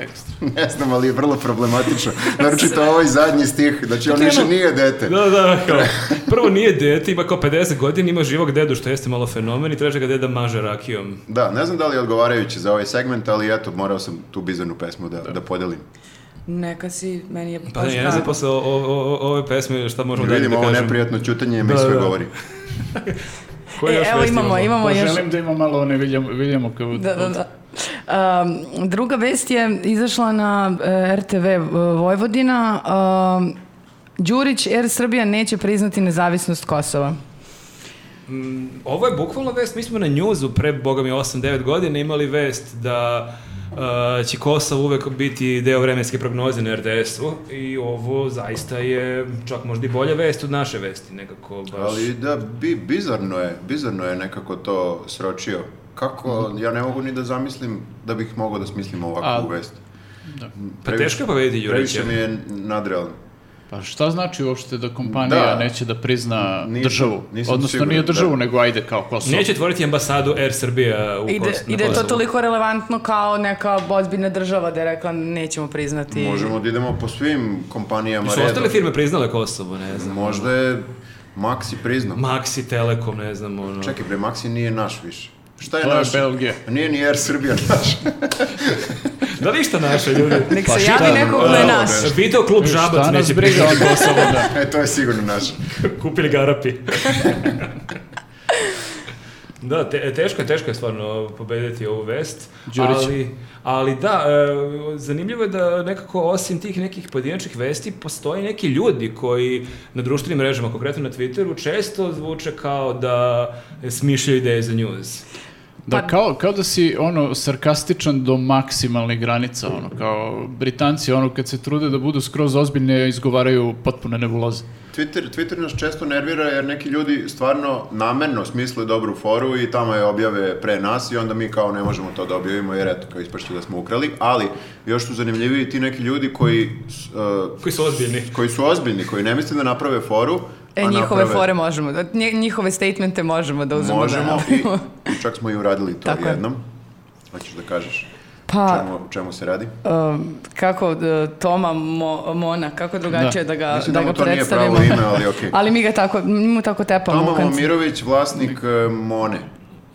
[SPEAKER 1] Ne znam, ali je vrlo problematično. Naročito ovaj zadnji stih, znači on više nije dete.
[SPEAKER 3] Da, da, kao, prvo nije dete, ima kao 50 godina, ima živog dedu, što jeste malo fenomen i traže ga deda maže rakijom.
[SPEAKER 1] Da, ne znam da li je odgovarajuće za ovaj segment, ali eto, morao sam tu bizarnu pesmu da, da podelim.
[SPEAKER 6] Neka si, meni je
[SPEAKER 3] Pa ne, ja ne znam posle o, o- o- ove pesme šta možemo dalje
[SPEAKER 1] Vidim
[SPEAKER 3] da
[SPEAKER 1] ovo
[SPEAKER 3] kažem.
[SPEAKER 1] neprijatno čutanje, mi
[SPEAKER 3] Da,
[SPEAKER 1] sve
[SPEAKER 3] da.
[SPEAKER 1] govori.
[SPEAKER 3] Koje
[SPEAKER 6] E,
[SPEAKER 3] još
[SPEAKER 6] evo
[SPEAKER 3] vesti imamo?
[SPEAKER 6] imamo, imamo
[SPEAKER 4] Pa
[SPEAKER 6] još...
[SPEAKER 4] želim da ima malo one William, Williamu kao...
[SPEAKER 6] Da, da, da. Um, druga vest je izašla na e, RTV Vojvodina. Um, Đurić, Air Srbija neće priznati nezavisnost Kosova.
[SPEAKER 3] Mm, Ovo je bukvalno vest, mi smo na njuzu pre, boga mi, 8-9 godina imali vest da uh, će Kosovo uvek biti deo vremenske prognoze na RTS-u i ovo zaista je čak možda i bolja vest od naše vesti, nekako baš.
[SPEAKER 1] Ali da, bi, bizarno je, bizarno je nekako to sročio. Kako, ja ne mogu ni da zamislim da bih mogao da smislim ovakvu
[SPEAKER 4] A-
[SPEAKER 1] vest.
[SPEAKER 3] Pa teško je pobediti Đurića.
[SPEAKER 1] Previše mi je nadrealno.
[SPEAKER 4] Pa šta znači uopšte da kompanija
[SPEAKER 1] Da.
[SPEAKER 4] neće da prizna
[SPEAKER 1] Nisam-
[SPEAKER 4] državu?
[SPEAKER 1] nisam
[SPEAKER 4] Odnosno
[SPEAKER 1] siguran,
[SPEAKER 4] nije
[SPEAKER 1] da.
[SPEAKER 4] državu, nego ajde kao Kosovo.
[SPEAKER 3] Neće otvoriti ambasadu Air Srbija u
[SPEAKER 6] I da-
[SPEAKER 3] Kos- na
[SPEAKER 6] I da je to
[SPEAKER 3] Kosovu.
[SPEAKER 6] toliko relevantno kao neka ozbiljna država da je rekla nećemo priznati.
[SPEAKER 1] Možemo da idemo po svim kompanijama
[SPEAKER 3] Su
[SPEAKER 1] redom.
[SPEAKER 3] ostale firme priznale Kosovo, ne znam.
[SPEAKER 1] Možda je Maxi priznao.
[SPEAKER 3] Maxi, Telekom, ne znam, ono.
[SPEAKER 1] Čekaj bre, Maxi nije naš više. Šta je
[SPEAKER 4] To je
[SPEAKER 1] naš?
[SPEAKER 4] Belgija.
[SPEAKER 1] Nije ni Air Srbija [LAUGHS] naš.
[SPEAKER 3] Da li šta naše, ljudi?
[SPEAKER 6] Nek se
[SPEAKER 4] šta
[SPEAKER 6] javi
[SPEAKER 4] da-
[SPEAKER 6] neko ko je
[SPEAKER 1] da,
[SPEAKER 6] naš.
[SPEAKER 1] da.
[SPEAKER 3] Video klub Žabac
[SPEAKER 4] E, Šta nas
[SPEAKER 3] neće
[SPEAKER 4] briga
[SPEAKER 3] priznati
[SPEAKER 4] od Kosova,
[SPEAKER 3] [LAUGHS]
[SPEAKER 4] da.
[SPEAKER 1] e, to je sigurno naš.
[SPEAKER 3] Kupili ga Arapi. da, te, teško je, teško je stvarno pobediti ovu vest.
[SPEAKER 4] Đurić.
[SPEAKER 3] Ali, ali da, e, zanimljivo je da nekako osim tih nekih pojedinačnih vesti postoje neki ljudi koji na društvenim mrežama, konkretno na Twitteru, često zvuče kao da smišljaju ideje za news.
[SPEAKER 4] Da,
[SPEAKER 6] Pa-
[SPEAKER 4] kao, kao da si ono sarkastičan do maksimalnih granica, ono kao Britanci ono kad se trude da budu skroz ozbiljne izgovaraju potpune nebuloze.
[SPEAKER 1] Twitter, Twitter nas često nervira jer neki ljudi stvarno namerno smisle dobru foru i tamo je objave pre nas i onda mi kao ne možemo to da objavimo jer eto kao ispašće da smo ukrali, ali još su zanimljiviji ti neki ljudi koji, s- e,
[SPEAKER 3] Koji su ozbiljni.
[SPEAKER 1] koji su ozbiljni, koji ne misle da naprave foru,
[SPEAKER 6] E,
[SPEAKER 1] a
[SPEAKER 6] njihove
[SPEAKER 1] naprave-
[SPEAKER 6] fore možemo, da- nje- njihove statemente možemo da uzmemo. da
[SPEAKER 1] Možemo i
[SPEAKER 6] napravimo.
[SPEAKER 1] i čak smo i uradili to
[SPEAKER 6] Tako je.
[SPEAKER 1] jednom. Hoćeš da kažeš
[SPEAKER 6] [LAUGHS] Pa,
[SPEAKER 1] čemu, čemu se radi?
[SPEAKER 6] Um, kako e, Toma Mo- Mona, kako drugačije da, ga,
[SPEAKER 1] Mislim
[SPEAKER 6] da
[SPEAKER 1] da mu
[SPEAKER 6] ga
[SPEAKER 1] to nije
[SPEAKER 6] predstavimo.
[SPEAKER 1] pravo ime, ali okej.
[SPEAKER 6] [LAUGHS] Ali mi ga tako, mi mu tako
[SPEAKER 3] Pa
[SPEAKER 6] tepamo.
[SPEAKER 1] Toma
[SPEAKER 6] u kanc-
[SPEAKER 1] Momirović, vlasnik e, Mone.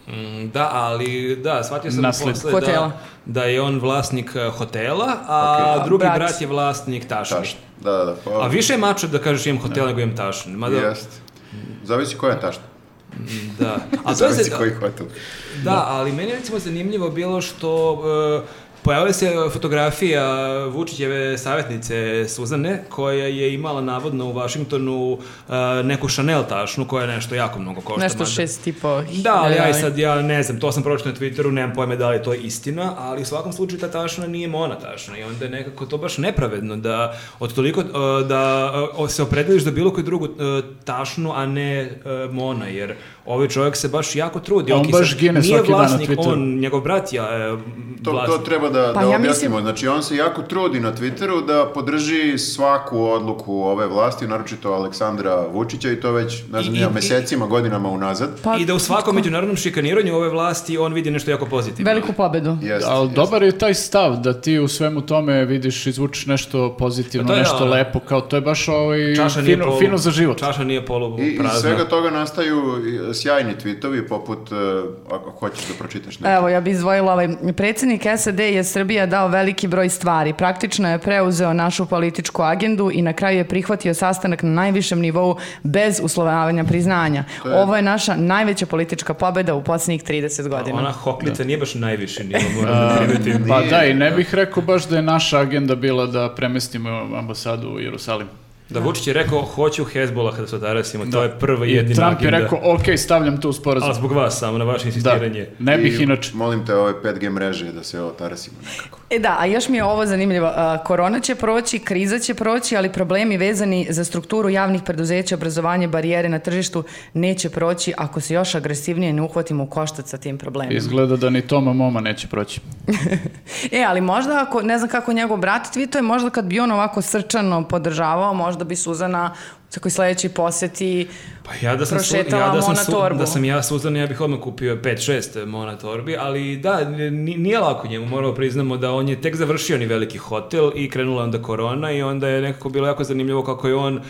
[SPEAKER 3] Mm, Da, ali da, shvatio sam
[SPEAKER 4] Nasled.
[SPEAKER 3] posle
[SPEAKER 6] Hotela.
[SPEAKER 3] da, da je on vlasnik eh, hotela, a drugi
[SPEAKER 6] Brat.
[SPEAKER 3] brat. je vlasnik tašni.
[SPEAKER 1] Taš. Da, da, da. Pa,
[SPEAKER 3] A više je mačo da kažeš imam hotel nego imam tašni. Mada,
[SPEAKER 1] Jest. Zavisi koja je tašta.
[SPEAKER 3] da. A to je,
[SPEAKER 1] Zavisi
[SPEAKER 3] za-
[SPEAKER 1] koji hotel.
[SPEAKER 3] da, ali meni je recimo zanimljivo bilo što eh, pojavila se fotografija Vučićeve savjetnice Suzane koja je imala navodno u Washingtonu eh, neku Chanel tašnu koja je nešto jako mnogo košta.
[SPEAKER 6] Nešto
[SPEAKER 3] mada-
[SPEAKER 6] šest i po.
[SPEAKER 3] Da, ali aj
[SPEAKER 6] hiljada.
[SPEAKER 3] sad ja ne znam, to sam pročitao na Twitteru, nemam pojma da li je to istina, ali u svakom slučaju ta tašna nije mona tašna i onda je nekako to baš nepravedno da od toliko e, da e, o- se opredeliš da bilo koju drugu e, tašnu, a ne e, mona, jer ovaj čovjek se baš jako trudi.
[SPEAKER 4] On
[SPEAKER 3] Ok,
[SPEAKER 4] baš
[SPEAKER 3] sad,
[SPEAKER 4] gine
[SPEAKER 3] nije
[SPEAKER 4] svaki dan na
[SPEAKER 3] vlasnik,
[SPEAKER 4] Twitteru.
[SPEAKER 3] On, njegov brat je e,
[SPEAKER 1] To, to
[SPEAKER 3] vlasnik.
[SPEAKER 1] treba da,
[SPEAKER 6] Pa
[SPEAKER 1] da
[SPEAKER 6] ja
[SPEAKER 1] objasnimo.
[SPEAKER 6] mislim-
[SPEAKER 1] Znači, on se jako trudi na Twitteru da podrži svaku odluku ove vlasti, naročito Aleksandra Vučića i to već, ne znam,
[SPEAKER 3] I-
[SPEAKER 1] ja,
[SPEAKER 3] i-
[SPEAKER 1] mesecima, godinama unazad.
[SPEAKER 6] Pa-
[SPEAKER 3] I da u svakom međunarodnom šikaniranju ove vlasti on vidi nešto jako pozitivno.
[SPEAKER 6] Veliku pobedu.
[SPEAKER 3] Pa,
[SPEAKER 1] Jest,
[SPEAKER 4] Ali
[SPEAKER 1] jest.
[SPEAKER 4] dobar je taj stav da ti u svemu tome vidiš, izvučiš nešto pozitivno,
[SPEAKER 3] Pa to je
[SPEAKER 4] nešto
[SPEAKER 3] ono.
[SPEAKER 4] lepo, kao to je baš ovaj
[SPEAKER 3] Čaša nije
[SPEAKER 4] fino,
[SPEAKER 3] polu-
[SPEAKER 4] fino za život.
[SPEAKER 3] Čaša nije polu
[SPEAKER 1] I iz
[SPEAKER 3] prazna.
[SPEAKER 1] svega toga nastaju i, sjajni tvitovi poput, e, ako hoćeš da pročitaš nešto.
[SPEAKER 6] Evo, ja bih izdvojila ovaj. Predsjednik SAD je Srbija dao veliki broj stvari. Praktično je preuzeo našu političku agendu i na kraju je prihvatio sastanak na najvišem nivou bez uslovljavanja priznanja.
[SPEAKER 1] To je-
[SPEAKER 6] Ovo je naša najveća politička pobeda u posljednjih 30 godina.
[SPEAKER 3] Ona hoklica
[SPEAKER 4] Da.
[SPEAKER 3] nije baš najviši nivo,
[SPEAKER 4] [LAUGHS]
[SPEAKER 3] moram da primetim.
[SPEAKER 4] Pa
[SPEAKER 1] Nije,
[SPEAKER 4] da, i ne
[SPEAKER 1] da.
[SPEAKER 4] bih rekao baš da je naša agenda bila da premestimo ambasadu u Jerusalim.
[SPEAKER 3] Da Vučić je rekao, hoću Hezbollah da se otarasimo, to je prva i
[SPEAKER 4] I
[SPEAKER 3] Pa jedina
[SPEAKER 4] Trump je
[SPEAKER 3] agenda.
[SPEAKER 4] rekao, ok, stavljam to u sporazum.
[SPEAKER 3] Ali zbog vas samo, na vaše
[SPEAKER 4] Da,
[SPEAKER 3] insistiranje.
[SPEAKER 4] ne bih
[SPEAKER 1] I
[SPEAKER 4] inače.
[SPEAKER 1] Molim te ove 5G mreže da se otarasimo nekako.
[SPEAKER 6] E da, a još mi je ovo zanimljivo. A, Korona će proći, kriza će proći, ali problemi vezani za strukturu javnih preduzeća, obrazovanje, barijere na tržištu neće proći ako se još agresivnije ne uhvatimo u koštac sa tim problemima.
[SPEAKER 4] Izgleda da ni Toma Moma neće proći.
[SPEAKER 6] E, ali možda ako, ne znam kako njegov brat tvituje, možda kad bi on ovako srčano podržavao, možda bi Suzana tako i sledeći poseti
[SPEAKER 3] Pa ja da sam, su,
[SPEAKER 6] prošetala
[SPEAKER 3] ja da sam,
[SPEAKER 6] Mona torbu.
[SPEAKER 3] da sam ja suzdan, ja bih odmah kupio 5-6 Mona torbi, ali da, n- nije lako njemu, moramo priznamo da on je tek završio ni veliki hotel i krenula je onda korona i onda je nekako bilo jako zanimljivo kako je on e,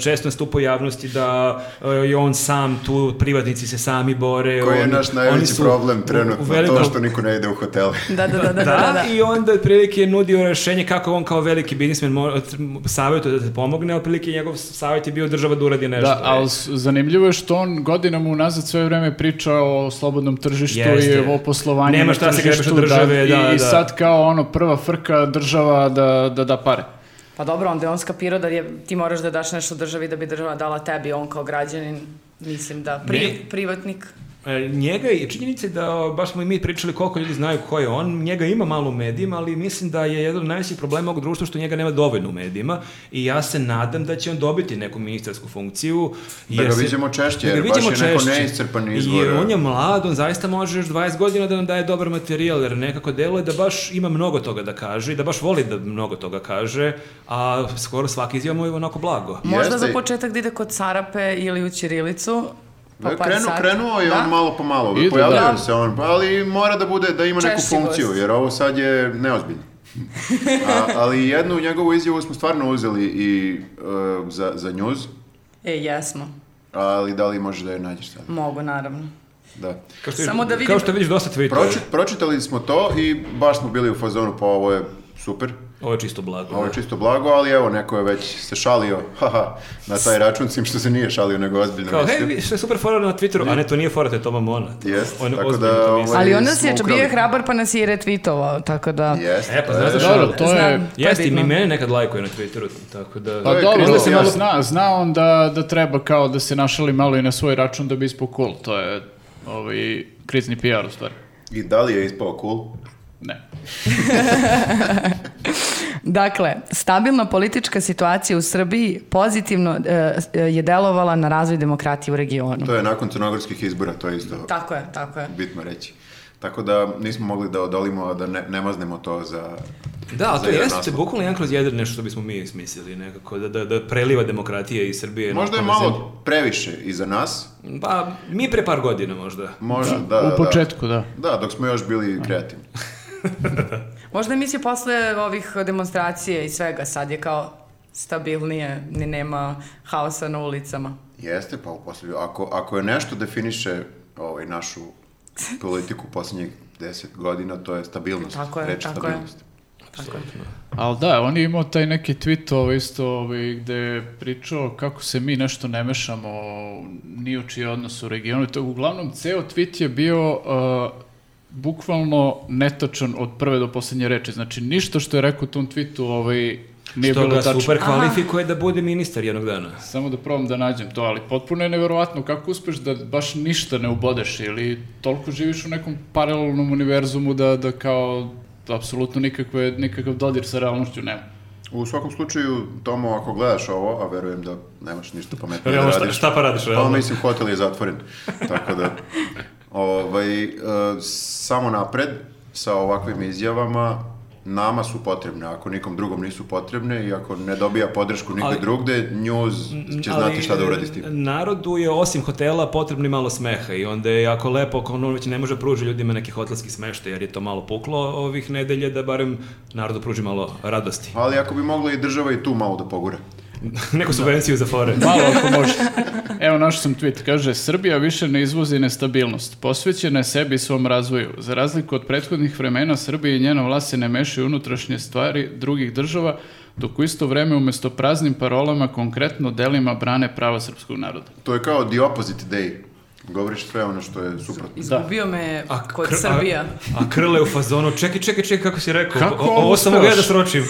[SPEAKER 3] često nastupo javnosti da e, je on sam tu, privatnici se sami bore.
[SPEAKER 1] Koji je
[SPEAKER 3] oni-
[SPEAKER 1] naš
[SPEAKER 3] oni
[SPEAKER 1] najveći
[SPEAKER 3] su u-
[SPEAKER 1] problem
[SPEAKER 3] u
[SPEAKER 1] trenutno, to
[SPEAKER 3] velikom-
[SPEAKER 1] što niko ne ide u hotele.
[SPEAKER 6] Da, da, da, da, da,
[SPEAKER 3] da,
[SPEAKER 6] da.
[SPEAKER 3] i onda otprilike je nudio rešenje kako on kao veliki biznismen mora- savjetuje da te pomogne, a otprilike njegov savjet je bio država da uradi nešto.
[SPEAKER 4] Da, ali s- zanimljivo je što on godinama unazad sve vreme priča o slobodnom tržištu
[SPEAKER 3] Jeste.
[SPEAKER 4] i o poslovanju
[SPEAKER 3] Nema
[SPEAKER 4] na
[SPEAKER 3] šta da se grebiš od
[SPEAKER 4] tržištu,
[SPEAKER 3] države, da,
[SPEAKER 4] i,
[SPEAKER 3] da.
[SPEAKER 4] I sad kao ono prva frka država da da, da pare.
[SPEAKER 6] Pa dobro, onda je on skapirao da je, ti moraš da daš nešto državi da bi država dala tebi, on kao građanin, mislim da, pri,
[SPEAKER 3] Ne.
[SPEAKER 6] privatnik.
[SPEAKER 3] E, njega je činjenica je da o, baš smo i mi pričali koliko ljudi znaju ko je on, njega ima malo u medijima, ali mislim da je jedan od najvećih problema ovog društva što njega nema dovoljno u medijima i ja se nadam da će on dobiti neku ministarsku funkciju.
[SPEAKER 1] Da
[SPEAKER 3] jer
[SPEAKER 1] ga
[SPEAKER 3] se-
[SPEAKER 1] viđemo češće,
[SPEAKER 3] da ga
[SPEAKER 1] jer baš
[SPEAKER 3] viđemo
[SPEAKER 1] je neko
[SPEAKER 3] češće.
[SPEAKER 1] neiscrpan izvor.
[SPEAKER 3] Jer on je mlad, on zaista može još 20 godina da nam daje dobar materijal, jer nekako deluje da baš ima mnogo toga da kaže i da baš voli da mnogo toga kaže, a skoro svaki izjava mu je onako blago.
[SPEAKER 6] Možda za
[SPEAKER 1] Jeste.
[SPEAKER 6] početak da ide kod Sarape ili u Čirilicu. Pa par
[SPEAKER 1] E, Krenu,
[SPEAKER 6] sati.
[SPEAKER 1] krenuo je
[SPEAKER 6] Da.
[SPEAKER 1] on malo po malo,
[SPEAKER 4] Ide,
[SPEAKER 1] pojavljuje
[SPEAKER 4] da.
[SPEAKER 1] se on, pa ali mora da bude, da ima neku
[SPEAKER 6] Češći
[SPEAKER 1] funkciju,
[SPEAKER 6] gost.
[SPEAKER 1] jer ovo sad je neozbiljno. A, ali jednu njegovu izjavu smo stvarno uzeli i e, za, za njuz,
[SPEAKER 6] E, jesmo.
[SPEAKER 1] ali da li možeš da je nađeš sad?
[SPEAKER 6] Mogu, naravno.
[SPEAKER 1] Da.
[SPEAKER 3] Kao što,
[SPEAKER 6] Samo da vidim-
[SPEAKER 3] Kao što vidiš dosta Twittera,
[SPEAKER 1] Proči, pročitali smo to i baš smo bili u fazonu, pa ovo je super,
[SPEAKER 3] ovo je čisto blago.
[SPEAKER 1] ovo je čisto blago, ali evo, neko je već se šalio [LAUGHS] haha, na taj račun, s tim što se nije šalio, nego ozbiljno.
[SPEAKER 3] Kao, hej,
[SPEAKER 1] mislio.
[SPEAKER 3] vi- što je super fora na Twitteru, a ne, to nije fora, to je Toma Mona.
[SPEAKER 1] Jest,
[SPEAKER 3] On
[SPEAKER 1] tako
[SPEAKER 3] ozbiljno
[SPEAKER 1] da,
[SPEAKER 3] to misli.
[SPEAKER 1] ovaj-
[SPEAKER 6] Ali on nas
[SPEAKER 1] smo
[SPEAKER 6] je bio
[SPEAKER 1] ukrali.
[SPEAKER 6] je hrabar pa nas je i retvitovao, tako da...
[SPEAKER 1] Jeste,
[SPEAKER 3] E, pa
[SPEAKER 1] to
[SPEAKER 3] znaš
[SPEAKER 1] je-
[SPEAKER 3] da-
[SPEAKER 4] Dobro, to je...
[SPEAKER 6] Znam. To je
[SPEAKER 3] Jeste, i
[SPEAKER 6] bitno.
[SPEAKER 3] mene nekad lajkuje na Twitteru, tako da...
[SPEAKER 4] Pa
[SPEAKER 1] je
[SPEAKER 4] dobro,
[SPEAKER 1] krivo,
[SPEAKER 4] onda se malo
[SPEAKER 1] jasno.
[SPEAKER 4] zna, zna on da, da treba kao da se našali malo i na svoj račun da bi ispao cool. To je ovaj, krizni PR u stvari.
[SPEAKER 1] I da li je ispao cool?
[SPEAKER 4] Ne.
[SPEAKER 6] Dakle, stabilna politička situacija u Srbiji pozitivno e, je delovala na razvoj demokratije u regionu.
[SPEAKER 1] To je nakon crnogorskih izbora, to je isto
[SPEAKER 6] Tako je, tako je.
[SPEAKER 1] bitno reći. Tako da nismo mogli da odolimo, a da ne, ne maznemo to za...
[SPEAKER 3] Da,
[SPEAKER 1] za
[SPEAKER 3] to
[SPEAKER 1] jedan
[SPEAKER 3] jeste
[SPEAKER 1] naslov.
[SPEAKER 3] bukvalno jedan kroz jedan nešto što bismo mi smislili nekako, da, da, da preliva demokratije iz Srbije. na
[SPEAKER 1] Možda je
[SPEAKER 3] okolne
[SPEAKER 1] malo previše i za nas.
[SPEAKER 3] zemlje. Pa, mi pre par godina možda.
[SPEAKER 1] Možda, da, da,
[SPEAKER 4] u početku, da.
[SPEAKER 1] Da. da, dok smo još bili kreativni.
[SPEAKER 6] Možda je mislio posle ovih demonstracije i svega, sad je kao stabilnije, ni nema haosa na ulicama.
[SPEAKER 1] Jeste, pa u posljednju, ako, ako je nešto definiše ovaj, našu politiku posljednjih deset godina, to je stabilnost.
[SPEAKER 6] Tako je,
[SPEAKER 1] reč
[SPEAKER 6] tako je.
[SPEAKER 1] stabilnost.
[SPEAKER 4] Ali da, on je imao taj neki tweet ovo isto ovaj, gde je pričao kako se mi nešto ne mešamo ni u čiji odnos u regionu. To, uglavnom, ceo tweet je bio uh, bukvalno netačan od prve do poslednje reči. Znači, ništa što je rekao u tom tweetu ovaj, nije
[SPEAKER 3] što
[SPEAKER 4] bilo
[SPEAKER 3] ga
[SPEAKER 4] tačno.
[SPEAKER 3] super kvalifikuje da bude ministar jednog dana.
[SPEAKER 4] Samo da probam da nađem to, ali potpuno je neverovatno kako uspeš da baš ništa ne ubodeš ili toliko živiš u nekom paralelnom univerzumu da, da kao apsolutno nikakve, nikakav dodir sa realnošću nema.
[SPEAKER 1] U svakom slučaju, Tomo, ako gledaš ovo, a verujem da nemaš ništa pametnije da
[SPEAKER 3] Realno, šta,
[SPEAKER 1] radiš.
[SPEAKER 3] šta pa radiš,
[SPEAKER 1] Pa
[SPEAKER 3] realno?
[SPEAKER 1] mislim, hotel je zatvoren. [LAUGHS] Tako da, ovaj, e, samo napred sa ovakvim izjavama nama su potrebne, ako nikom drugom nisu potrebne i ako ne dobija podršku nigde
[SPEAKER 3] Ali- Mm,
[SPEAKER 1] drugde, news će znati šta da uradi s tim.
[SPEAKER 3] e, Narodu je osim hotela potrebno i malo smeha i onda je jako lepo ako on već ne može da pruži ljudima neki hotelski smeštaj jer je to malo puklo ovih nedelje da barem narodu pruži malo radosti. [LAUGHS]
[SPEAKER 1] Ali ako bi mogla i država i tu malo da pogura.
[SPEAKER 3] Neku subvenciju za fore.
[SPEAKER 4] Malo ako može. Evo našao sam tweet, kaže Srbija više ne izvozi nestabilnost, posvećena je sebi i svom razvoju. Za razliku od prethodnih vremena, Srbija i njena vlast se ne mešaju u unutrašnje stvari drugih država, dok u isto vreme umesto praznim parolama konkretno delima brane prava srpskog naroda.
[SPEAKER 1] To je kao the opposite day. Govoriš sve ono što je suprotno.
[SPEAKER 6] Izgubio me je
[SPEAKER 3] A
[SPEAKER 6] kod
[SPEAKER 3] kr- a-
[SPEAKER 6] Srbija.
[SPEAKER 3] A, krle u fazonu, čekaj, čekaj, čekaj, kako si rekao?
[SPEAKER 4] Kako
[SPEAKER 3] O- o- ovo sam
[SPEAKER 4] uspeš?
[SPEAKER 3] mogu ja da sročim.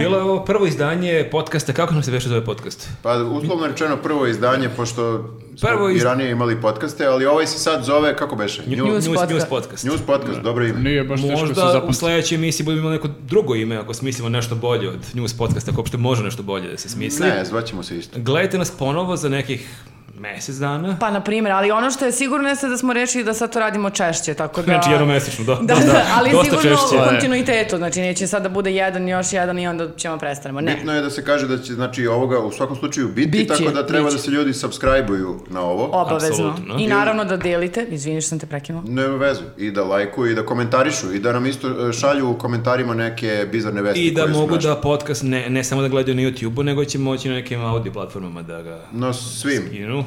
[SPEAKER 3] Bilo je ovo prvo izdanje podcasta, kako nam se veše zove podcast?
[SPEAKER 1] Pa uslovno rečeno prvo izdanje, pošto smo
[SPEAKER 3] Prvo iz-
[SPEAKER 1] i ranije imali podcaste, ali ovaj se sad zove, kako beše? News,
[SPEAKER 6] News podcast.
[SPEAKER 3] News podcast.
[SPEAKER 1] news podcast, dobro ime.
[SPEAKER 4] Nije baš teško se
[SPEAKER 3] Možda u
[SPEAKER 4] zapamtiti.
[SPEAKER 3] sledećoj emisiji budemo imali neko drugo ime ako smislimo nešto bolje od news podcasta, ako uopšte može nešto bolje da se smisli.
[SPEAKER 1] Ne, zvaćemo se isto.
[SPEAKER 3] Gledajte nas ponovo za nekih mesec dana.
[SPEAKER 6] Pa, na primjer, ali ono što je sigurno jeste da smo rešili da sad to radimo češće, tako da...
[SPEAKER 3] Znači, jednomesečno, da.
[SPEAKER 6] Da, da, ali
[SPEAKER 3] dosta
[SPEAKER 6] sigurno
[SPEAKER 3] češće.
[SPEAKER 6] u kontinuitetu, znači neće sad da bude jedan, još jedan i onda ćemo prestanemo. Ne.
[SPEAKER 1] Bitno je da se kaže da će znači, ovoga u svakom slučaju biti,
[SPEAKER 6] Biće,
[SPEAKER 1] tako da treba
[SPEAKER 6] biće.
[SPEAKER 1] da se ljudi subscribe-uju na ovo.
[SPEAKER 6] Obavezno.
[SPEAKER 3] Apsolutno.
[SPEAKER 6] I naravno da delite. Izvini što sam te prekinula.
[SPEAKER 1] Nema vezu. I da lajkuju i da komentarišu i da nam isto e, šalju u komentarima neke bizarne vesti.
[SPEAKER 3] I da
[SPEAKER 1] koje su
[SPEAKER 3] mogu
[SPEAKER 1] našli.
[SPEAKER 3] da podcast ne, ne samo da gledaju na YouTube-u, nego će moći na nekim audio platformamo da ga
[SPEAKER 1] Na svim.
[SPEAKER 6] [LAUGHS]
[SPEAKER 3] skinu.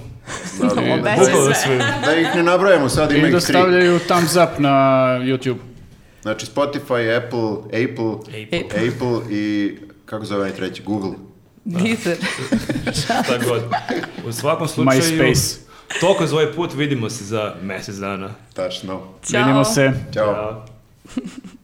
[SPEAKER 1] Da,
[SPEAKER 6] Obećaj
[SPEAKER 1] da,
[SPEAKER 6] sve.
[SPEAKER 1] da ih ne nabrajamo sad, ima
[SPEAKER 4] I da
[SPEAKER 1] ih tri.
[SPEAKER 4] stavljaju thumbs up na YouTube.
[SPEAKER 1] Znači Spotify, Apple, Apple,
[SPEAKER 6] Apple.
[SPEAKER 1] Apple i kako zove onaj treći, Google.
[SPEAKER 3] Da.
[SPEAKER 6] Deezer.
[SPEAKER 3] Šta god. U svakom slučaju,
[SPEAKER 4] MySpace.
[SPEAKER 3] toliko za ovaj put, vidimo se za mesec dana.
[SPEAKER 1] Tačno.
[SPEAKER 6] Ćao.
[SPEAKER 4] Vidimo se.
[SPEAKER 1] Ćao.
[SPEAKER 3] Ćao.